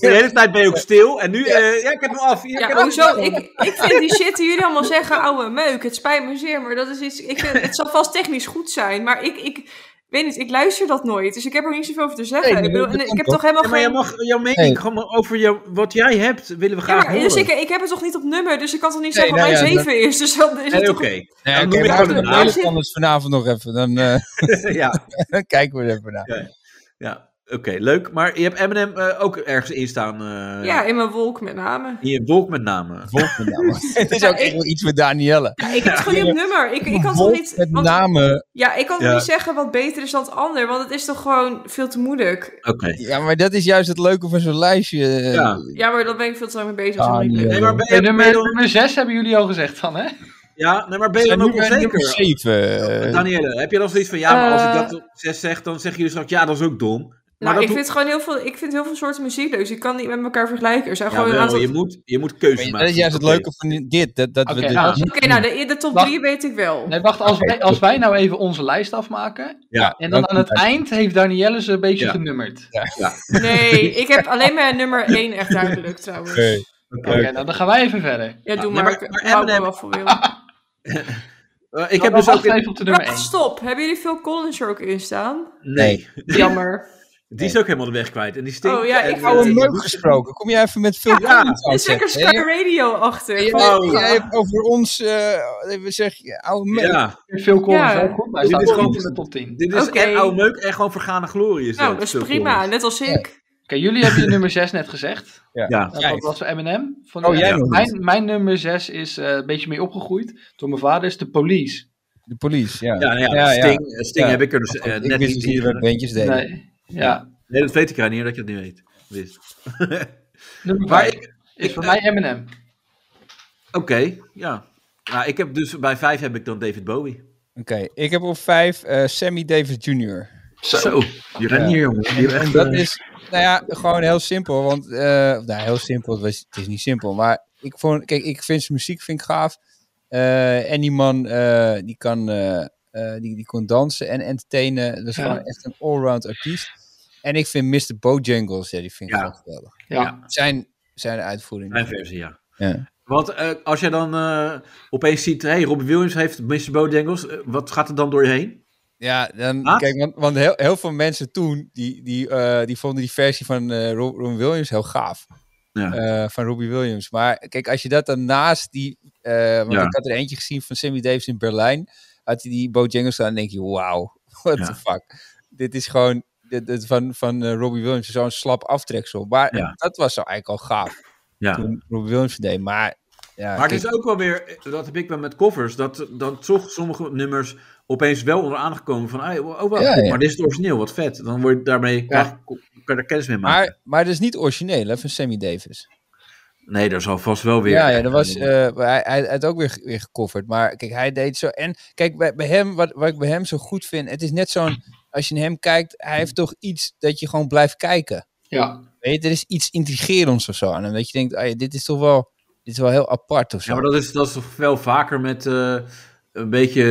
S6: De hele tijd ben je ook stil en nu. eh, ja, ik heb hem af. Ja, ik heb
S4: Ja, oh,
S6: hem
S4: hoezo?
S6: af.
S4: Ik, ik vind die shit die jullie allemaal zeggen, ouwe meuk, het spijt me zeer, maar dat is iets, ik vind, het zal vast technisch goed zijn, maar ik, ik weet niet, ik luister dat nooit, dus ik heb er niet zoveel over te zeggen.
S3: Nee,
S4: ik, bedoel,
S3: dat
S4: en ik
S3: kan
S4: heb
S3: toch?
S4: toch helemaal
S6: Ja, maar jij
S4: oh, geen...
S6: mag jouw mening
S3: Nee.
S6: gewoon over jou, wat jij hebt, willen we
S4: Ja,
S6: graag
S4: maar, dus ik,
S6: horen.
S4: ik heb het toch niet op nummer, dus ik kan toch niet
S3: Nee,
S4: zeggen dat
S3: nou
S4: mijn
S3: ja,
S4: zeven is, dus dan is het
S6: Nee,
S4: toch...
S6: Eh, Oké, *laughs*
S3: Nee,
S6: Dan
S3: oké,
S6: noem ik
S3: maar
S6: gewoon
S3: we
S6: de naam.
S3: delen het anders vanavond nog even. *laughs* Dan, eh,
S6: ja,
S3: dan kijken we er even naar.
S6: ja. Oké, leuk. Maar je hebt Eminem eh, ook ergens in staan. eh,
S4: ja, in mijn wolk met name.
S6: In je wolk met name.
S3: Wolf met
S6: *laughs*
S3: name. nou. het is ook echt wel iets met Danielle.
S4: Ja, ik heb het gewoon niet op nummer. Ik, ik kan toch
S3: Wolf
S4: niet...
S3: met
S4: want-
S3: name.
S4: Ja, ik kan toch
S6: Ja.
S4: niet zeggen wat beter is dan het ander, want het is toch gewoon veel te moeilijk.
S6: Oké.
S3: Ja, maar dat is juist het leuke van zo'n lijstje. Eh,
S6: Ja.
S4: Ja, maar dan ben ik veel te lang mee bezig. Dat is
S3: Ah,
S4: helemaal niet
S3: nee.
S4: leuk.
S6: Nee, maar ben
S2: Hey,
S6: je, ben je
S2: nummer,
S6: dan,
S2: nummer 6 hebben jullie al gezegd dan,
S6: *laughs*
S2: hè?
S6: ja, nee, maar ben
S3: We
S6: je
S3: zijn
S6: dan
S3: nu
S6: ook
S3: bij nummer Eh,
S6: onzeker?
S3: 7.
S6: Danielle, heb je dan zoiets van, ja, maar als
S4: Eh.
S6: ik dat op 6 zeg, dan zeggen jullie straks, ja, dat is ook dom. Maar
S4: Nou,
S6: dat
S4: ik
S6: doe-
S4: vind gewoon heel veel, ik vind heel veel soorten muziek leuk. Dus ik kan niet met elkaar vergelijken. Er zijn
S6: ja,
S4: gewoon een
S6: wel,
S4: aantal...
S6: je, moet, je moet keuze maken.
S3: dat is juist het
S6: Oké.
S3: leuke van dit. Dat, dat we
S2: Oké,
S3: dit
S2: nou,
S3: niet
S4: Oké, nou, de, de top
S2: Wacht.
S4: 3 weet ik wel.
S2: Nee, wacht, als
S3: Oké,
S2: wij, als wij nou even onze lijst afmaken.
S6: Ja,
S2: En dan
S3: dat
S2: aan het
S3: is-
S2: eind heeft Danielle ze een beetje
S6: Ja.
S2: genummerd.
S4: Nee, ik heb alleen maar nummer 1 echt duidelijk trouwens.
S3: Oké.
S2: Oké, nou dan gaan wij even verder.
S4: Ja, doe
S6: Ja,
S4: maar.
S6: maar-
S4: Ik
S6: maar
S4: hou me
S6: Eminem-
S4: wel voor wil.
S6: Eh, ik heb
S2: Nou,
S6: dus ook...
S2: wacht even op de nummer 1.
S6: *laughs*
S4: Wacht, Stop, hebben jullie Phil Collins er ook in staan?
S3: Oh,
S6: Nee,
S4: Jammer.
S6: die is ook helemaal de weg kwijt. En die stinkt.
S4: Oh, ja,
S6: en,
S4: ik
S6: eh,
S4: hou
S3: Oude
S4: hem
S3: meuk gesproken. Kom jij even met veel
S4: Ja,
S3: comments
S4: Er is zeker
S3: aanzetten,
S4: Sky
S3: hè?
S4: Radio achter.
S3: Jij-
S4: Van-
S6: Oh.
S3: Jij hebt over ons, eh we zeggen, ja, oude meuk.
S6: Ja,
S2: Phil Collins
S4: Ja.
S2: is ook goed, maar hij
S6: Dit
S2: staat
S6: is
S2: gewoon
S6: gewoon-
S2: in de top 10. Oké,
S6: dit is
S4: Oké.
S6: en oude meuk en gewoon vergane glorie. Is
S4: nou,
S6: dat,
S4: dat is
S6: Phil
S4: prima.
S6: Collins.
S4: Net als ik.
S2: jullie hebben je nummer 6 net gezegd. Nou,
S6: Ja,
S2: Dat
S3: Ja, ik-
S2: was Eminem. Van eh,
S3: Oh, jij nog niet.
S2: mijn, mijn nummer 6 is eh, een beetje mee opgegroeid door mijn vader, is de police.
S3: De police, ja.
S6: ja, nou ja,
S3: Ja, ja.
S6: Sting, eh, Sting
S3: Ja.
S6: heb ik er dus eh,
S3: ik
S6: net
S3: wist
S6: niet
S3: niet dat je
S6: in.
S3: wat bandjes deed.
S2: Nee. Ja.
S6: Nee, dat weet ik eigenlijk niet, dat je dat niet weet. Wist.
S2: Nummer
S6: Maar
S2: 5
S6: ik-
S2: is
S6: ik-
S2: voor mij Eminem.
S6: Oké, ja. Nou, ik heb dus bij vijf heb ik dan David Bowie.
S3: Oké, ik heb op vijf eh, Sammy Davis Jr.
S6: Zo, je rent hier, jongen. Je
S3: En
S6: echt,
S3: dat
S6: eh,
S3: is, nou ja, gewoon heel simpel. Want, eh, nou, heel simpel, het, was, het is niet simpel. Maar ik vond, kijk, ik vind zijn muziek vind ik gaaf. Eh, en die man, eh, die kan, eh, eh, die, die kon dansen en entertainen. Dat is
S2: Ja.
S3: gewoon echt een allround artiest. En ik vind Mr. Bojangles, ja, die vind ik
S6: Ja.
S3: gewoon geweldig.
S2: Ja.
S6: Ja.
S3: Zijn, zijn uitvoering.
S6: Mijn versie, ja.
S3: Ja.
S6: Want eh, als jij dan eh, opeens ziet, hey, Robbie Williams heeft Mr. Bojangles, eh, wat gaat er dan door je heen?
S3: Ja, dan,
S6: Wat?
S3: kijk, want, want heel, heel veel mensen toen, die, die, eh, die vonden die versie van eh Rob, Robin Williams heel gaaf.
S6: Ja.
S3: Eh, van Robbie Williams. Maar kijk, als je dat dan naast die... eh, want
S6: Ja.
S3: ik had er eentje gezien van Sammy Davis in Berlijn. Had hij die Bojangles staan en denk je, wauw, *laughs* what
S6: Ja.
S3: the fuck. Dit is gewoon... Dit, dit van van eh, Robbie Williams, zo'n slap aftreksel. Maar
S6: Ja.
S3: dat was zo eigenlijk al gaaf
S6: ja.
S3: toen Robbie Williams het deed. Maar, ja,
S6: Maar
S3: kijk,
S6: het is ook wel weer, eh, dat heb ik wel met covers, dat, dat toch sommige nummers opeens wel onder aangekomen van, hey, oh wacht,
S3: Ja, ja.
S6: maar dit is het origineel, wat vet. Dan word je daarmee, krijg, kan je er kennis mee maken.
S3: maar, maar dat is niet origineel hè, van Sammy Davis.
S6: nee, daar zal vast wel weer.
S3: Ja, ja dat was, eh, maar hij, hij, hij had ook weer, weer gecoverd. Maar kijk, hij deed zo. En kijk, bij, bij hem, wat, wat ik bij hem zo goed vind, het is net zo'n, als je naar hem kijkt, hij heeft toch iets dat je gewoon blijft kijken.
S2: Ja.
S3: Weet je, er is iets intrigerends of zo aan hem. Dat je denkt, ah ja, dit is toch wel, dit is wel heel apart of zo.
S6: Ja, maar dat is, dat is toch wel vaker met eh, een beetje,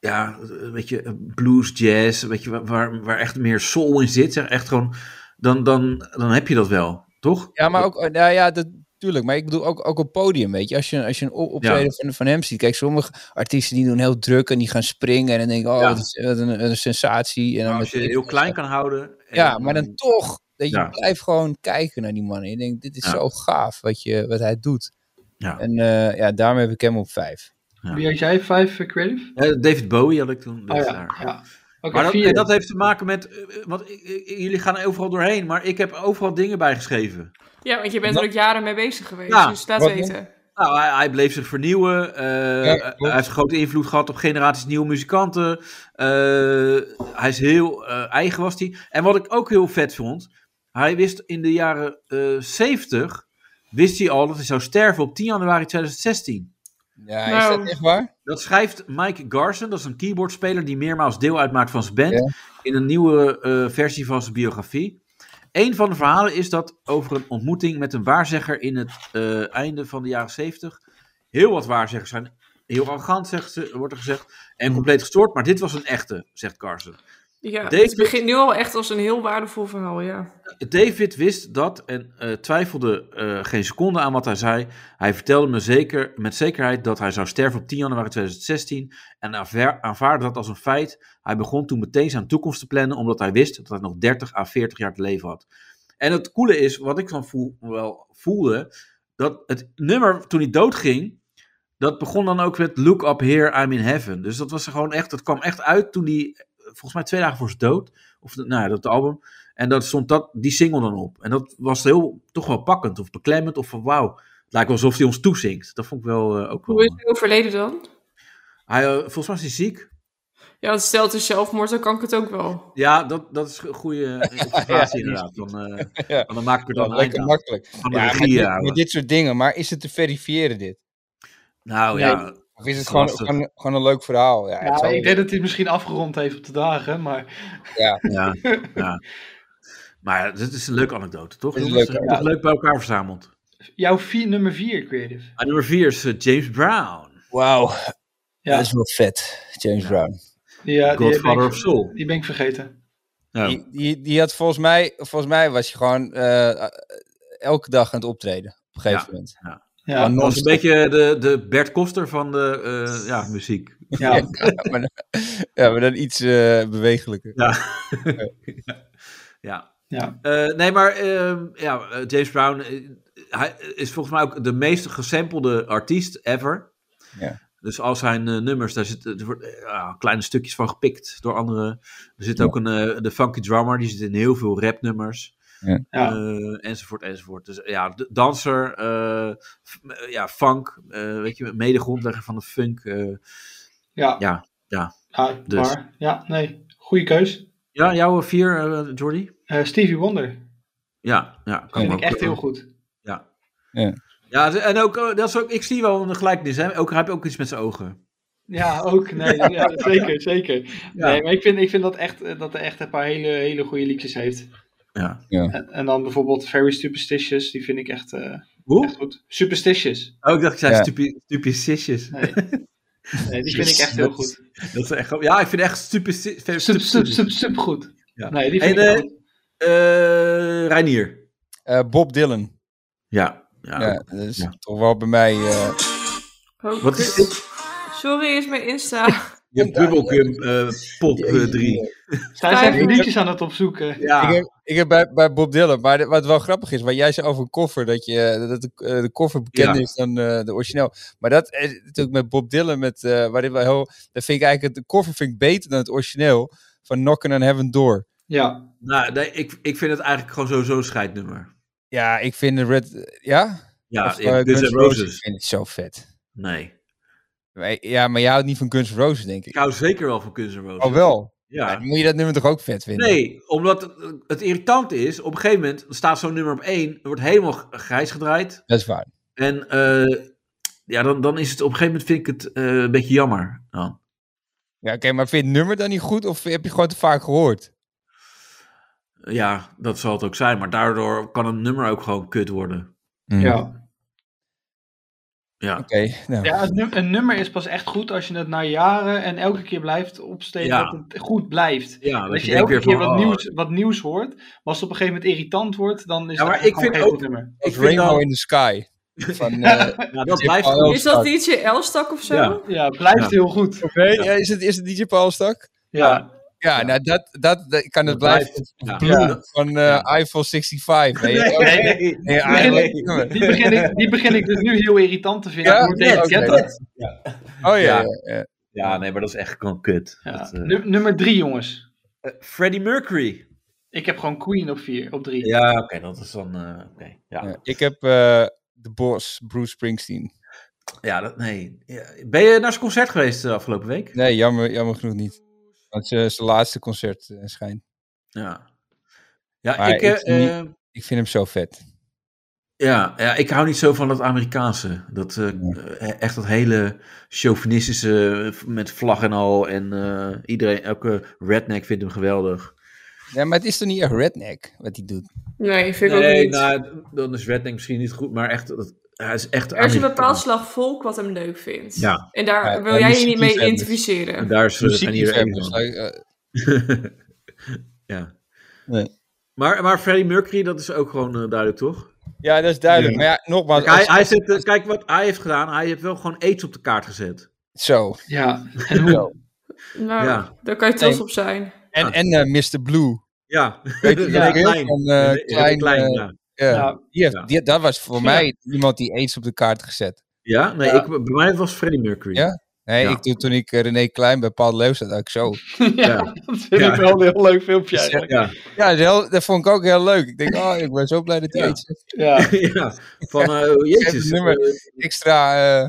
S6: ja, een beetje blues, jazz, weet je, wa- waar, waar echt meer soul in zit. Zeg, echt gewoon, dan, dan, dan heb je dat wel, toch?
S3: Ja, maar ook, nou ja, dat, tuurlijk. Maar ik bedoel ook, ook op podium, weet je. Als je, als je een op- optreden van, van hem ziet. Kijk, sommige artiesten die doen heel druk en die gaan springen. En dan denk ik, oh,
S6: Ja.
S3: wat, is, wat een, wat een sensatie. En dan
S6: nou, Als je
S3: met-
S6: heel klein kan houden. en-
S3: Ja, maar dan toch. Dat je
S6: Ja.
S3: blijft gewoon kijken naar die man. En je denkt, dit is
S6: Ja.
S3: zo gaaf wat, je, wat hij doet.
S6: Ja.
S3: En eh, ja, daarom heb ik hem op vijf.
S6: Ja.
S2: Wie had jij? 5 creative?
S6: Eh, David Bowie had ik toen.
S2: Oh
S6: dus
S2: ja.
S6: daar.
S2: ja. Oké,
S6: Maar dat,
S2: vier.
S6: en dat heeft te maken met, eh, eh, want ik- ik- jullie gaan overal doorheen, maar ik heb overal dingen bijgeschreven.
S4: Ja, want je bent er ook jaren mee bezig geweest.
S6: Ja.
S4: Dus laat
S3: Wat-
S4: weten.
S6: Nou, hij, hij bleef zich vernieuwen. eh,
S3: Ja,
S6: hij
S3: klopt.
S6: heeft een grote invloed gehad op generaties nieuwe muzikanten. Eh, hij is heel eh, eigen was hij. En wat ik ook heel vet vond, hij wist in de jaren eh 70 wist hij al dat hij zou sterven op 10 januari 2016.
S3: Ja,
S4: Nou.
S3: is dat echt waar?
S6: Dat schrijft Mike Garson, dat is een keyboardspeler die meermaals deel uitmaakt van zijn band,
S3: Ja.
S6: in een nieuwe eh, versie van zijn biografie. Een van de verhalen is dat over een ontmoeting met een waarzegger in het eh, einde van de jaren 70. Heel wat waarzeggers zijn heel arrogant, zegt ze, wordt er gezegd, en compleet gestoord, maar dit was een echte, zegt Carson.
S4: Ja,
S6: David-
S4: het begint nu al echt als een heel waardevol verhaal, ja.
S6: David wist dat en eh, twijfelde eh, geen seconde aan wat hij zei. Hij vertelde me zeker, met zekerheid dat hij zou sterven op 10 januari 2016 en aanver- aanvaardde dat als een feit. Hij begon toen meteen zijn toekomst te plannen, omdat hij wist dat hij nog 30 à 40 jaar te leven had. En het coole is, wat ik dan voel, wel voelde, dat het nummer toen hij doodging, dat begon dan ook met Look Up Here, I'm in Heaven. Dus dat was gewoon echt, dat kwam echt uit toen hij eh, volgens mij twee dagen voor zijn dood. Of de- nou ja, dat album. En daar stond dat, die single dan op. En dat was heel, toch wel pakkend of beklemmend. Of van wauw, het lijkt wel alsof hij ons toezingt. Dat vond ik wel eh, ook wel.
S4: Hoe is hij overleden dan?
S6: Hij, eh, volgens mij is hij ziek.
S4: Ja, want stel het is zelfmoord, dan kan ik het ook wel.
S6: Ja, dat, dat is een goede
S3: *laughs*
S6: eh, observatie
S3: die is
S6: inderdaad. Dan, eh,
S3: *laughs* Ja.
S6: dan maak ik er dan een eind
S3: lekker
S6: aan.
S3: makkelijk.
S6: Van de
S3: Ja, met,
S6: regie, eh, ja.
S3: dit, met dit soort dingen. Maar is het te verifiëren dit?
S6: Nou ja,
S3: Of is het
S6: is
S3: gewoon,
S6: lastig.
S3: gewoon, gewoon een leuk verhaal? Ja, het
S2: Ja,
S3: zal-
S2: Nou, ik denk dat hij het misschien afgerond heeft op de dagen, maar
S6: ja, ja. Maar dit is een leuke anekdote, toch?
S3: Dit is een
S6: Jongens?
S3: leuke
S6: Toch leuk bij elkaar verzameld.
S2: jouw vier, nummer 4 creative.
S6: Ah, nummer 4 is eh, James Brown.
S3: Wauw,
S2: Ja,
S3: dat is wel vet. James Brown.
S2: die, eh, die, ben
S6: Godfather
S2: ik,
S6: of Soul.
S2: die ben ik vergeten.
S6: Nou,
S3: Die, die, die had volgens mij, volgens mij was je gewoon eh, elke dag aan het optreden. Op een gegeven
S6: Ja.
S3: moment.
S2: Ja,
S3: Maar
S6: dat is een
S3: non-stop.
S6: beetje de, de Bert Koster van de eh, ja, muziek.
S2: ja.
S3: Ja, maar, dan- *laughs* ja, maar dan iets eh, bewegelijker.
S6: Ja.
S2: Ja.
S6: Eh, nee, maar ehm, ja, eh, James Brown eh, hij is volgens mij ook de meest gesampelde artiest ever.
S3: Ja.
S6: Dus al zijn eh, nummers, daar zitten er wordt, eh, ja, kleine stukjes van gepikt door anderen. Er zit ook een, eh, de funky drummer, die zit in heel veel rapnummers.
S2: Ja.
S6: Eh, enzovoort, enzovoort. Dus ja, d- danser, eh, f- eh, ja, funk, eh, weet je, medegrondlegger van de funk. eh.
S2: Ja.
S6: Ja, ja.
S2: Ja,
S6: Dus.
S2: maar- ja, nee. Goeie keus.
S6: ja, jouw vier, eh, Jordi?
S2: Eh, Stevie Wonder.
S6: Ja, ja. Kan
S2: Vind ik
S6: me ook,
S2: echt
S6: eh,
S2: heel goed.
S6: Ja, ze- en ook, eh, dat is ook, ik zie wel een gelijkenis. Hè? Ook, hij heeft ook iets met zijn ogen.
S2: Ja, ook. Nee, *laughs* ja, zeker, zeker.
S6: Ja.
S2: Nee, maar ik vind, ik vind dat, echt, eh, dat hij echt een paar hele, hele goede liedjes heeft.
S6: Ja.
S2: En, en dan bijvoorbeeld Very Superstitious, die vind ik echt, eh, echt
S6: Hoe?
S2: goed. Superstitious.
S6: Oh, ik dacht, ik zei
S3: Ja.
S6: stupi- stupicitjes.
S2: Nee. nee, die vind ik echt heel goed.
S6: Dat is echt, grap- ja, ik vind echt stupicitjes.
S2: Sub, sub, sub, sub goed.
S6: Ja.
S2: Nee, die vind
S6: En,
S2: ik
S6: eh,
S2: echt goed.
S6: Reinier.
S3: Eh, Bob Dylan.
S6: Ja. ja.
S3: Ja, dat is
S6: Ja.
S3: toch wel bij mij. eh,
S4: Oh,
S6: Wat is
S4: kut.
S6: dit?
S4: Sorry, is mijn
S6: *laughs*
S4: Insta.
S6: Je bubbelgum eh pop 3.
S2: Zij zijn
S4: vijf-
S2: even liedjes aan het opzoeken.
S6: Ja.
S3: Ik heb, ik heb bij, bij Bob Dylan, maar de- wat wel grappig is, waar jij zei over een koffer, dat, je, eh, dat de, eh, de koffer bekender
S6: Ja.
S3: is dan eh, de origineel. Maar dat is natuurlijk met Bob Dylan, met, eh waarin we heel, dat vind ik eigenlijk, het- de koffer vind ik beter dan het origineel van Knockin' on Heaven Door.
S2: Ja,
S6: Nou, nee, ik, ik vind het eigenlijk gewoon sowieso een scheidnummer.
S3: Ja, ik vind de Red, ja?
S6: Ja,
S3: Of,
S6: ik-
S3: eh,
S6: Guns N'
S3: Ik
S6: Roses.
S3: vind het zo vet.
S6: Nee.
S3: Maar- Ja, maar jij houdt niet van Guns N' Roses, denk
S6: Ik
S3: ik.
S6: hou zeker wel van Guns N' Roses.
S3: Oh wel? Ja,
S6: Ja.
S3: dan moet je dat nummer toch ook vet vinden?
S6: Nee, omdat het, het irritant is, op een gegeven moment staat zo'n nummer op 1, wordt helemaal g- grijs gedraaid.
S3: Dat is waar.
S6: En eh, ja, dan, dan is het op een gegeven moment vind ik het eh, een beetje jammer. Dan.
S3: Ja, oké, maar vind je het nummer dan niet goed of heb je gewoon te vaak gehoord?
S6: Ja, dat zal het ook zijn. Maar daardoor kan een nummer ook gewoon kut worden.
S2: Mm.
S3: Oké,
S2: ja.
S6: Ja,
S3: nou.
S2: ja het num- een nummer is pas echt goed als je het na jaren en elke keer blijft opsteken
S6: Ja.
S2: dat het goed blijft.
S6: ja
S2: Als je,
S6: denkt
S2: elke
S6: weer
S2: keer
S6: van,
S2: wat,
S6: oh,
S2: nieuws, wat nieuws hoort, maar als het op een gegeven moment irritant wordt, dan is
S6: Ja, maar
S2: het
S6: ik
S2: gewoon
S6: vind
S2: geen
S6: ook-
S2: goed nummer.
S3: Als
S6: Ik vind
S3: Rainbow
S6: dan-
S3: in the Sky. Van, eh
S6: Ja, dat blijft
S3: Paul
S6: gewoon.
S4: Is dat DJ Elstak of zo?
S6: Oh, Ja.
S2: Ja, het blijft
S6: Ja.
S2: heel goed.
S3: ja, is, het, is het DJ Paul Stak?
S2: Ja,
S3: Ja, nou dat, dat, dat kan het blijven.
S6: Ja.
S3: Blue van eh Eiffel 65. weet je?
S2: Nee,
S3: Nee, *laughs*
S2: nee,
S3: nee,
S2: nee.
S3: Eiffel- nummer.
S2: die, begin ik, die begin ik dus nu heel irritant te vinden.
S3: Ja,
S2: Ik word
S3: net,
S2: tegen
S3: oké.
S2: Jetta.
S3: Oh ja, ja. ja.
S6: Ja, nee, maar dat is echt gewoon kut.
S2: Ja.
S6: Dat, eh,
S2: Nu- nummer drie, jongens.
S6: eh, Freddie Mercury.
S2: Ik heb gewoon Queen op vier, op drie.
S6: Ja, oké, dat is dan. eh, oké. ja.
S3: Ja, Ik heb eh de boss, Bruce Springsteen.
S6: ja, dat nee. Ja. Ben je naar zijn concert geweest de afgelopen week?
S3: Nee, jammer, jammer genoeg niet. Dat is eh, zijn laatste concert eh, schijnt.
S6: Ja. Ja,
S3: Maar
S6: ik, eh,
S3: ik niet-
S6: eh,
S3: Ik vind hem zo vet.
S6: Ja, ja, ik hou niet zo van dat Amerikaanse. Dat, eh, eh, Echt dat hele chauvinistische eh, met vlag en al. En eh, iedereen, elke redneck vindt hem geweldig.
S3: Ja, maar het is toch niet echt redneck wat hij doet?
S4: Nee, vind ik ook
S6: Nee,
S4: niet.
S6: nou, dan is redneck misschien niet goed, maar echt, dat, hij is echt
S4: er is een
S6: Amerikaan.
S4: bepaald slag volk wat hem leuk vindt.
S6: Ja.
S4: En daar
S3: Ja,
S4: wil
S3: en
S4: jij je niet
S3: muziekliefhebbers.
S4: mee
S6: En
S4: identificeren.
S6: daar is, eh, zijn hier
S3: Muziekliefhebber,
S6: één
S3: dus,
S6: van.
S3: eh, eh,
S6: ja.
S3: Nee.
S6: Maar, maar Freddie Mercury, dat is ook gewoon eh, duidelijk, toch?
S3: Ja, dat is duidelijk. Maar ja, nogmaals,
S6: Kijk, hij,
S3: als-
S6: hij zet, eh, kijk wat hij heeft gedaan. Hij heeft wel gewoon aids op de kaart gezet.
S3: zo.
S2: Ja, en hoe?
S4: Nou,
S6: Ja.
S4: daar kan je trots
S3: Nee.
S4: op zijn.
S3: En, en eh, Mr. Blue.
S6: Ja, *laughs*
S3: Weet je,
S6: Heel
S3: ja,
S6: klein.
S3: van, eh,
S6: Heel
S3: klein, eh,
S6: ja.
S3: Ja.
S2: Ja.
S3: Die heeft,
S6: Ja.
S3: die- dat was voor
S2: Ja.
S3: mij iemand die aids op de kaart gezet.
S6: Ja, nee, Ik, bij mij was Freddie Mercury.
S3: Ja? Nee, ik doe, toen ik eh, René Klein bij Paul Leeuw zat, ook zo.
S2: *laughs* ja, dat vind ik wel een heel leuk filmpje eigenlijk.
S6: Ja,
S3: Ja, dat, is heel- dat vond ik ook heel leuk. Ik denk, oh, ik ben zo blij dat hij
S6: Ja.
S3: iets heeft.
S2: Ja,
S6: *laughs* ja. Van, eh jezus.
S3: Even nummer.
S6: eh,
S3: extra... eh,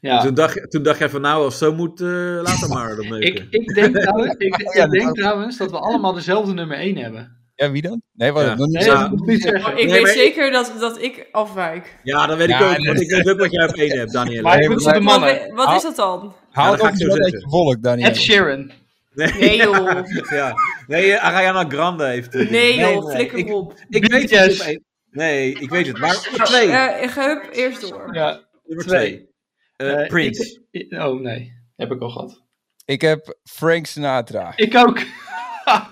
S2: ja.
S6: Toen, dacht, toen dacht jij van, nou, als zo moet, eh laat maar dan
S2: Ik, ik, denk trouwens, ik,
S3: Ja,
S2: ik
S3: dat
S2: denk
S3: ook.
S2: trouwens dat we allemaal dezelfde nummer 1 hebben.
S3: ja, wie dan? Nee, wat
S6: Ja.
S3: nog niet
S2: Nee,
S6: Ja.
S3: zo-
S2: dat moet ik niet zeggen.
S4: Maar ik
S6: Nee,
S4: weet
S6: maar-
S4: zeker dat, dat ik afwijk.
S6: Ja, dat weet ik
S3: Ja,
S6: ook. Want
S3: dat-
S6: ik weet ook wat jij op één hebt, Daniel.
S2: Maar ik
S3: maar-
S2: moet voor de
S4: Wat,
S2: mannen.
S4: we- wat
S6: Ah.
S4: is dat dan?
S6: Ja,
S3: Haal
S6: dat
S3: het
S6: ga
S3: ook eens
S6: ik zo
S3: wel uit
S6: zeggen.
S3: je volk, Daniel.
S2: Ed Sheeran.
S4: Nee joh.
S6: *laughs* ja. Nee, eh, Ariana Grande heeft het.
S4: Nee joh, flikker
S6: Ik,
S4: op.
S6: ik weet het.
S2: BTS.
S6: op één. Nee, ik weet het. Maar nummer twee.
S4: Eh, ik heb eerst door.
S2: Ja.
S6: nummer
S2: twee.
S6: twee. Eh,
S2: Eh,
S6: Prince.
S2: ik- oh nee, heb ik al gehad.
S3: Ik heb Frank Sinatra.
S2: Ik ook.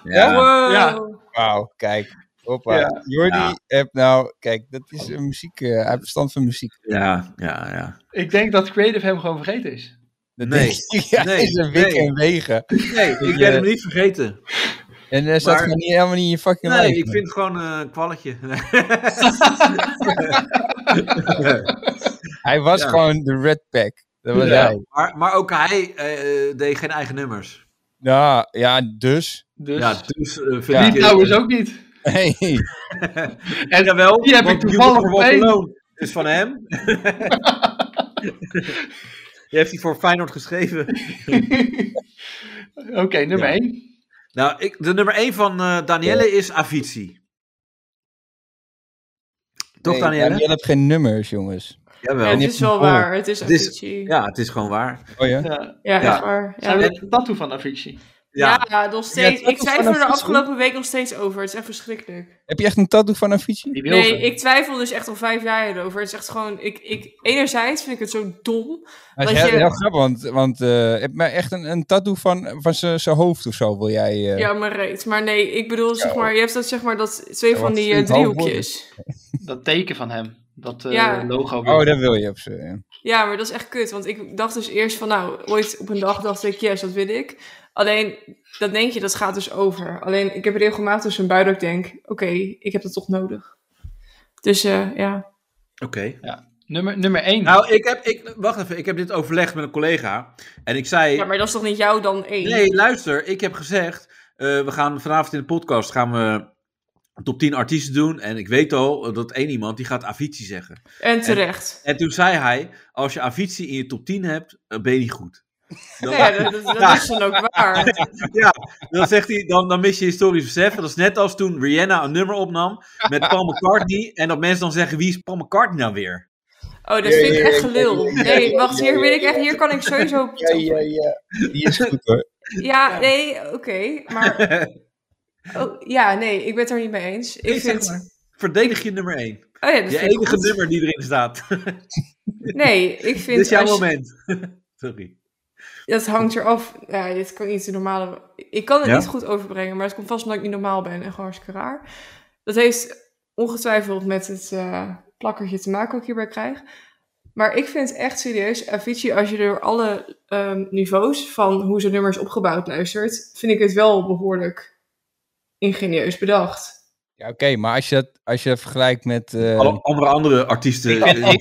S6: Ja.
S4: Wow.
S2: Ja.
S3: Wauw, kijk. Hoppa.
S2: Ja.
S3: Jordi
S6: Ja.
S3: hebt nou... Kijk, dat is een muziek... eh, hij heeft verstand van muziek.
S6: Ja, ja, ja.
S2: Ik denk dat Creative hem gewoon vergeten is.
S3: Dat
S6: Nee.
S3: is- *laughs* ja,
S6: Nee,
S3: is een wik
S6: nee.
S3: en wegen.
S6: Nee, ik ben hem niet vergeten.
S3: En hij zat
S6: Maar-
S3: gewoon niet, helemaal niet in je fucking
S6: Nee,
S3: lijf.
S6: ik vind het gewoon eh, een kwalletje. *laughs*
S3: Hij was
S6: Ja.
S3: gewoon de red pack. Dat was
S2: Ja.
S3: hij.
S6: maar, maar ook hij eh, deed geen eigen nummers.
S3: Ja, ja, dus. *laughs*
S2: Dus
S6: Ja, dus eh, vind
S3: Ja.
S6: ik...
S2: die nou trouwens ook niet. *laughs*
S3: Hey.
S2: En
S6: Jawel,
S2: Die heb
S6: want
S2: ik
S6: You
S2: toevallig
S6: Walk
S2: op één.
S6: Alone is van
S2: *laughs*
S6: hem. Je heeft hij voor Feyenoord geschreven.
S2: Oké, nummer
S6: Ja.
S2: 1.
S6: Nou, ik, de nummer 1 van eh Danielle is Avicii. Toch,
S3: Nee,
S6: Danielle?
S3: Danielle heeft geen nummers, jongens.
S4: Ja,
S6: Jawel.
S4: het
S3: niet
S4: is wel
S3: van voren.
S4: waar. Het is
S6: Het is-
S4: Avicii. Ja,
S6: Ja, het is gewoon waar.
S3: Oh ja?
S6: *laughs*
S2: Ja.
S6: Ja.
S4: echt waar. Ja.
S2: Zijn we een tattoo van Avicii?
S6: Ja,
S4: Ja, nog steeds.
S3: Ja, het
S4: ik
S3: is ook
S4: twijfel er
S3: van
S4: de
S3: Avicii.
S4: afgelopen week nog steeds over. Het is echt verschrikkelijk.
S3: Heb je echt een tattoo van Avicii?
S2: Die wil
S4: Nee, ik twijfel dus echt al vijf jaar erover. Het is echt gewoon... Ik, ik, enerzijds vind ik het zo dom.
S3: Dat is
S4: Want
S3: heel,
S4: je-
S3: heel grappig, want, want eh, heb maar echt een, een tattoo van, van zijn hoofd of zo wil jij... eh,
S4: Ja, maar reet. Maar nee, ik bedoel, zeg maar... Je hebt dat, zeg maar, dat twee
S3: Ja,
S4: van
S3: wat
S4: die eh,
S3: vind ik half
S4: driehoekjes.
S2: Dat teken van hem. Dat eh,
S4: Ja.
S2: logo.
S3: Oh, dat wil je op ze. ja.
S4: Ja, maar dat is echt kut. Want ik dacht dus eerst van... Nou, ooit op een dag dacht ik... Yes, dat wil ik. Alleen, dat denk je, dat gaat dus over. Alleen, ik heb regelmatig dus een bui dat ik denk... Oké, ik heb dat toch nodig. Dus eh, ja.
S6: oké.
S2: Nummer, nummer 1.
S6: Nou, ik heb, ik, wacht even, ik heb dit overlegd met een collega. En ik zei,
S4: Ja, maar dat is toch niet jou dan één?
S6: nee, luister, ik heb gezegd, eh, we gaan vanavond in de podcast gaan we top 10 artiesten doen. En ik weet al eh, dat één iemand, die gaat Avicii zeggen.
S4: En terecht.
S6: En toen zei hij, als je Avicii in je top 10 hebt, eh, ben je niet goed. Dan,
S4: *laughs* Ja, dat, dat- dat is dan ook waar.
S6: dan zegt hij, dan, dan mis je historisch besef. Dat is net als toen Rihanna een nummer opnam met Paul McCartney. En dat mensen dan zeggen, wie is Paul McCartney nou weer?
S4: Oh, dat vind ik echt gelul. Nee, wacht, hier wil ik echt, hier kan ik sowieso...
S3: Die is goed hoor.
S4: Ja, nee, oké, maar...
S6: *laughs*
S4: Oh, ja, nee, ik ben het er niet mee eens. Ik
S6: Nee, zeg
S4: vind...
S6: maar. Verdedig je nummer 1.
S4: Oh ja, dat
S6: Je
S4: vind ik
S6: enige
S4: goed.
S6: nummer die erin staat.
S4: Nee, ik
S6: Dit is
S4: vind...
S6: jouw
S4: als je-
S6: moment. *laughs* Sorry.
S4: Dat hangt eraf. Ja, dit kan niet de normale... Ik kan het
S6: Ja?
S4: niet goed overbrengen, maar het komt vast omdat ik niet normaal ben en gewoon hartstikke raar. Dat heeft ongetwijfeld met het eh, plakkertje te maken wat ik hierbij krijg. Maar ik vind echt serieus, Avicii, als je door alle ehm, niveaus van hoe zijn nummers opgebouwd luistert, vind ik het wel behoorlijk ingenieus bedacht.
S3: Ja, oké, maar als je, dat, als je dat vergelijkt met... eh,
S6: Alle andere, andere artiesten. eh,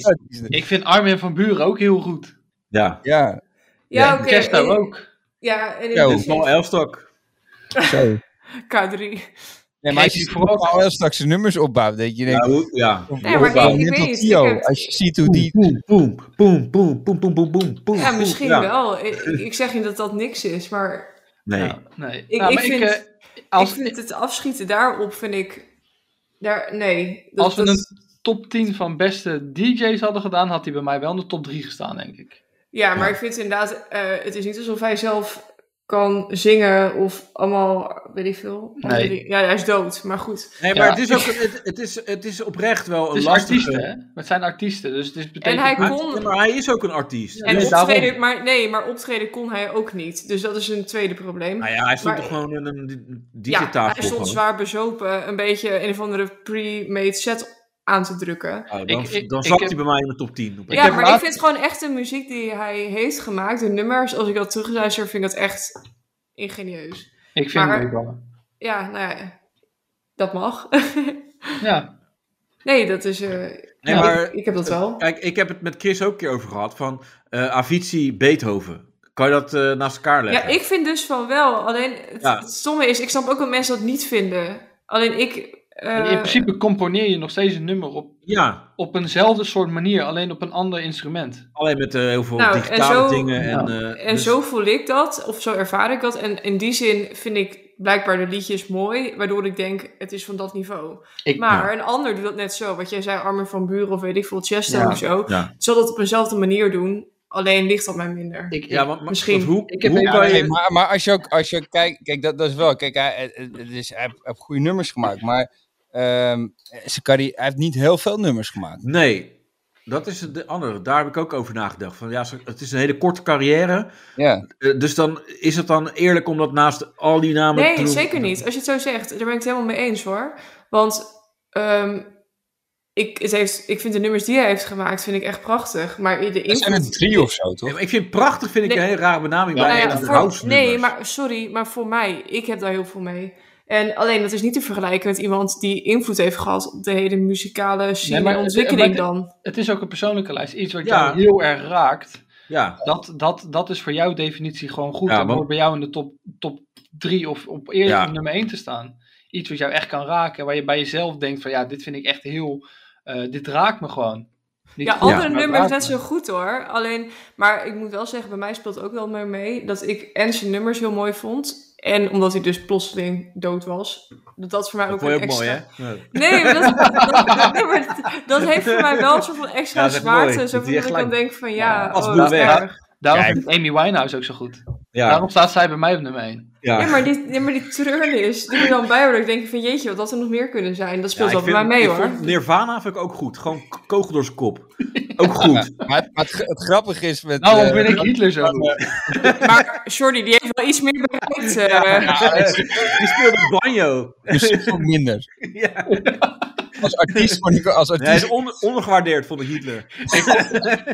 S2: Ik vind Armin van Buren ook heel goed.
S6: ja.
S3: Ja,
S4: Ja,
S6: Ja,
S4: oké.
S2: Chesto
S4: en-
S2: ook.
S4: Ja, en
S3: Zo.
S4: in
S6: Dit is wel Elstok.
S3: zo.
S4: K3.
S3: Nee, maar als je
S2: Geef je vooral-
S3: vooral heel straks de nummers opbouwt, dat je denkt...
S6: Ja, hoe- ja.
S3: of-
S4: Nee, maar
S3: of-
S4: ik- ik
S3: net
S4: weet
S3: als
S4: niet,
S3: Theo,
S4: ik heb-
S3: Als je ziet hoe die...
S6: Boom, boom, boom, boom, boom, boom, boom, boom, boom.
S4: Ja, misschien
S6: Ja.
S4: wel. Ik, ik zeg niet dat dat niks is, maar
S6: Nee.
S2: Ja, nee.
S4: Ik,
S2: Nou,
S4: ik
S2: maar
S4: vind,
S2: eh, als,
S4: ik vind het afschieten daarop, vind ik... Daar, nee. Dat,
S2: als we
S4: dat-
S2: een top 10 van beste DJ's hadden gedaan, had hij bij mij wel in de top 3 gestaan, denk ik.
S4: ja, maar
S6: Ja.
S4: ik vind inderdaad... eh, het is niet alsof hij zelf kan zingen of allemaal, weet ik veel. andere
S2: Nee.
S4: dingen. Ja, hij is dood, maar goed.
S6: Nee, maar
S2: Ja.
S6: het, is ook, het, het is, het is oprecht wel een
S2: Het is
S6: lastige...
S2: artiesten, hè? Het zijn artiesten, dus het is
S4: En
S2: betekent...
S4: hij
S6: Maar,
S4: kon...
S6: maar hij is ook een artiest.
S4: en
S2: dus daarom-
S4: optreden, maar nee, maar optreden kon hij ook niet. Dus dat is een tweede probleem.
S2: Ah
S6: Nou ja, hij stond
S4: Maar-
S6: toch gewoon in een
S4: ja,
S6: digitafel.
S4: hij stond zwaar bezopen een beetje een of andere pre-made set aan te drukken.
S6: dan
S2: Ik- ik-
S6: dan
S2: ik
S6: zakt
S2: heb-
S6: hij bij mij in de top 10. opeens.
S4: ja,
S2: heb
S4: maar ik
S2: laatst-
S4: vind gewoon echt de muziek die hij heeft gemaakt, de nummers, als ik dat terugluister, vind ik dat echt ingenieus.
S2: Ik vind
S4: maar-
S2: het ook wel.
S4: Ja, nou ja, dat mag. *laughs*
S2: Ja.
S4: nee, dat is, eh,
S6: Nee,
S4: Ja,
S6: maar-
S4: ik, ik heb dat wel.
S6: Kijk, ik heb het met Chris ook een keer over gehad. Van eh Avicii, Beethoven. Kan je dat eh, naast elkaar
S4: Ja,
S6: leggen?
S4: ik vind dus van wel. Alleen het,
S6: Ja.
S4: het stomme is, ik snap ook dat mensen dat niet vinden. Alleen ik... eh,
S2: in principe componeer je nog steeds een nummer op,
S6: Ja,
S2: op eenzelfde soort manier, alleen op een ander instrument.
S6: alleen met eh, heel veel
S4: Nou, en
S6: digitale
S4: zo-
S6: dingen. En, eh,
S4: En
S6: dus-
S4: zo voel ik dat, of zo ervaar ik dat. En in die zin vind ik blijkbaar de liedjes mooi, waardoor ik denk, het is van dat niveau.
S2: Ik-
S4: maar een ander doet dat net zo. Wat jij zei, Armin van Buren of weet ik veel, Chester
S6: Ja,
S4: of zo.
S6: ja.
S4: Zal dat op eenzelfde manier doen, alleen ligt dat mij minder.
S2: Ik,
S6: Ja,
S2: ik-
S6: want, maar-
S4: misschien.
S6: want hoe,
S2: Ik heb
S6: hoe
S2: een-
S6: kan
S2: Ja,
S6: je...
S3: Nee, maar, maar als je ook als je kijkt, kijk, dat, dat is wel. Kijk, hij, het- het is, hij heeft- hij heeft goede nummers gemaakt, maar ehm, zijn carri- hij heeft niet heel veel nummers gemaakt.
S6: Nee, dat is de andere. Daar heb ik ook over nagedacht. Van, ja, zo- het is een hele korte carrière.
S3: Ja,
S6: Eh, Dus dan is het dan eerlijk om dat naast al die namen te
S4: Nee,
S6: doen?
S4: zeker niet. Als je het zo zegt, daar ben ik het helemaal mee eens hoor. Want ehm, ik, het heeft, ik vind de nummers die hij heeft gemaakt, vind ik echt prachtig. Maar de
S3: er zijn er
S4: invloed-
S3: drie of zo, toch?
S6: Nee, maar ik vind prachtig vind ik
S4: Nee.
S6: een hele rare benaming
S2: Ja,
S6: bij
S4: Nou
S6: een
S4: ja,
S6: van de
S4: voor-
S6: house
S4: nee,
S6: nummers.
S4: maar sorry, maar voor mij, ik heb daar heel veel mee. En alleen dat is niet te vergelijken met iemand die invloed heeft gehad op de hele muzikale scene
S2: maar-
S4: en ontwikkeling
S2: maar-
S4: dan.
S2: het is ook een persoonlijke lijst. Iets wat
S6: Ja.
S2: jou heel erg raakt.
S6: Ja,
S2: Dat, dat, dat is voor jouw definitie gewoon goed.
S6: Ja,
S2: om
S6: want-
S2: hoort bij jou in de top, top drie of op eerder
S6: Ja.
S2: op nummer één te staan. Iets wat jou echt kan raken. Waar je bij jezelf denkt van ja, dit vind ik echt heel... eh, dit raakt me gewoon. Niet
S4: Ja,
S2: goed,
S4: andere
S2: maar het
S4: nummers
S2: raakt
S4: net
S2: me.
S4: zo goed hoor. Alleen, maar ik moet wel zeggen, bij mij speelt ook wel meer mee dat ik en zijn nummers heel mooi vond. En omdat hij dus plotseling dood was. Dat dat voor mij
S6: dat
S4: ook
S6: vond je
S4: een
S6: ook
S4: extra...
S6: mooi, hè? Ja.
S4: Nee, maar dat, dat, nee, maar dat heeft voor mij wel een soort van extra
S6: Ja, dat is echt mooi.
S4: zwaarte. Zo
S6: Dat
S4: van
S6: hij
S4: dat
S6: echt
S4: ik dan
S6: gelijk-
S4: denk van ja,
S6: Als
S4: oh,
S6: boel
S4: dat is
S6: weg.
S4: erg.
S2: Daarom
S3: Ja,
S2: vind ik Amy Winehouse ook zo goed.
S6: Ja,
S2: Daarom staat zij bij mij op nummer één.
S6: ja.
S4: Ja, maar die, ja, maar die treurnis die er dan bij hoort, ik denk van jeetje, wat had er nog meer kunnen zijn? Dat speelt
S6: Ja,
S4: wel
S6: ik
S4: bij mij
S6: vind-
S4: mee
S6: ik
S4: hoor.
S6: vond Nirvana vind ik ook goed. Gewoon k- kogel door zijn kop. Ook goed.
S3: Maar, maar het, het grappige is met.
S6: Nou,
S2: Daarom
S3: eh,
S2: vind Nou, ik Hitler zo goed.
S4: Maar Shorty, die heeft wel iets meer
S6: *laughs*
S4: bereikt. eh.
S6: Die speelde banjo.
S3: misschien ook minder.
S6: *laughs* Ja.
S3: Als artiest vond ik als
S6: Nee, hij is
S3: artiest.
S6: on- ondergewaardeerd, vond ik Hitler.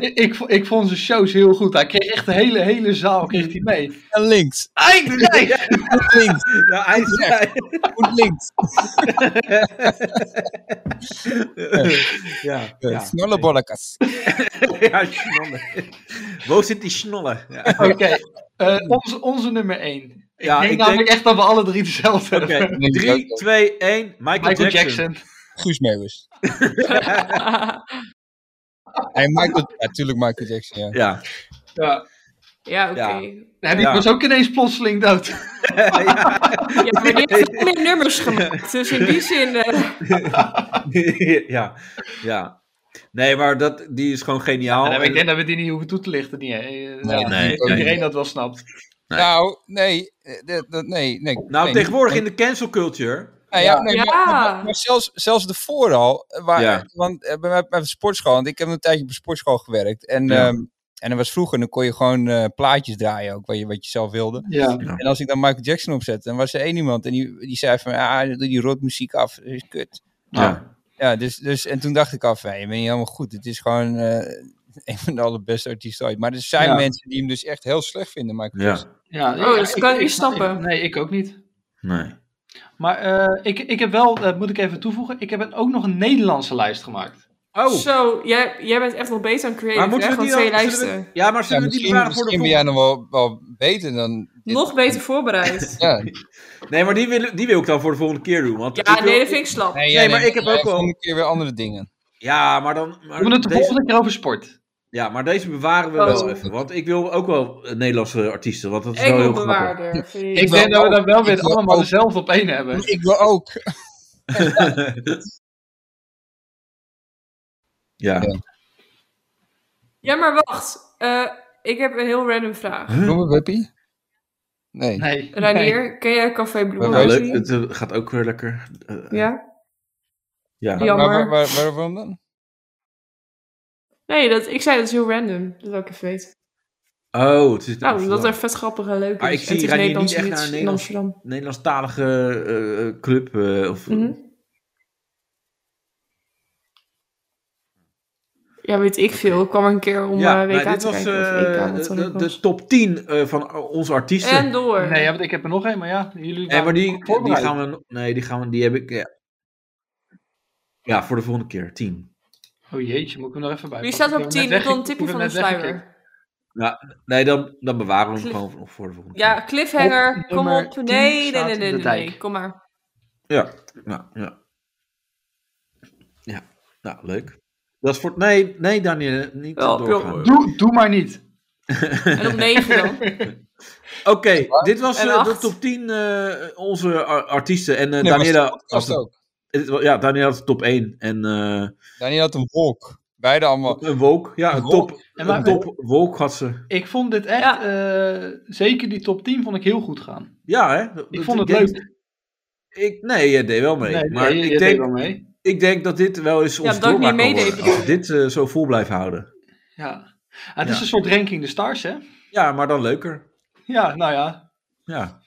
S2: Ik, ik, vo- ik vond zijn shows heel goed. Hij kreeg echt de hele, hele zaal kreeg hij mee.
S3: en links. Goed links.
S6: Ja, hij is- hij-
S3: Goed links.
S6: Ja,
S3: Eh,
S6: *laughs* ja.
S3: Snolle bollekast.
S6: *laughs* Ja, schnolle. Wo zit die schnolle? Ja.
S2: Oké, eh, onze, onze nummer één. Ik
S6: Ja,
S2: denk
S6: ik
S2: namelijk
S6: denk-
S2: echt dat we alle drie dezelfde hebben.
S6: Oké, 3, 2, 1. Michael,
S2: Michael
S6: Jackson.
S2: Jackson.
S3: Guus Meeuwis. Hey, Michael, ja, tuurlijk Michael Jackson, ja.
S6: Ja. *laughs*
S2: Ja.
S4: *laughs* ja, oké.
S2: Ja, die
S6: Ja.
S2: was ook ineens plotseling
S6: Oh,
S2: dood.
S4: Ja, maar die heeft veel meer nummers gemaakt. Dus in die zin, eh,
S6: ja. Ja. Nee, maar dat, die is gewoon geniaal.
S2: Ja, ik denk dat we die niet hoeven toe te lichten. Niet, hè. Eh,
S3: Nee,
S2: ja,
S6: nee,
S2: dat iedereen
S6: nee.
S2: dat wel snapt.
S3: Nou, nee, eh, dat- dat- nee, nee.
S6: nou,
S3: nee,
S6: tegenwoordig
S3: niet-
S6: in de cancel culture.
S3: Nou ja, nee,
S4: Ja.
S3: maar, maar- maar zelfs, zelfs de vooral, eh, waar,
S6: Ja.
S3: want eh, bij mij bij de sportschool, want ik heb een tijdje op een sportschool gewerkt. En,
S6: Ja.
S3: ehm, en dat was vroeger, dan kon je gewoon eh, plaatjes draaien ook, wat je, wat je zelf wilde.
S2: Ja.
S3: En als ik dan Michael Jackson opzet, dan was er één iemand en die, die zei van, ah, doe die rotmuziek af, dat is kut.
S6: Ja.
S3: Ja, dus, dus, en toen dacht ik af, hé, je bent niet helemaal goed. Het is gewoon eh, *laughs* een van de allerbeste artiesten ooit. Maar er zijn
S2: Ja.
S3: mensen die hem dus echt heel slecht vinden, Michael
S6: Ja.
S3: Jackson.
S2: Ja,
S4: Oh, dat kan ik niet
S2: snap-
S4: snappen.
S2: nee, ik ook niet.
S6: Nee.
S2: Maar eh, ik, ik heb wel, dat moet ik even toevoegen, ik heb ook nog een Nederlandse lijst gemaakt.
S6: Oh,
S4: zo, jij, jij bent echt wel beter aan
S6: maar
S4: creative,
S6: moeten
S4: hè?
S6: we
S4: Gewoon
S6: die dan...
S4: twee
S6: zullen we-
S4: lijsten.
S6: ja, maar zullen
S3: Ja,
S6: we die
S3: misschien
S6: bewaren voor de
S3: misschien ben jij
S6: volgende?
S3: nog wel, wel beter dan... dit.
S4: Nog beter voorbereid.
S3: Ja.
S6: Nee, maar die wil, die wil ik dan voor de volgende keer doen. Want
S4: Ja,
S6: ik wil-
S4: nee, dat vind ik slap.
S3: Nee,
S6: maar ik heb
S3: jij
S6: ook wel-
S3: volgende keer weer andere dingen.
S6: Ja, maar dan...
S2: We
S6: Maar
S2: doen het de
S6: deze-
S2: volgende keer over sport.
S6: Ja, maar deze bewaren we
S4: Oh.
S6: wel even. Want ik wil ook wel eh, Nederlandse artiesten. Want dat is wel heel grappig.
S4: Engelbewaarder. vind je-
S2: Ik
S3: wil
S2: denk dat we
S3: ook-
S2: daar wel weer
S3: ik wil
S2: allemaal
S3: ook-
S2: dezelfde op één hebben.
S3: Ik wil ook.
S6: ja.
S4: Ja, maar wacht. Eh, ik heb een heel random vraag.
S3: Bloemen, Wuppie? Nee.
S2: Nee.
S4: Reinier, ken jij Café Bloemen?
S6: Nou,
S3: Weet
S6: leuk. Het eh, gaat ook weer lekker. Eh,
S4: Ja?
S6: ja.
S3: Maar
S4: Jammer.
S3: waar- waar- waar- waarom dan?
S4: Nee, dat, ik zei dat is heel random. Dat wil ik even weten.
S6: Oh, het is in
S4: Nou, dat
S6: Amsterdam.
S4: er vet grappig en leuk is.
S6: Maar ik
S4: En
S6: zie
S4: het is
S6: Reinier niet
S4: Nederlands
S6: echt
S4: niet
S6: naar een
S4: in
S6: Nederlands-
S4: Amsterdam.
S6: Nederlandstalige eh, eh, club. eh, of,
S4: Mhm. Ja, weet ik veel. Ik kwam er een keer om eh
S6: ja,
S4: WK
S6: nou, dit
S4: te
S6: was
S4: kijken.
S6: eh,
S4: of EK, wat
S6: de,
S4: dan
S6: de-
S4: ook
S6: de
S4: was.
S6: top 10 eh, van eh, onze artiesten.
S4: En door.
S2: Nee, ja, want ik heb er nog één, maar ja, jullie
S6: Nee, maar
S2: waren
S6: die,
S2: goed
S6: die
S2: voorbereid.
S6: gaan we. Nee, die gaan we. Die heb ik. Ja, ja voor de volgende keer. 10.
S2: Oh jeetje, moet ik hem nog even bij.
S4: Wie
S2: pakken?
S4: staat
S2: Ik heb
S4: op 10?
S2: hem net
S4: Ik wil een
S2: wegge-
S4: tipje
S2: ik heb
S4: van
S2: hem
S4: de
S2: net weggekeken.
S4: sluier.
S6: Nee, dan, dan bewaren we hem
S4: Cliff-
S6: gewoon voor- voor de volgende
S4: Ja,
S2: Op
S4: cliffhanger, kom
S2: nummer
S4: op.
S2: 10
S4: Nee, nee,
S2: staat
S4: nee, nee,
S2: de
S4: nee,
S2: dijk.
S4: nee, kom maar.
S6: keer. Ja. Ja, ja. Ja, nou, leuk. Dat is voor... Nee, nee Daniel, niet
S4: Wel,
S6: doorgaan.
S8: joh.
S2: Doe, doe maar niet.
S4: En op 9 dan.
S6: Oké, dit was
S4: En
S6: eh, de
S4: acht.
S6: top 10 eh, onze ar- artiesten. En
S3: Nee,
S6: eh
S3: was
S6: Daniela
S3: de podcast
S6: had de-
S3: ook.
S6: het wa- ja, Daniela had de top 1. En eh,
S3: Daniel had een wolk. Beide allemaal.
S6: een Woke. Ja,
S3: Een
S6: een top,
S2: En
S6: een
S2: waar-
S6: top Woke had ze.
S2: Ik vond dit echt,
S4: Ja.
S2: eh, zeker die top 10 vond ik heel goed gaan.
S6: Ja, hè?
S2: Ik vond het
S6: denk-
S2: leuk.
S6: Ik, nee, jij deed wel mee.
S2: Nee,
S6: maar
S2: nee, je-
S6: ik,
S2: je deed
S6: denk,
S2: wel mee.
S6: ik denk dat dit wel eens ons
S4: dat ik niet
S6: doorbraak kan
S4: meedeed,
S6: worden.
S4: bedoel
S6: Als we dit eh, zo vol blijven houden.
S2: Ja. Ah, het is
S6: Ja.
S2: een soort ranking de stars, hè?
S6: Ja, maar dan leuker.
S2: Ja, nou ja.
S6: Ja.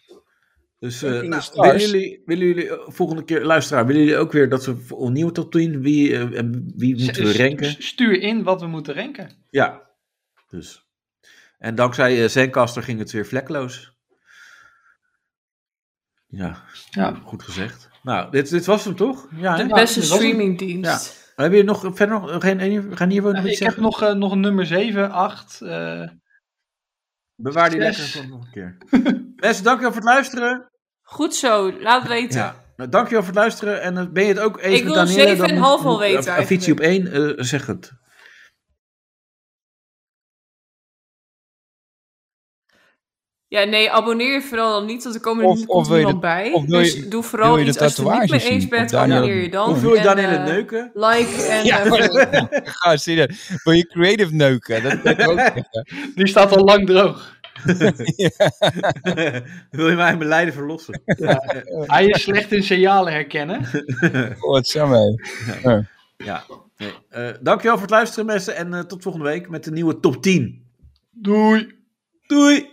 S6: Dus eh,
S3: Ranking
S6: nou,
S3: the
S6: willen
S3: Stars.
S6: jullie, willen jullie eh, volgende keer, luisteraar, willen jullie ook weer dat we voor een nieuwe top 10, wie, eh, en wie moeten we
S2: S-
S6: ranken?
S2: s- Stuur in wat we moeten ranken.
S6: Ja, dus. En dankzij eh, Zencaster ging het weer vlekloos. Ja,
S2: Ja.
S6: goed gezegd. Nou, dit, dit was hem toch? Ja, hè?
S4: De
S2: Ja,
S4: beste
S2: dat was hem.
S4: streamingdienst.
S6: Hebben jullie nog verder nog geen, geen hier wat
S2: Eh, Ik heb
S6: zeggen?
S2: nog, eh, nog een nummer 7, 8. eh, *laughs*
S6: Bewaar die
S2: Zes.
S6: lekker voor nog een keer. *laughs* Mensen, dankjewel voor het luisteren.
S4: Goed zo, laat weten.
S6: Ja. Nou, dankjewel voor het luisteren. En eh, ben je het ook eens
S4: Ik wil
S6: met Danielle?
S4: 7,5
S6: dan moet-
S4: al
S6: moet-
S4: weten
S6: eh, Avicii op één, eh, zeg het.
S4: Ja, nee, abonneer je vooral dan niet, want er komen er
S3: Of-
S4: niet
S3: of wil je
S4: iemand
S3: dat-
S4: bij.
S3: of wil je-
S4: dus doe vooral
S3: wil je de
S4: iets als je het niet
S3: tatoeages
S4: mee eens
S3: zien
S4: bent,
S3: op Daniel?
S4: abonneer je dan.
S3: Of
S6: Wil je
S4: En,
S6: Danielle
S4: eh,
S6: neuken? *laughs*
S4: Like en...
S3: Ja,
S4: eh, volg.
S3: Ga serieus. Wil je creative neuken? Dat wil ik ook zeggen.
S2: die staat al lang droog.
S6: Wil je mij in mijn lijden verlossen?
S4: *laughs*
S2: Hij is slecht in signalen herkennen.
S3: Oh, Wat zou mij.
S6: Ja. Nee. Eh, dankjewel voor het luisteren, mensen. En eh, tot volgende week met de nieuwe top 10.
S2: Doei.
S6: Doei!